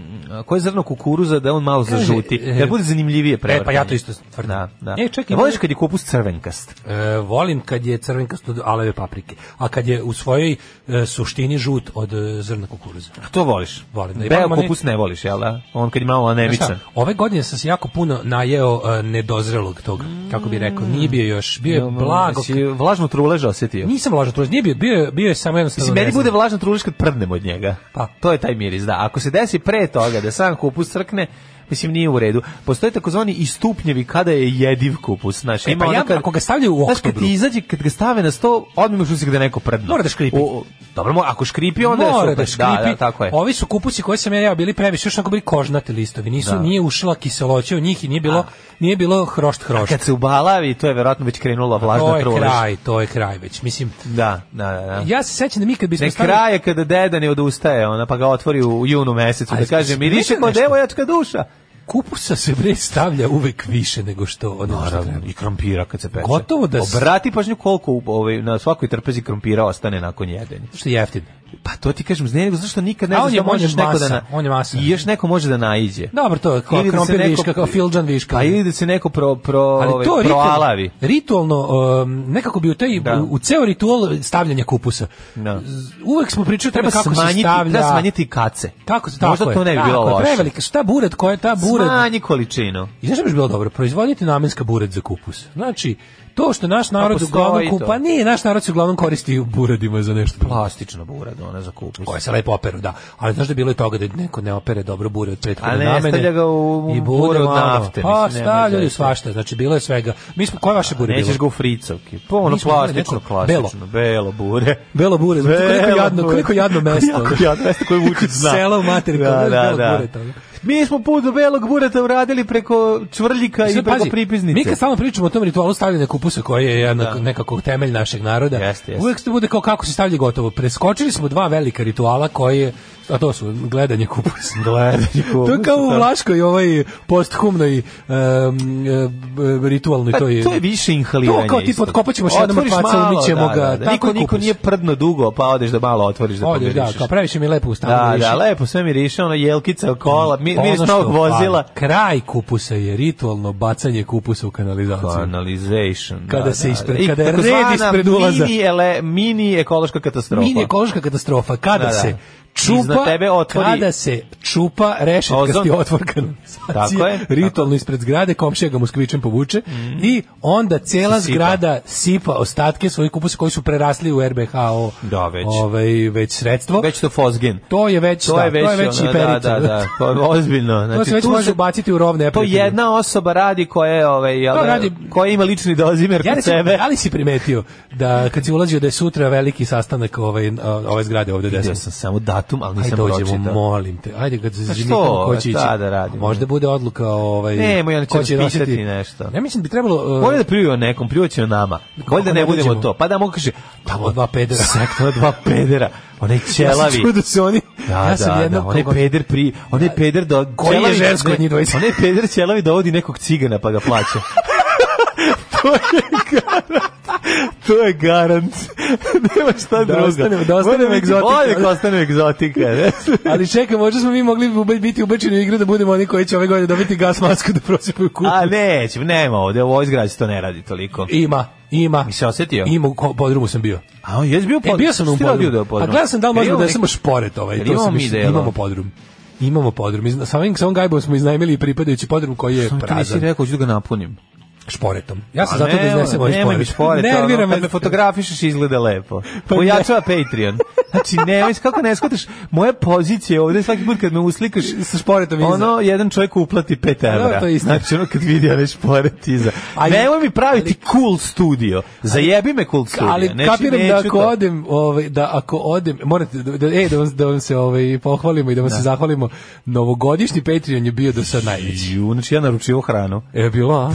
[SPEAKER 5] koje zrno kukuruza da on malo zažuti.
[SPEAKER 6] e,
[SPEAKER 5] Jer bude zanimljivije prevrtanje.
[SPEAKER 6] E, pa ja to isto tvrdim.
[SPEAKER 5] Da, da.
[SPEAKER 6] E, čekaj,
[SPEAKER 5] Voliš kad je kupus crvenkast.
[SPEAKER 6] E, volim kad je crvenkasto od aleve paprike, a kad je u svojoj e, suštini žut od e, zrna kukuruza.
[SPEAKER 5] A to voliš?
[SPEAKER 6] Volim, da. I
[SPEAKER 5] Beo
[SPEAKER 6] volim one-
[SPEAKER 5] kupus ne voliš, jel da? On kad je malo
[SPEAKER 6] Znaš
[SPEAKER 5] anemičan.
[SPEAKER 6] E, šta, ove godine sam se jako puno najeo e, nedozrelog tog, kako bi rekao, nije bio još, bio je blago.
[SPEAKER 5] Si Vlažnu trulež osjetio.
[SPEAKER 6] Nisam lažno trulež, nije bio, bio, je- bio je samo jednostavno.
[SPEAKER 5] Mislim,
[SPEAKER 6] ne
[SPEAKER 5] meni
[SPEAKER 6] znam.
[SPEAKER 5] bude vlažan truliš kad prdnem od njega.
[SPEAKER 6] Pa.
[SPEAKER 5] To je taj miris, da. Ako se desi pre toga da sam kupus crkne, mislim, nije u redu. Postoje takozvani istupnjevi kada je jediv kupus. Znaš,
[SPEAKER 6] E,
[SPEAKER 5] ima
[SPEAKER 6] pa
[SPEAKER 5] ono
[SPEAKER 6] ja,
[SPEAKER 5] kad-
[SPEAKER 6] ako ga stavljaju u
[SPEAKER 5] Znaš, kad
[SPEAKER 6] oktobru,
[SPEAKER 5] ti izađe, kad ga stave na sto, odmah imaš utisak da je neko prdno.
[SPEAKER 6] Mora da škripi.
[SPEAKER 5] O, o, dobro, mora, ako škripi, onda je
[SPEAKER 6] Mora
[SPEAKER 5] super.
[SPEAKER 6] da škripi.
[SPEAKER 5] Da, da, tako je.
[SPEAKER 6] Ovi su kupusi koje sam ja jeo bili previše, još onako bili kožnati listovi. Nisu,
[SPEAKER 5] Da.
[SPEAKER 6] Nije ušla kiseloća u njih i nije bilo, nije bilo hrošt
[SPEAKER 5] A
[SPEAKER 6] hrošt.
[SPEAKER 5] kad se ubalavi, to je verovatno već krenula
[SPEAKER 6] To
[SPEAKER 5] vlažna
[SPEAKER 6] je
[SPEAKER 5] trulež.
[SPEAKER 6] kraj, to je kraj već. Mislim,
[SPEAKER 5] Da, da, da. da.
[SPEAKER 6] ja se sećam da mi kad bismo
[SPEAKER 5] Ne
[SPEAKER 6] stavili-
[SPEAKER 5] kraj je kada deda ne odustaje, ona pa ga otvori u junu mesecu
[SPEAKER 6] Ali
[SPEAKER 5] da kaže
[SPEAKER 6] mislim,
[SPEAKER 5] miriše
[SPEAKER 6] ne
[SPEAKER 5] kao
[SPEAKER 6] nešto.
[SPEAKER 5] devojačka duša.
[SPEAKER 6] kupusa se bre stavlja uvek više nego što ono što treba.
[SPEAKER 5] i krompira kad se peče.
[SPEAKER 6] Gotovo da s-
[SPEAKER 5] Obrati pažnju koliko u- ovaj, na svakoj trpezi krompira ostane nakon jedenja.
[SPEAKER 6] Što je jeftin.
[SPEAKER 5] Pa to ti kažem, ne nego zašto nikad ne
[SPEAKER 6] A
[SPEAKER 5] znaš
[SPEAKER 6] on je-
[SPEAKER 5] da
[SPEAKER 6] on je
[SPEAKER 5] možeš neko da
[SPEAKER 6] masa,
[SPEAKER 5] na,
[SPEAKER 6] on je masa.
[SPEAKER 5] I još neko može da naiđe.
[SPEAKER 6] Dobro, to je kao
[SPEAKER 5] Ili da se
[SPEAKER 6] krompir
[SPEAKER 5] neko-
[SPEAKER 6] viška, kao filđan viška.
[SPEAKER 5] Pa ili da se neko pro, pro,
[SPEAKER 6] ali
[SPEAKER 5] ovaj,
[SPEAKER 6] to ritual,
[SPEAKER 5] proalavi.
[SPEAKER 6] ritualno um, nekako bi u taj
[SPEAKER 5] Da.
[SPEAKER 6] u, u ceo ritual stavljanja kupusa.
[SPEAKER 5] Da.
[SPEAKER 6] Z- Uvek smo pričali o tome
[SPEAKER 5] Treba
[SPEAKER 6] kako se
[SPEAKER 5] smanjiti,
[SPEAKER 6] stavlja.
[SPEAKER 5] treba smanjiti kace.
[SPEAKER 6] Tako, tako
[SPEAKER 5] Možda
[SPEAKER 6] je,
[SPEAKER 5] to ne bi
[SPEAKER 6] tako
[SPEAKER 5] bilo
[SPEAKER 6] je,
[SPEAKER 5] loše.
[SPEAKER 6] Prevelika, šta buret, koja je ta buret?
[SPEAKER 5] Smanji količinu.
[SPEAKER 6] I znaš šta bi bilo dobro? Proizvoditi namenska buret za kupus. Znači, to što naš narod
[SPEAKER 5] Pa postoji
[SPEAKER 6] uglavnom
[SPEAKER 5] to.
[SPEAKER 6] kupa, nije, naš narod se uglavnom koristi u buredima za nešto. drugo.
[SPEAKER 5] Plastična burada, ona za kupus.
[SPEAKER 6] koje se lepo operu, da. Ali znaš da je bilo i toga da neko ne opere dobro bure od prethodne
[SPEAKER 5] A ne,
[SPEAKER 6] namene.
[SPEAKER 5] stavlja ga u
[SPEAKER 6] i
[SPEAKER 5] bure
[SPEAKER 6] bure
[SPEAKER 5] od
[SPEAKER 6] malo.
[SPEAKER 5] nafte,
[SPEAKER 6] Pa,
[SPEAKER 5] mislim, nema
[SPEAKER 6] stavljaju
[SPEAKER 5] veze.
[SPEAKER 6] svašta, znači bilo je svega. Mi smo, koje vaše bure bilo?
[SPEAKER 5] Nećeš ga u fricovki. Pa ono
[SPEAKER 6] Mi smo imali
[SPEAKER 5] plastično,
[SPEAKER 6] neko-
[SPEAKER 5] klasično. Belo. Belo bure.
[SPEAKER 6] Belo bure, znači koliko jadno,
[SPEAKER 5] bure.
[SPEAKER 6] koliko jadno mesto.
[SPEAKER 5] Jako jadno mesto koje Vučić zna.
[SPEAKER 6] Selo u materiku, znaš, belog bureta, ono.
[SPEAKER 5] Mi smo put do belog bureta uradili preko čvrljika i
[SPEAKER 6] Sad,
[SPEAKER 5] preko
[SPEAKER 6] pazi,
[SPEAKER 5] pripiznice.
[SPEAKER 6] Mi kad stalno pričamo o tom ritualu stavljanja kupusa koji je jedan nekako temelj našeg naroda,
[SPEAKER 5] Jeste, jeste.
[SPEAKER 6] uvek se bude kao kako se stavlja gotovo. Preskočili smo dva velika rituala koje a to su gledanje kupusa.
[SPEAKER 5] Gledanje kupusa,
[SPEAKER 6] To je kao u
[SPEAKER 5] da.
[SPEAKER 6] Vlaškoj ovaj posthumnoj um, e, ritualnoj
[SPEAKER 5] Pa,
[SPEAKER 6] to je.
[SPEAKER 5] to je više inhaliranje.
[SPEAKER 6] To kao tipa,
[SPEAKER 5] isto.
[SPEAKER 6] otkopaćemo još jednom
[SPEAKER 5] Otvoriš
[SPEAKER 6] mrtvaca,
[SPEAKER 5] malo,
[SPEAKER 6] umićemo
[SPEAKER 5] da,
[SPEAKER 6] ga,
[SPEAKER 5] da, da.
[SPEAKER 6] tako
[SPEAKER 5] Niko,
[SPEAKER 6] je
[SPEAKER 5] niko
[SPEAKER 6] kupus.
[SPEAKER 5] nije prdno dugo, pa odeš da malo otvoriš da
[SPEAKER 6] Odeš, da,
[SPEAKER 5] pomirišeš.
[SPEAKER 6] kao previše mi je lepo u stanu
[SPEAKER 5] Da, da,
[SPEAKER 6] miriše.
[SPEAKER 5] lepo sve miriše, ono jelkica, kola, mi,
[SPEAKER 6] Ono
[SPEAKER 5] miris
[SPEAKER 6] što
[SPEAKER 5] novog
[SPEAKER 6] fali.
[SPEAKER 5] vozila.
[SPEAKER 6] Kraj kupusa je ritualno bacanje kupusa u kanalizaciju.
[SPEAKER 5] Canalization.
[SPEAKER 6] Kada
[SPEAKER 5] da,
[SPEAKER 6] se
[SPEAKER 5] da,
[SPEAKER 6] ispred-
[SPEAKER 5] da. I
[SPEAKER 6] kada je red
[SPEAKER 5] takozvana
[SPEAKER 6] ispred ulaza.
[SPEAKER 5] Mini, ele, mini ekološka katastrofa.
[SPEAKER 6] Mini ekološka katastrofa kada
[SPEAKER 5] Da, da.
[SPEAKER 6] se
[SPEAKER 5] Iznad
[SPEAKER 6] čupa
[SPEAKER 5] tebe otvori-
[SPEAKER 6] kada se čupa rešetkasti
[SPEAKER 5] Ozon.
[SPEAKER 6] otvor
[SPEAKER 5] Tako je,
[SPEAKER 6] kanalizacije
[SPEAKER 5] tako. Mm.
[SPEAKER 6] ritualno ispred zgrade komšija ga moskvičem povuče i onda cela
[SPEAKER 5] Sipa.
[SPEAKER 6] zgrada sipa ostatke svojih kupusa koji su prerasli u RBH o,
[SPEAKER 5] Da, već.
[SPEAKER 6] ovaj već sredstvo
[SPEAKER 5] Već to fosgen.
[SPEAKER 6] to je već
[SPEAKER 5] To
[SPEAKER 6] da,
[SPEAKER 5] je već,
[SPEAKER 6] to je već
[SPEAKER 5] ono,
[SPEAKER 6] i perica
[SPEAKER 5] Da, da, da. To je ozbiljno. Znači,
[SPEAKER 6] to se već
[SPEAKER 5] tu
[SPEAKER 6] može ubaciti u rovne
[SPEAKER 5] To
[SPEAKER 6] neprijatelje.
[SPEAKER 5] jedna osoba radi koja je ovaj jel,
[SPEAKER 6] To
[SPEAKER 5] da,
[SPEAKER 6] radi-
[SPEAKER 5] koja ima lični dozimer
[SPEAKER 6] Ja
[SPEAKER 5] kod
[SPEAKER 6] recimo,
[SPEAKER 5] sebe.
[SPEAKER 6] da li si primetio da kad si ulazio da je sutra veliki sastanak ovaj, ove zgrade ovde
[SPEAKER 5] Vidio
[SPEAKER 6] desno?
[SPEAKER 5] sam samo datum, ali
[SPEAKER 6] Ajde
[SPEAKER 5] nisam
[SPEAKER 6] dođemo,
[SPEAKER 5] pročitao. Pa
[SPEAKER 6] molim te. Ajde kad se zimi
[SPEAKER 5] što,
[SPEAKER 6] ko će ići.
[SPEAKER 5] šta da radimo?
[SPEAKER 6] Možda bude odluka ovaj
[SPEAKER 5] Ne, moj, oni će
[SPEAKER 6] ko će
[SPEAKER 5] raspisati
[SPEAKER 6] nositi-
[SPEAKER 5] nešto.
[SPEAKER 6] Ja mislim da bi trebalo uh,
[SPEAKER 5] Bolje da pljuju o nekom, pljuvaće o nama. Bolje da
[SPEAKER 6] Kako
[SPEAKER 5] ne
[SPEAKER 6] ne
[SPEAKER 5] budemo
[SPEAKER 6] dođemo?
[SPEAKER 5] to. Pa da mogu kaže,
[SPEAKER 6] tamo dva pedera.
[SPEAKER 5] sektor dva pedera, onaj
[SPEAKER 6] Ja sam
[SPEAKER 5] ćelavi.
[SPEAKER 6] čuo da su oni.
[SPEAKER 5] Da,
[SPEAKER 6] ja sam
[SPEAKER 5] da,
[SPEAKER 6] jednog
[SPEAKER 5] da, onaj
[SPEAKER 6] koga-
[SPEAKER 5] peder pri, onaj peder do
[SPEAKER 6] Koji je žensko od njih dvojice?
[SPEAKER 5] Onaj peder ćelavi dovodi nekog cigana pa ga plaća. to je garant. To je garant. Nema šta
[SPEAKER 6] Da
[SPEAKER 5] drugo.
[SPEAKER 6] ostanemo- da ostanemo
[SPEAKER 5] Mora biti
[SPEAKER 6] egzotika.
[SPEAKER 5] Bolje da ostanemo egzotika. ne?
[SPEAKER 6] Ali čekaj, možda smo mi mogli ube- biti ubačeni u igru da budemo oni koji će ove godine dobiti gas masku da prosipaju kuću.
[SPEAKER 5] A nećemo, nema ovde, ovo izgrađe to ne radi toliko.
[SPEAKER 6] Ima, ima.
[SPEAKER 5] Mi se osetio?
[SPEAKER 6] Ima, u ko- podrumu sam bio.
[SPEAKER 5] A on je bio
[SPEAKER 6] E, bio sam u podrumu.
[SPEAKER 5] podrum.
[SPEAKER 6] A gledao sam da li možemo da samo šporet ovaj.
[SPEAKER 5] Jer
[SPEAKER 6] To
[SPEAKER 5] imamo
[SPEAKER 6] sam
[SPEAKER 5] mi
[SPEAKER 6] mislio,
[SPEAKER 5] delo.
[SPEAKER 6] imamo podrum. Imamo podrum. Izna- Sa ovim, sa ovim gajbom smo iznajmili i pripadajući podrum koji je
[SPEAKER 5] Pa Ti nisi
[SPEAKER 6] prazan.
[SPEAKER 5] rekao, ću da ga napunim.
[SPEAKER 6] šporetom. Ja sam
[SPEAKER 5] A
[SPEAKER 6] zato da
[SPEAKER 5] ne,
[SPEAKER 6] iznesem ovaj
[SPEAKER 5] Pa Nemoj mi šporet,
[SPEAKER 6] šporet.
[SPEAKER 5] Nervira
[SPEAKER 6] Nerviram
[SPEAKER 5] me. Kad me fotografišeš izgleda lepo.
[SPEAKER 6] Pa
[SPEAKER 5] Pojačava Patreon. Znači, nemoj, kako ne shvataš, moja pozicija ovde svaki put kad me uslikaš,
[SPEAKER 6] sa šporetom iza.
[SPEAKER 5] ono, jedan čovjek uplati 5 evra.
[SPEAKER 6] to je istina.
[SPEAKER 5] Znači, ono kad vidi onaj šporet iza.
[SPEAKER 6] Ali-
[SPEAKER 5] Nemoj mi praviti cool studio. Zajebi me cool studio.
[SPEAKER 6] ali
[SPEAKER 5] Neću-
[SPEAKER 6] kapiram da
[SPEAKER 5] neću
[SPEAKER 6] ako
[SPEAKER 5] to.
[SPEAKER 6] odem, ovaj da ako odem, morate da, da ej da vam, da vam se ovaj pohvalimo i da vam se zahvalimo. Novogodišnji Patreon je bio do sad najveći.
[SPEAKER 5] Ju, znači ja naručio hranu.
[SPEAKER 6] E bilo, a?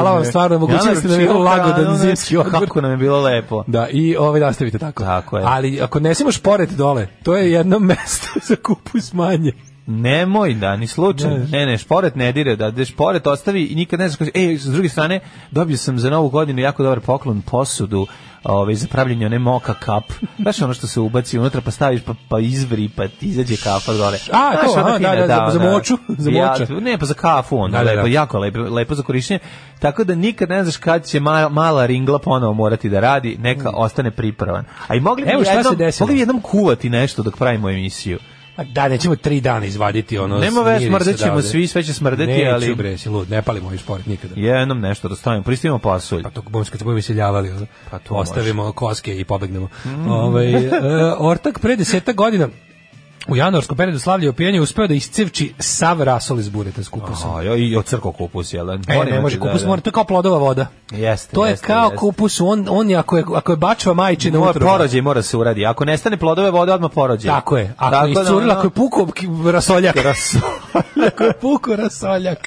[SPEAKER 6] Hvala vam stvarno, omogućili ste nam jedan lagodan zimski odmor.
[SPEAKER 5] znači, Kako nam je bilo lepo.
[SPEAKER 6] Da, i ovaj nastavite tako.
[SPEAKER 5] Tako je.
[SPEAKER 6] Ali ako nesimoš pored dole, to je jedno mesto za kupu smanje.
[SPEAKER 5] Nemoj da, ni slučajno. Ne, ne, šporet ne dire, da, da šporet ostavi i nikad ne znaš koji... Ej, s druge strane, dobio sam za novu godinu jako dobar poklon posudu ovaj, za pravljenje one moka kap. Znaš ono što se ubaci unutra, pa staviš, pa, pa izvri, pa ti izađe kafa dole.
[SPEAKER 6] A,
[SPEAKER 5] Znaš, ono
[SPEAKER 6] to,
[SPEAKER 5] ona
[SPEAKER 6] a,
[SPEAKER 5] fina,
[SPEAKER 6] da, da, za- za
[SPEAKER 5] ona-
[SPEAKER 6] moču, za
[SPEAKER 5] Ja,
[SPEAKER 6] moča.
[SPEAKER 5] ne, pa za kafu onda,
[SPEAKER 6] Da, da, da.
[SPEAKER 5] lepo, jako lepo, lepo za korišćenje. Tako da nikad ne znaš kad će ma- mala ringla ponovo morati da radi, neka ostane pripravan. A i mogli bi
[SPEAKER 6] Mm. Evo šta se
[SPEAKER 5] jednom,
[SPEAKER 6] desilo.
[SPEAKER 5] mogli bi jednom kuvati nešto dok pravimo emisiju.
[SPEAKER 6] A da, nećemo tri dana izvaditi ono.
[SPEAKER 5] Nema veze,
[SPEAKER 6] smiri se
[SPEAKER 5] smrdećemo
[SPEAKER 6] odavde.
[SPEAKER 5] svi, sve će smrdeti,
[SPEAKER 6] Neću,
[SPEAKER 5] ali-
[SPEAKER 6] bre, si lud, ne palimo ovaj šporet nikada.
[SPEAKER 5] Jednom nešto da stavimo, pristavimo pasulj.
[SPEAKER 6] Pa to budemo kad se budemo iseljavali, ono.
[SPEAKER 5] Pa to Mm.
[SPEAKER 6] ostavimo koske i pobegnemo. Ovaj, e, ortak pre deseta godina u januarskom periodu slavlja opijenja uspeo da iscevči sav rasol iz bureta s kupusom.
[SPEAKER 5] A, jo, i od crko kupus, jel? da?
[SPEAKER 6] Pa, E,
[SPEAKER 5] Moram
[SPEAKER 6] ne može,
[SPEAKER 5] da-
[SPEAKER 6] kupus
[SPEAKER 5] da-
[SPEAKER 6] mora, to je kao plodova voda.
[SPEAKER 5] Jeste,
[SPEAKER 6] To je
[SPEAKER 5] jeste,
[SPEAKER 6] kao
[SPEAKER 5] jeste.
[SPEAKER 6] kupus, on, on je, ako je, ako je bačva majčina
[SPEAKER 5] Mora
[SPEAKER 6] utroba.
[SPEAKER 5] porođaj mora se uradi. Ako nestane plodove vode, odmah porođaj.
[SPEAKER 6] Tako je. Ako je
[SPEAKER 5] da,
[SPEAKER 6] iscurila,
[SPEAKER 5] ono-
[SPEAKER 6] ako je puko rasoljak. ako je puko rasoljak,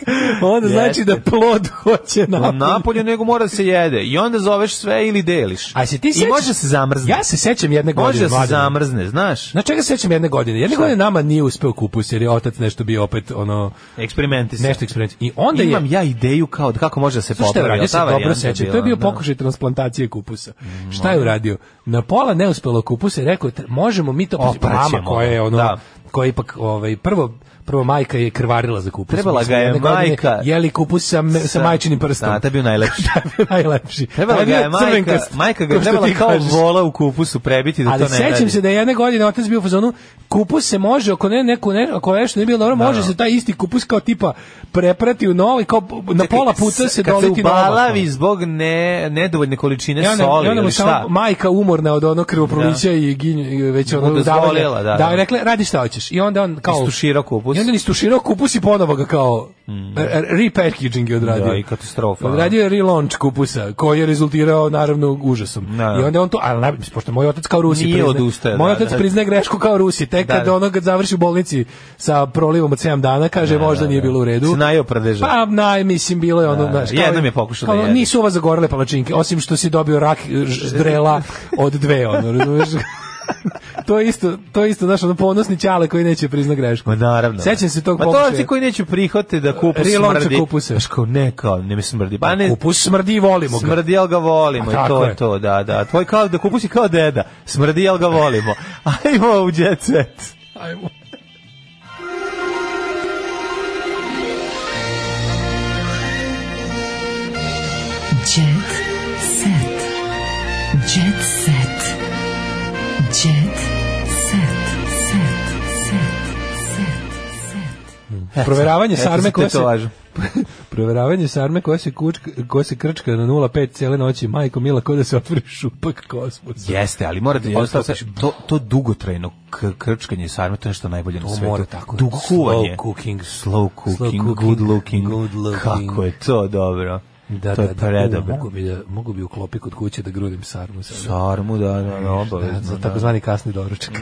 [SPEAKER 6] onda
[SPEAKER 5] Jeste.
[SPEAKER 6] znači da plod hoće
[SPEAKER 5] Na
[SPEAKER 6] napolje.
[SPEAKER 5] napolju nego mora da se jede. I onda zoveš sve ili deliš.
[SPEAKER 6] A se ti
[SPEAKER 5] I
[SPEAKER 6] sećaš-
[SPEAKER 5] može da se zamrzne.
[SPEAKER 6] Ja se sećam jedne godine.
[SPEAKER 5] Može da se
[SPEAKER 6] Mladene.
[SPEAKER 5] zamrzne, znaš?
[SPEAKER 6] Na čega se sećam jedne godine? Jedne godine nama nije uspeo kupus jer je otac nešto bio opet ono
[SPEAKER 5] Eksperimenti se.
[SPEAKER 6] nešto eksperiment. I onda je
[SPEAKER 5] Imam ja ideju kao da kako može da se
[SPEAKER 6] Znaš šta je
[SPEAKER 5] popravi.
[SPEAKER 6] uradio?
[SPEAKER 5] jel
[SPEAKER 6] Ja
[SPEAKER 5] ta
[SPEAKER 6] se dobro
[SPEAKER 5] varijanta
[SPEAKER 6] sećam. To je
[SPEAKER 5] bila?
[SPEAKER 6] bio
[SPEAKER 5] Da. Mm,
[SPEAKER 6] pokušaj transplantacije kupusa. Šta je uradio? Na pola neuspelo kupusa i rekao je, "Tre- možemo mi to
[SPEAKER 5] Opraćemo
[SPEAKER 6] mama koja je ono
[SPEAKER 5] Da.
[SPEAKER 6] koja je ipak ovaj prvo prvo majka je krvarila za kupus.
[SPEAKER 5] Trebala
[SPEAKER 6] Mislim,
[SPEAKER 5] ga je
[SPEAKER 6] jedne godine
[SPEAKER 5] majka-
[SPEAKER 6] Jeli kupus sa, me- sa majčinim prstom.
[SPEAKER 5] Da, to je bio najlepši.
[SPEAKER 6] najlepši.
[SPEAKER 5] Trebala
[SPEAKER 6] Taj
[SPEAKER 5] ga
[SPEAKER 6] bio
[SPEAKER 5] je majka,
[SPEAKER 6] crvenkast,
[SPEAKER 5] majka ga
[SPEAKER 6] kao
[SPEAKER 5] je
[SPEAKER 6] što
[SPEAKER 5] trebala
[SPEAKER 6] ti
[SPEAKER 5] kao
[SPEAKER 6] kažeš.
[SPEAKER 5] vola u kupusu prebiti da
[SPEAKER 6] Ali
[SPEAKER 5] to ne radi.
[SPEAKER 6] sećam se da je jedne godine otac bio u fazonu kupus se može ako ne neko ne ako nešto nije bilo dobro može se taj isti kupus kao tipa preprati u novi kao na pola puta se doliti
[SPEAKER 5] na
[SPEAKER 6] na oblak.
[SPEAKER 5] obalavi zbog ne, nedovoljne količine
[SPEAKER 6] I E, onda,
[SPEAKER 5] soli
[SPEAKER 6] i onda mu
[SPEAKER 5] ili
[SPEAKER 6] samo
[SPEAKER 5] šta.
[SPEAKER 6] majka umorna od onog krvoprolića i ginj, i već ono
[SPEAKER 5] Mu dozvolila,
[SPEAKER 6] udavanja.
[SPEAKER 5] da, da.
[SPEAKER 6] da, rekla radi šta hoćeš. I onda on kao
[SPEAKER 5] Istuširao kupus. Mm.
[SPEAKER 6] I onda on istuširao kupus i ponovo ga kao re- re- repackaging je odradio.
[SPEAKER 5] Da, i katastrofa. ono.
[SPEAKER 6] Odradio je relaunch kupusa, koji je rezultirao naravno užasom.
[SPEAKER 5] Da.
[SPEAKER 6] I onda on to, ali naj- pošto moj otac kao Rusi
[SPEAKER 5] Nije
[SPEAKER 6] priznaje-
[SPEAKER 5] odustaje,
[SPEAKER 6] Moj
[SPEAKER 5] da,
[SPEAKER 6] otac
[SPEAKER 5] da.
[SPEAKER 6] priznaje grešku kao Rusi, tek
[SPEAKER 5] Da,
[SPEAKER 6] kad
[SPEAKER 5] da.
[SPEAKER 6] ono kad završi u bolnici sa prolivom od 7 dana, kaže možda nije bilo u redu.
[SPEAKER 5] Se najeo pradeža.
[SPEAKER 6] Pa, naj, mislim, bilo je ono,
[SPEAKER 5] Da,
[SPEAKER 6] znaš,
[SPEAKER 5] da. Jednom je pokušao da
[SPEAKER 6] kao,
[SPEAKER 5] jede.
[SPEAKER 6] Nisu ova zagorele palačinke, osim što si dobio rak ž- ždrela od dve, ono, razumeš? to je isto, to je isto, znaš, ono ponosni ćale koji neće priznat grešku.
[SPEAKER 5] Ma naravno.
[SPEAKER 6] Pa, Sećam se tog
[SPEAKER 5] Ma to
[SPEAKER 6] pokušaja.
[SPEAKER 5] ti koji neću prihvate da kupus
[SPEAKER 6] Relauncha
[SPEAKER 5] smrdi.
[SPEAKER 6] kupusa.
[SPEAKER 5] Znaš kao, ne kao, ne mi smrdi. Pa ne,
[SPEAKER 6] Kupus smrdi i volimo ga.
[SPEAKER 5] smrdi, jel ga volimo.
[SPEAKER 6] A
[SPEAKER 5] I
[SPEAKER 6] tako
[SPEAKER 5] to je
[SPEAKER 6] je.
[SPEAKER 5] to, da, da. Tvoj kao da kupus je kao deda. Smrdi, jel ga volimo. Ajmo u jet set.
[SPEAKER 6] Ajmo.
[SPEAKER 7] Jet set. Jet set. Jet set. Set. Set.
[SPEAKER 6] Proveravanje sarme koja se...
[SPEAKER 5] to važu.
[SPEAKER 6] Proveravanje sarme koja se, kučka, koja se krčka na 0,5 cijele noći, majko mila, ko da se otvori šupak kosmosa.
[SPEAKER 5] Jeste, ali morate jednostavno to, to dugotrajno k- krčkanje sarme, to je nešto najbolje na
[SPEAKER 6] To
[SPEAKER 5] svetu.
[SPEAKER 6] mora tako.
[SPEAKER 5] Dugo
[SPEAKER 6] Slow
[SPEAKER 5] kuvanje.
[SPEAKER 6] cooking.
[SPEAKER 5] Slow
[SPEAKER 6] Slow
[SPEAKER 5] cooking,
[SPEAKER 6] cooking,
[SPEAKER 5] good looking.
[SPEAKER 6] good looking.
[SPEAKER 5] Kako je to dobro.
[SPEAKER 6] Da,
[SPEAKER 5] to
[SPEAKER 6] da, da,
[SPEAKER 5] je
[SPEAKER 6] U,
[SPEAKER 5] predobro.
[SPEAKER 6] mogu bi da mogu bi u klopi kod kuće da grudim sarmu sad.
[SPEAKER 5] Sarmu, da, da, da, Mhm.
[SPEAKER 6] Da,
[SPEAKER 5] obavezno.
[SPEAKER 6] za takozvani kasni doručak.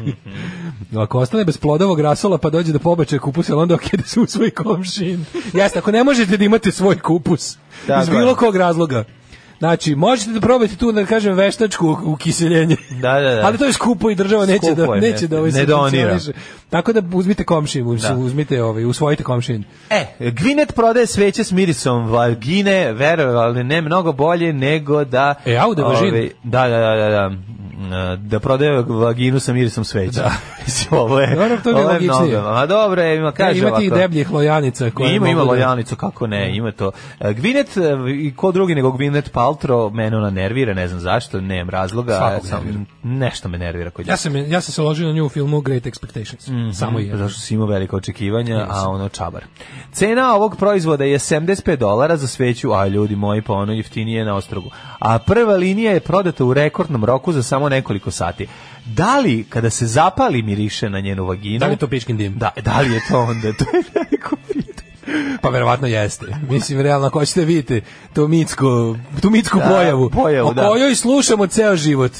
[SPEAKER 6] No, ako ostane bez plodovog rasola pa dođe do pobačaja kupusa, ali onda okej da se u svoj komšin. Jeste, ako ne možete da imate svoj kupus,
[SPEAKER 5] Tako
[SPEAKER 6] iz
[SPEAKER 5] je.
[SPEAKER 6] bilo kog razloga, Znači, možete da probate tu, da kažem, veštačku ukiseljenje.
[SPEAKER 5] Da, da, da.
[SPEAKER 6] Ali to je skupo i država neće
[SPEAKER 5] Skupo
[SPEAKER 6] da
[SPEAKER 5] je,
[SPEAKER 6] neće da ovaj
[SPEAKER 5] ne donira.
[SPEAKER 6] subvencioniše. Tako da uzmite komšin, uzmite ovaj, usvojite komšin.
[SPEAKER 5] E, Gvinet prodaje sveće s mirisom vagine, verovali ne mnogo bolje nego da...
[SPEAKER 6] E, au de vagin.
[SPEAKER 5] Ovaj, Da, da, da, da, da. Da prodaje vaginu sa mirisom sveća. Da. ovo je,
[SPEAKER 6] Dobro, Ono to mi je E,
[SPEAKER 5] ovo
[SPEAKER 6] logičnije.
[SPEAKER 5] mnogo. A dobro, je, ima, kaže
[SPEAKER 6] Kaže, Imate i
[SPEAKER 5] ovako.
[SPEAKER 6] debljih lojanica koje
[SPEAKER 5] ima, ima
[SPEAKER 6] mogu da-
[SPEAKER 5] lojanicu, kako ne, ima to. E, Gvinet, e, i ko drugi nego Gvinet Paltro, mene ona nervira, ne znam zašto, nemam razloga.
[SPEAKER 6] Svakog
[SPEAKER 5] sam-
[SPEAKER 6] nervira.
[SPEAKER 5] Nešto me nervira kod
[SPEAKER 6] Ja sam, je- ja sam se ložio na nju u filmu Great Expectations. Samo je.
[SPEAKER 5] Mhm. Zašto si imao velika očekivanja, a ono čabar. Cena ovog proizvoda je 75 dolara za sveću, a ljudi moji, pa ono jeftinije na ostrogu. A prva linija je prodata u rekordnom roku za samo nekoliko sati. Da li, kada se zapali miriše na njenu vaginu...
[SPEAKER 6] Da li je to pičkin dim?
[SPEAKER 5] Da, da li je to onda? To je veliko pitanje.
[SPEAKER 6] Pa verovatno jeste. Mislim, realno, ako hoćete vidjeti to mitsko, tu mitsku
[SPEAKER 5] Da,
[SPEAKER 6] pojavu,
[SPEAKER 5] pojavu,
[SPEAKER 6] o
[SPEAKER 5] da.
[SPEAKER 6] kojoj slušamo ceo život.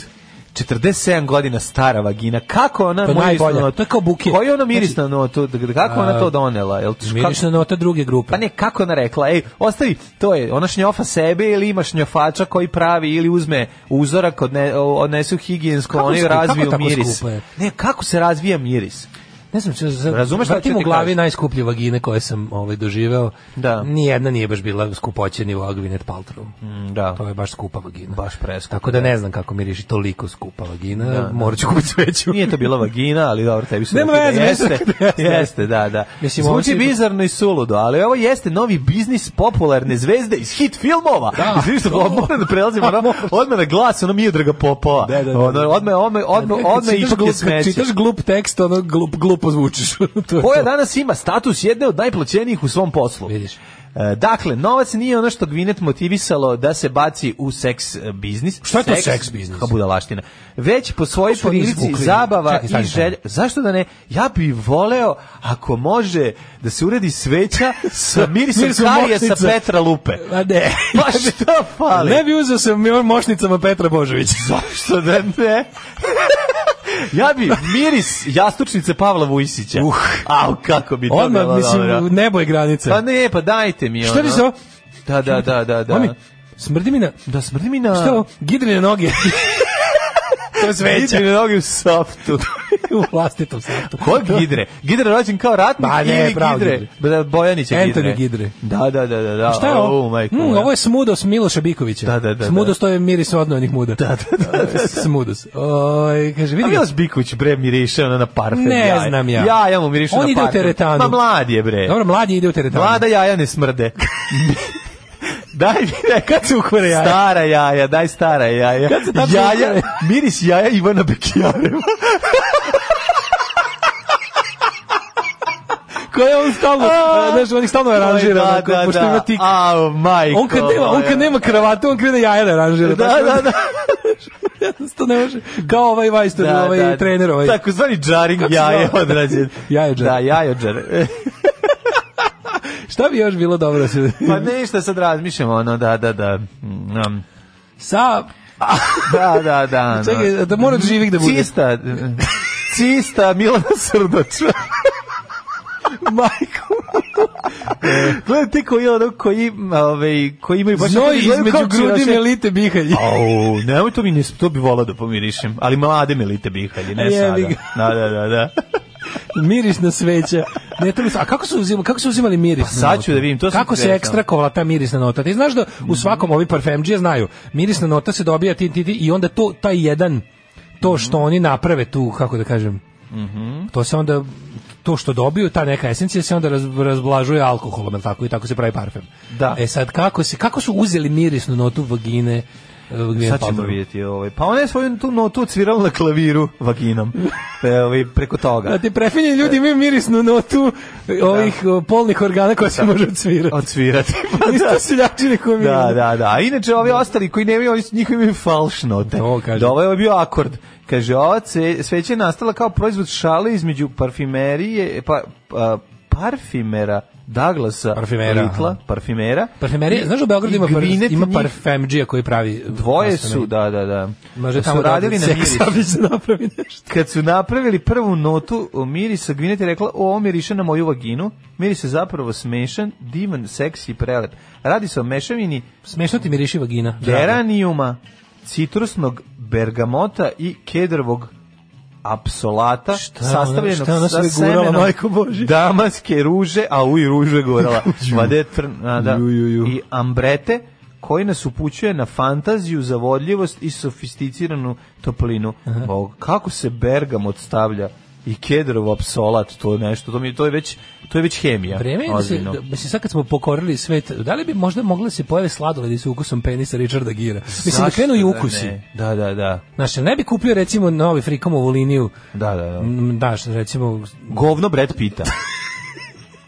[SPEAKER 5] 47 godina stara vagina. Kako ona
[SPEAKER 6] Pa
[SPEAKER 5] miris na
[SPEAKER 6] najbolje,
[SPEAKER 5] notu?
[SPEAKER 6] to je kao buket.
[SPEAKER 5] Koji je ona miris
[SPEAKER 6] Znači,
[SPEAKER 5] na notu? Kako
[SPEAKER 6] a,
[SPEAKER 5] ona to donela? Jel
[SPEAKER 6] Mirišna nota druge grupe.
[SPEAKER 5] Pa ne, kako ona rekla, ej, ostavi, to je, ona šnjofa sebe ili ima šnjofača koji pravi ili uzme uzorak, odne, odnesu higijensko,
[SPEAKER 6] Kako
[SPEAKER 5] oni
[SPEAKER 6] skupo-
[SPEAKER 5] razviju
[SPEAKER 6] kako tako
[SPEAKER 5] miris.
[SPEAKER 6] skupo je?
[SPEAKER 5] Ne, kako se razvija miris?
[SPEAKER 6] Ne znam, če, za,
[SPEAKER 5] Razumeš šta
[SPEAKER 6] vratim
[SPEAKER 5] ću ti
[SPEAKER 6] u glavi
[SPEAKER 5] kažem?
[SPEAKER 6] najskuplje vagine koje sam ovaj, doživeo.
[SPEAKER 5] Da.
[SPEAKER 6] Nijedna nije baš bila skupoće nivoa Gwyneth Paltrow.
[SPEAKER 5] Da,
[SPEAKER 6] To je baš skupa vagina.
[SPEAKER 5] baš preskupo.
[SPEAKER 6] Tako da ne znam kako miriši toliko skupa vagina. Morat ću kupiti sveću.
[SPEAKER 5] Nije to bila vagina, ali dobro, tebi su
[SPEAKER 6] Nema
[SPEAKER 5] rekli da
[SPEAKER 6] veze,
[SPEAKER 5] jeste,
[SPEAKER 6] mislim da jeste.
[SPEAKER 5] jeste, da, da.
[SPEAKER 6] Mislim, ovo
[SPEAKER 5] Zvuči
[SPEAKER 6] se-
[SPEAKER 5] bizarno i suludo, ali ovo jeste novi biznis popularne zvezde iz hit filmova. Da. Izvim što odmah da prelazimo, ono, odmah na glas, ono Miodraga Popova.
[SPEAKER 6] Da, da, da.
[SPEAKER 5] Ono, Odmah, odmah, odmah, odmah
[SPEAKER 6] Čitaš
[SPEAKER 5] ipak je
[SPEAKER 6] glup-
[SPEAKER 5] smeće.
[SPEAKER 6] Čitaš glup tekst, ono glup, glupo zvučiš. to je
[SPEAKER 5] Koja
[SPEAKER 6] to.
[SPEAKER 5] danas ima status jedne od najplaćenijih u svom poslu.
[SPEAKER 6] Vidiš.
[SPEAKER 5] E, Dakle, novac nije ono što Gvinet motivisalo da se baci u seks e, biznis.
[SPEAKER 6] Šta je to seks biznis?
[SPEAKER 5] Kao budalaština. Već po svojoj
[SPEAKER 6] su oni
[SPEAKER 5] prilici
[SPEAKER 6] izvukli?
[SPEAKER 5] zabava
[SPEAKER 6] Čekaj, stani,
[SPEAKER 5] i želja. Zašto da ne? Ja bi voleo, ako može, da se uredi sveća sa mirisom
[SPEAKER 6] Mirisom
[SPEAKER 5] karija sa
[SPEAKER 6] močnica.
[SPEAKER 5] Petra Lupe.
[SPEAKER 6] A ne.
[SPEAKER 5] Pa šta fali?
[SPEAKER 6] Ne bi uzeo sa mi- mošnicama Petra Božovića.
[SPEAKER 5] Zašto da ne? ja bi miris jastučnice Pavla Vujsića.
[SPEAKER 6] Uh.
[SPEAKER 5] Au, kako bi to
[SPEAKER 6] Odmah,
[SPEAKER 5] bilo
[SPEAKER 6] mislim,
[SPEAKER 5] dobro.
[SPEAKER 6] nebo je granica.
[SPEAKER 5] Pa ne, pa dajte mi ono.
[SPEAKER 6] Šta bi se ovo?
[SPEAKER 5] Da, da, da, da, da.
[SPEAKER 6] Mami, smrdi mi na...
[SPEAKER 5] Da smrdi mi na...
[SPEAKER 6] Šta je ovo? Gidrine noge. to je sveća.
[SPEAKER 5] Gidre noge u softu.
[SPEAKER 6] u vlastitom satu.
[SPEAKER 5] Ko je Gidre? Gidre rođen kao ratnik
[SPEAKER 6] Ba, ne,
[SPEAKER 5] ili
[SPEAKER 6] pravo
[SPEAKER 5] Gidre?
[SPEAKER 6] Gidre.
[SPEAKER 5] Da, Bojanić je Gidre.
[SPEAKER 6] Anthony Gidre.
[SPEAKER 5] Da, da, da, da. da.
[SPEAKER 6] Šta je ovo?
[SPEAKER 5] Oh, majko
[SPEAKER 6] Mm,
[SPEAKER 5] moja.
[SPEAKER 6] ovo je smudos Miloša Bikovića.
[SPEAKER 5] Da, da, da,
[SPEAKER 6] Smudos to je miris odnojenih muda.
[SPEAKER 5] Da, da, da, da.
[SPEAKER 6] Smudos. Oj, kaže,
[SPEAKER 5] A
[SPEAKER 6] vidi ga.
[SPEAKER 5] Miloš Biković, bre, miriše ono na parfem.
[SPEAKER 6] Ne
[SPEAKER 5] jaja.
[SPEAKER 6] znam ja.
[SPEAKER 5] Ja, ja mu mirišu
[SPEAKER 6] On
[SPEAKER 5] na
[SPEAKER 6] ide u
[SPEAKER 5] parfem.
[SPEAKER 6] teretanu.
[SPEAKER 5] Ma mlad je, bre.
[SPEAKER 6] Dobro, mladi ide u teretanu.
[SPEAKER 5] Mlada jaja ne smrde. daj mi neka
[SPEAKER 6] Kad se ukvare jaja?
[SPEAKER 5] Stara jaja, daj stara jaja.
[SPEAKER 6] se tačno
[SPEAKER 5] Jaja,
[SPEAKER 6] ukvare?
[SPEAKER 5] miris jaja Ivana Bekijareva.
[SPEAKER 6] Koje on stalno,
[SPEAKER 5] A.
[SPEAKER 6] znaš, on ih stalno aranžira,
[SPEAKER 5] Da,
[SPEAKER 6] onako,
[SPEAKER 5] Ovaj, pa da,
[SPEAKER 6] pošto
[SPEAKER 5] da.
[SPEAKER 6] ima tik.
[SPEAKER 5] Au, majko.
[SPEAKER 6] On kad nema, on
[SPEAKER 5] moja.
[SPEAKER 6] kad nema kravatu, on krene jaja da aranžira.
[SPEAKER 5] Da,
[SPEAKER 6] tako
[SPEAKER 5] da, da.
[SPEAKER 6] to ne može. Kao ovaj Vajster,
[SPEAKER 5] da,
[SPEAKER 6] ovaj
[SPEAKER 5] da.
[SPEAKER 6] trener, ovaj.
[SPEAKER 5] Tako zvani džaring
[SPEAKER 6] Kako se
[SPEAKER 5] jaje
[SPEAKER 6] zove?
[SPEAKER 5] odrađen.
[SPEAKER 6] Jajođar.
[SPEAKER 5] Da, jajođar.
[SPEAKER 6] Šta bi još bilo dobro da se...
[SPEAKER 5] pa ništa sad razmišljamo, ono, da, da, da. Mm,
[SPEAKER 6] Sa...
[SPEAKER 5] Da, da, da. ono.
[SPEAKER 6] Čekaj, da mora od živih da bude.
[SPEAKER 5] Cista. Cista Milana Srdoč.
[SPEAKER 6] Majko.
[SPEAKER 5] Gledaj ti koji ono, koji, ovaj, koji imaju baš...
[SPEAKER 6] Znoj
[SPEAKER 5] Izgledaju kao
[SPEAKER 6] između grudi
[SPEAKER 5] čiraše.
[SPEAKER 6] melite bihalji.
[SPEAKER 5] Au, nemoj to mi ne, to bi volao da pomirišem, ali mlade melite bihalje, ne
[SPEAKER 6] Jebi
[SPEAKER 5] sada.
[SPEAKER 6] ga.
[SPEAKER 5] Da, da, da, da.
[SPEAKER 6] Mirisna sveća. Ne, to mi se- a kako su uzimali, kako su uzimali miris?
[SPEAKER 5] Pa sad
[SPEAKER 6] na notu?
[SPEAKER 5] ću da vidim, to sam
[SPEAKER 6] Kako se
[SPEAKER 5] gledao.
[SPEAKER 6] ekstrakovala ta mirisna nota? Ti znaš da u svakom ovi parfemdžije znaju, mirisna nota se dobija ti, ti, ti i onda to taj jedan to što oni naprave tu, kako da kažem. To se onda to što dobiju, ta neka esencija se onda raz, razblažuje alkoholom, jel tako i tako se pravi parfem.
[SPEAKER 5] Da.
[SPEAKER 6] E sad kako se kako su uzeli mirisnu notu vagine? e, Gwyneth
[SPEAKER 5] Sad ćemo
[SPEAKER 6] Paltrow?
[SPEAKER 5] vidjeti ovaj. Pa ona je svoju tu notu odsvirala na klaviru vaginom. Pe, ovaj, preko
[SPEAKER 6] Da
[SPEAKER 5] toga.
[SPEAKER 6] ti prefinjeni ljudi imaju mirisnu notu ovih o, polnih organa koja se može odsvirati.
[SPEAKER 5] Odsvirati.
[SPEAKER 6] Ali
[SPEAKER 5] da.
[SPEAKER 6] isto Pa seljačine koje mi
[SPEAKER 5] Da, da, da. A inače ovi ostali koji nemaju, oni su njihovi imaju falš note.
[SPEAKER 6] To kažem.
[SPEAKER 5] Da, ovo je bio akord. Kaže, ova cve- sveća je nastala kao proizvod šale između parfimerije, pa, pa- parfimera Douglasa
[SPEAKER 6] Parfimera,
[SPEAKER 5] Littla,
[SPEAKER 6] aha.
[SPEAKER 5] parfimera.
[SPEAKER 6] Parfumerija, znaš da u Beogradu
[SPEAKER 5] I
[SPEAKER 6] ima, par,
[SPEAKER 5] Gwyneth
[SPEAKER 6] ima
[SPEAKER 5] njih-
[SPEAKER 6] parfemdžija koji pravi...
[SPEAKER 5] Dvoje su, da, da, da.
[SPEAKER 6] Može
[SPEAKER 5] Kad
[SPEAKER 6] tamo
[SPEAKER 5] su radili
[SPEAKER 6] da
[SPEAKER 5] na
[SPEAKER 6] Seks
[SPEAKER 5] miris.
[SPEAKER 6] Savić da napravi nešto.
[SPEAKER 5] Kad su napravili prvu notu o mirisa, Gvinet je rekla, o, ovo miriše na moju vaginu. Miris je zapravo smešan, divan, seksi i prelep. Radi se o mešavini
[SPEAKER 6] Smešno ti miriši vagina.
[SPEAKER 5] geranijuma, citrusnog bergamota i kedrovog apsolata
[SPEAKER 6] Šta ona-
[SPEAKER 5] sastavljenog
[SPEAKER 6] šta ona
[SPEAKER 5] sa
[SPEAKER 6] sve gurala,
[SPEAKER 5] semenom
[SPEAKER 6] majko Božja?
[SPEAKER 5] damanske ruže, a uj ruže gorala, vade tr- a, da,
[SPEAKER 6] Ju, ju, ju.
[SPEAKER 5] i ambrete koji nas upućuje na fantaziju, zavodljivost i sofisticiranu toplinu. Bog, kako se bergamot stavlja i kedrov apsolat, to je nešto, to, mi, to, je, već, to je već hemija.
[SPEAKER 6] Vreme je da se,
[SPEAKER 5] ozbiljno.
[SPEAKER 6] da, mislim sad kad smo pokorili svet, da li bi možda mogli da se pojave sladoledi sa ukusom penisa Richarda Gira? Mislim da
[SPEAKER 5] Zašto
[SPEAKER 6] krenu i
[SPEAKER 5] da
[SPEAKER 6] ukusi.
[SPEAKER 5] ne? Da, da, da.
[SPEAKER 6] Znaš, ne bi kupio recimo novi frikomovu liniju,
[SPEAKER 5] Da, da, da.
[SPEAKER 6] m, daš recimo
[SPEAKER 5] Govno Brad Pita.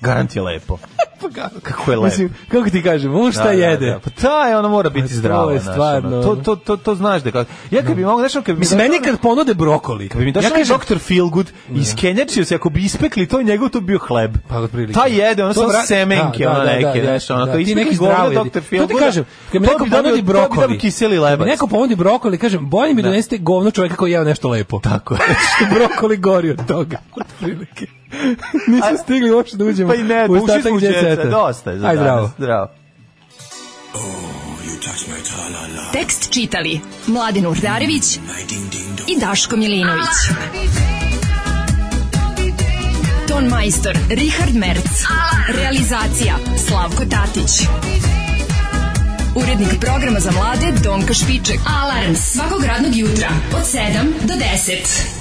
[SPEAKER 5] Garanti je lepo.
[SPEAKER 6] pa kako,
[SPEAKER 5] kako je lep.
[SPEAKER 6] Mislim, kako ti kažem, on šta
[SPEAKER 5] Da, da,
[SPEAKER 6] jede?
[SPEAKER 5] da. Pa ta je, ona mora biti
[SPEAKER 6] to
[SPEAKER 5] zdrava.
[SPEAKER 6] je
[SPEAKER 5] znaš,
[SPEAKER 6] stvarno,
[SPEAKER 5] ono. To, to, to, to znaš da kako. Ja kad bi mogao, znaš, ono, kad bi
[SPEAKER 6] Mislim,
[SPEAKER 5] došao
[SPEAKER 6] meni
[SPEAKER 5] onaj-
[SPEAKER 6] kad ponude brokoli,
[SPEAKER 5] Kad bi mi
[SPEAKER 6] ja
[SPEAKER 5] došao onaj
[SPEAKER 6] kažem,
[SPEAKER 5] doktor Feelgood i iskenjačio se, ako bi ispekli to njegov, to bi bio hleb.
[SPEAKER 6] Pa otprilike.
[SPEAKER 5] Ta jede, ono
[SPEAKER 6] To
[SPEAKER 5] samo
[SPEAKER 6] vra-
[SPEAKER 5] semenke,
[SPEAKER 6] da,
[SPEAKER 5] ono
[SPEAKER 6] da, da,
[SPEAKER 5] neke,
[SPEAKER 6] da,
[SPEAKER 5] znaš, ono,
[SPEAKER 6] da,
[SPEAKER 5] kao
[SPEAKER 6] ti
[SPEAKER 5] ispekli
[SPEAKER 6] neki
[SPEAKER 5] govno
[SPEAKER 6] zdravi
[SPEAKER 5] doktor
[SPEAKER 6] ljudi. To ti
[SPEAKER 5] Feelgood.
[SPEAKER 6] kažem, kad mi neko ponudi
[SPEAKER 5] To bi
[SPEAKER 6] brokoli.
[SPEAKER 5] dao kiseli lebac.
[SPEAKER 6] Kad mi neko ponudi brokoli, kažem, bolje mi donesite govno čoveka koji jeo nešto lepo. Tako je. Što brokoli gori od toga. Otprilike. Nisam stigli uopšte da uđemo
[SPEAKER 5] Pa i ne,
[SPEAKER 6] u
[SPEAKER 5] ušli smo
[SPEAKER 6] ostatak
[SPEAKER 5] u
[SPEAKER 6] jet
[SPEAKER 5] djeceta.
[SPEAKER 6] seta.
[SPEAKER 5] Dosta je za
[SPEAKER 6] Aj, zdravo.
[SPEAKER 5] danas. Zdravo.
[SPEAKER 4] Tekst čitali Mladin Urdarević i Daško Milinović. Ton majstor Richard Merc. Realizacija Slavko Tatić. Urednik programa za mlade Donka Špiček. Alarms svakog radnog jutra od 7 do 10.